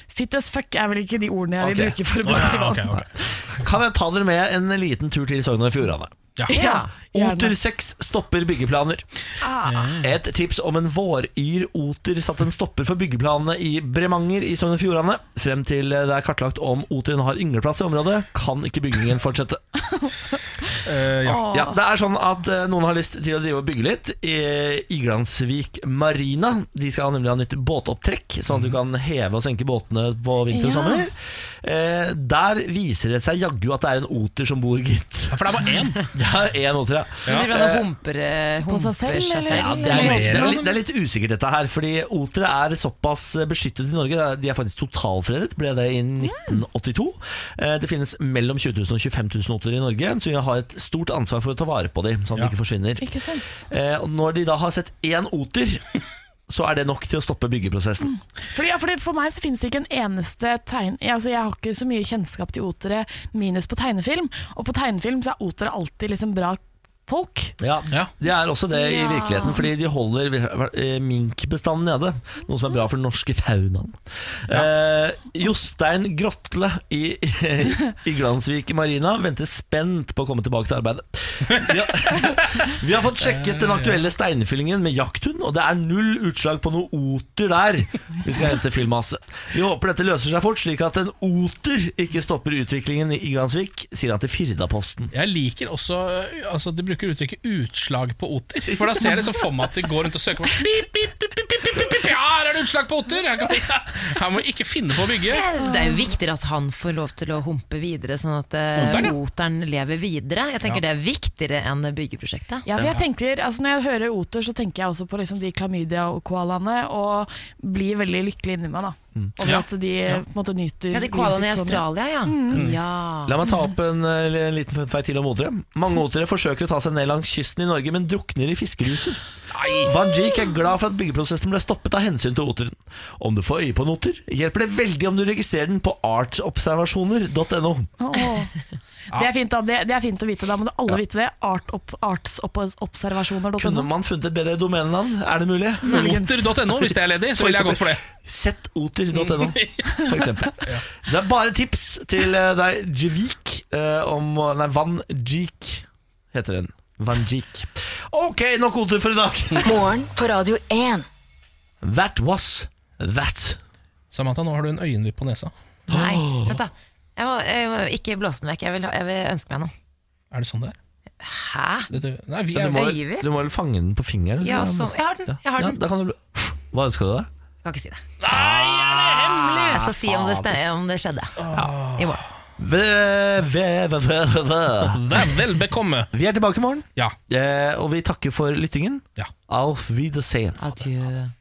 [SPEAKER 9] fit as fuck er vel ikke de ordene jeg
[SPEAKER 1] Ok.
[SPEAKER 9] vil bruke for å
[SPEAKER 2] Å,
[SPEAKER 9] beskrive
[SPEAKER 2] ja,
[SPEAKER 9] han.
[SPEAKER 2] ok, ok.
[SPEAKER 1] Kan jeg ta dere med en liten tur til Sogn og Fjordane?
[SPEAKER 9] Ja,
[SPEAKER 1] Oter
[SPEAKER 9] gjerne. Ah.
[SPEAKER 1] 6 stopper byggeplaner. Et tips om en våryr-oter satte en stopper for byggeplanene i Bremanger i Sogn og Fjordane. Frem til det er kartlagt om oteren har yngleplass i området, kan ikke byggingen fortsette.
[SPEAKER 2] Eh, ja.
[SPEAKER 1] Ja, det er sånn at eh, Noen har lyst til å drive og bygge litt. eh, I Iglandsvik Marina De skal nemlig ha nytt båtopptrekk, sånn at du kan heve og senke båtene på vinter og
[SPEAKER 9] Ja.
[SPEAKER 1] sommer. Eh, Der viser det seg jaggu at det er en oter som bor, gitt.
[SPEAKER 2] For det er bare én.
[SPEAKER 1] Ja, en oter, ja.
[SPEAKER 3] Men driver han og humper, eh,
[SPEAKER 9] På seg
[SPEAKER 3] humper
[SPEAKER 9] selv,
[SPEAKER 3] seg selv?
[SPEAKER 9] eller?
[SPEAKER 1] Ja, det, er,
[SPEAKER 2] Mer
[SPEAKER 1] det, er,
[SPEAKER 2] enn
[SPEAKER 1] litt- det er litt usikkert dette her, fordi otere er såpass beskyttet i Norge. De er faktisk totalfredet, ble det i 1982. Eh, Det finnes mellom 20 000 og 25 000 oter i Norge, så vi har et stort ansvar for å ta vare på dem, sånn at de ikke forsvinner.
[SPEAKER 9] Ikke sant?
[SPEAKER 1] Eh, Og når de da har sett én oter, så er det nok til å stoppe byggeprosessen.
[SPEAKER 9] Fordi, ja, fordi for meg så finnes det ikke en eneste tegn altså Jeg har ikke så mye kjennskap til otere, minus på tegnefilm. Og på tegnefilm så er otere alltid liksom bra folk.
[SPEAKER 1] Ja,
[SPEAKER 2] Ja.
[SPEAKER 1] Det er også det i virkeligheten, fordi de holder eh, minkbestanden nede. Noe som er bra for den norske faunaen. Eh, Jostein Grotle i, i Glansvik Marina venter spent på å komme tilbake til arbeidet. Vi har, vi har fått sjekket den aktuelle steinfyllingen med jakthund, og det er null utslag på noe oter der. Vi skal hente fyllmasse. Vi håper dette løser seg fort, slik at en oter ikke stopper utviklingen i Glansvik, sier han til Firdaposten.
[SPEAKER 2] Jeg liker også eh, altså, De bruker uttrykket 'utslag på oter'. For da ser jeg liksom for meg at de går rundt og søker på pip, pip, pip, pip, pip, pip, pip, Ja, her er det utslag på oter! Jeg kan- ja, Her må vi ikke finne på å bygge.
[SPEAKER 3] Ja, så Det er jo viktigere at han får lov til å humpe videre, sånn at eh,
[SPEAKER 2] Oteren, ja.
[SPEAKER 3] oteren lever videre. Jeg tenker Det er viktigere enn byggeprosjektet.
[SPEAKER 9] Ja, for jeg tenker, altså Når jeg hører oter, så tenker jeg også på liksom de klamydia og koalaene, og blir veldig lykkelig inni meg. da Over
[SPEAKER 2] Mm. Ja.
[SPEAKER 9] at de på en måte nyter sånn,
[SPEAKER 3] Ja, De koalaene i
[SPEAKER 9] livet sitt så mye.
[SPEAKER 3] Australia, ja. ja.
[SPEAKER 1] La meg ta opp en, eh, liten fun fact til om otere. Mange otere forsøker å ta seg ned langs kysten i Norge, men drukner i fiskeruser. Vanjik er glad for at byggeprosessen ble stoppet av hensyn til oteren. Om du får øye på en oter, hjelper det veldig om du registrerer den på artsobservasjoner.no.
[SPEAKER 9] Åh. Det er, fint, da. Det, det er fint å vite, da må alle vite det. Art opp,
[SPEAKER 1] Kunne
[SPEAKER 9] artsobservasjoner.no.
[SPEAKER 1] man funnet et bedre domenenavn? Er det mulig?
[SPEAKER 2] Oter.no, hvis det er ledig, så ville jeg gått for det.
[SPEAKER 1] Settoter.no, for eksempel. Det er bare tips til eh, deg, Jevik, eh, om Nei, Vanjik heter den. Vanjik. Ok, nok oter for i dag.
[SPEAKER 4] Morgen på Radio 1.
[SPEAKER 1] That was that.
[SPEAKER 2] Samantha, nå har du en øyenvipp på nesa.
[SPEAKER 3] Nei, vent da. Jeg må, jeg må ikke blåse den vekk. Jeg vil, ha- jeg vil ønske meg noe.
[SPEAKER 2] Er det sånn det er?
[SPEAKER 3] Hæ?
[SPEAKER 2] Dette- Nei, vi
[SPEAKER 1] Du
[SPEAKER 2] er
[SPEAKER 1] må,
[SPEAKER 3] Øyvind?
[SPEAKER 1] du må vel fange den på fingeren?
[SPEAKER 3] Ja, så, jeg har den.
[SPEAKER 1] Ja,
[SPEAKER 3] Jeg har
[SPEAKER 1] ja,
[SPEAKER 3] den.
[SPEAKER 1] da kan du bl- Hva ønska du deg?
[SPEAKER 3] Jeg kan ikke si det. Nei, er det hemmelig? Jeg skal si om det, sne- om det skjedde. I morgen.
[SPEAKER 1] Ve- ve- ve- ve- ve.
[SPEAKER 2] Vær vel bekomme.
[SPEAKER 1] Vi er tilbake i morgen,
[SPEAKER 2] Ja.
[SPEAKER 1] eh, og vi takker for lyttingen.
[SPEAKER 2] Ja.
[SPEAKER 1] Auf Wiedersehen.
[SPEAKER 3] Adjø.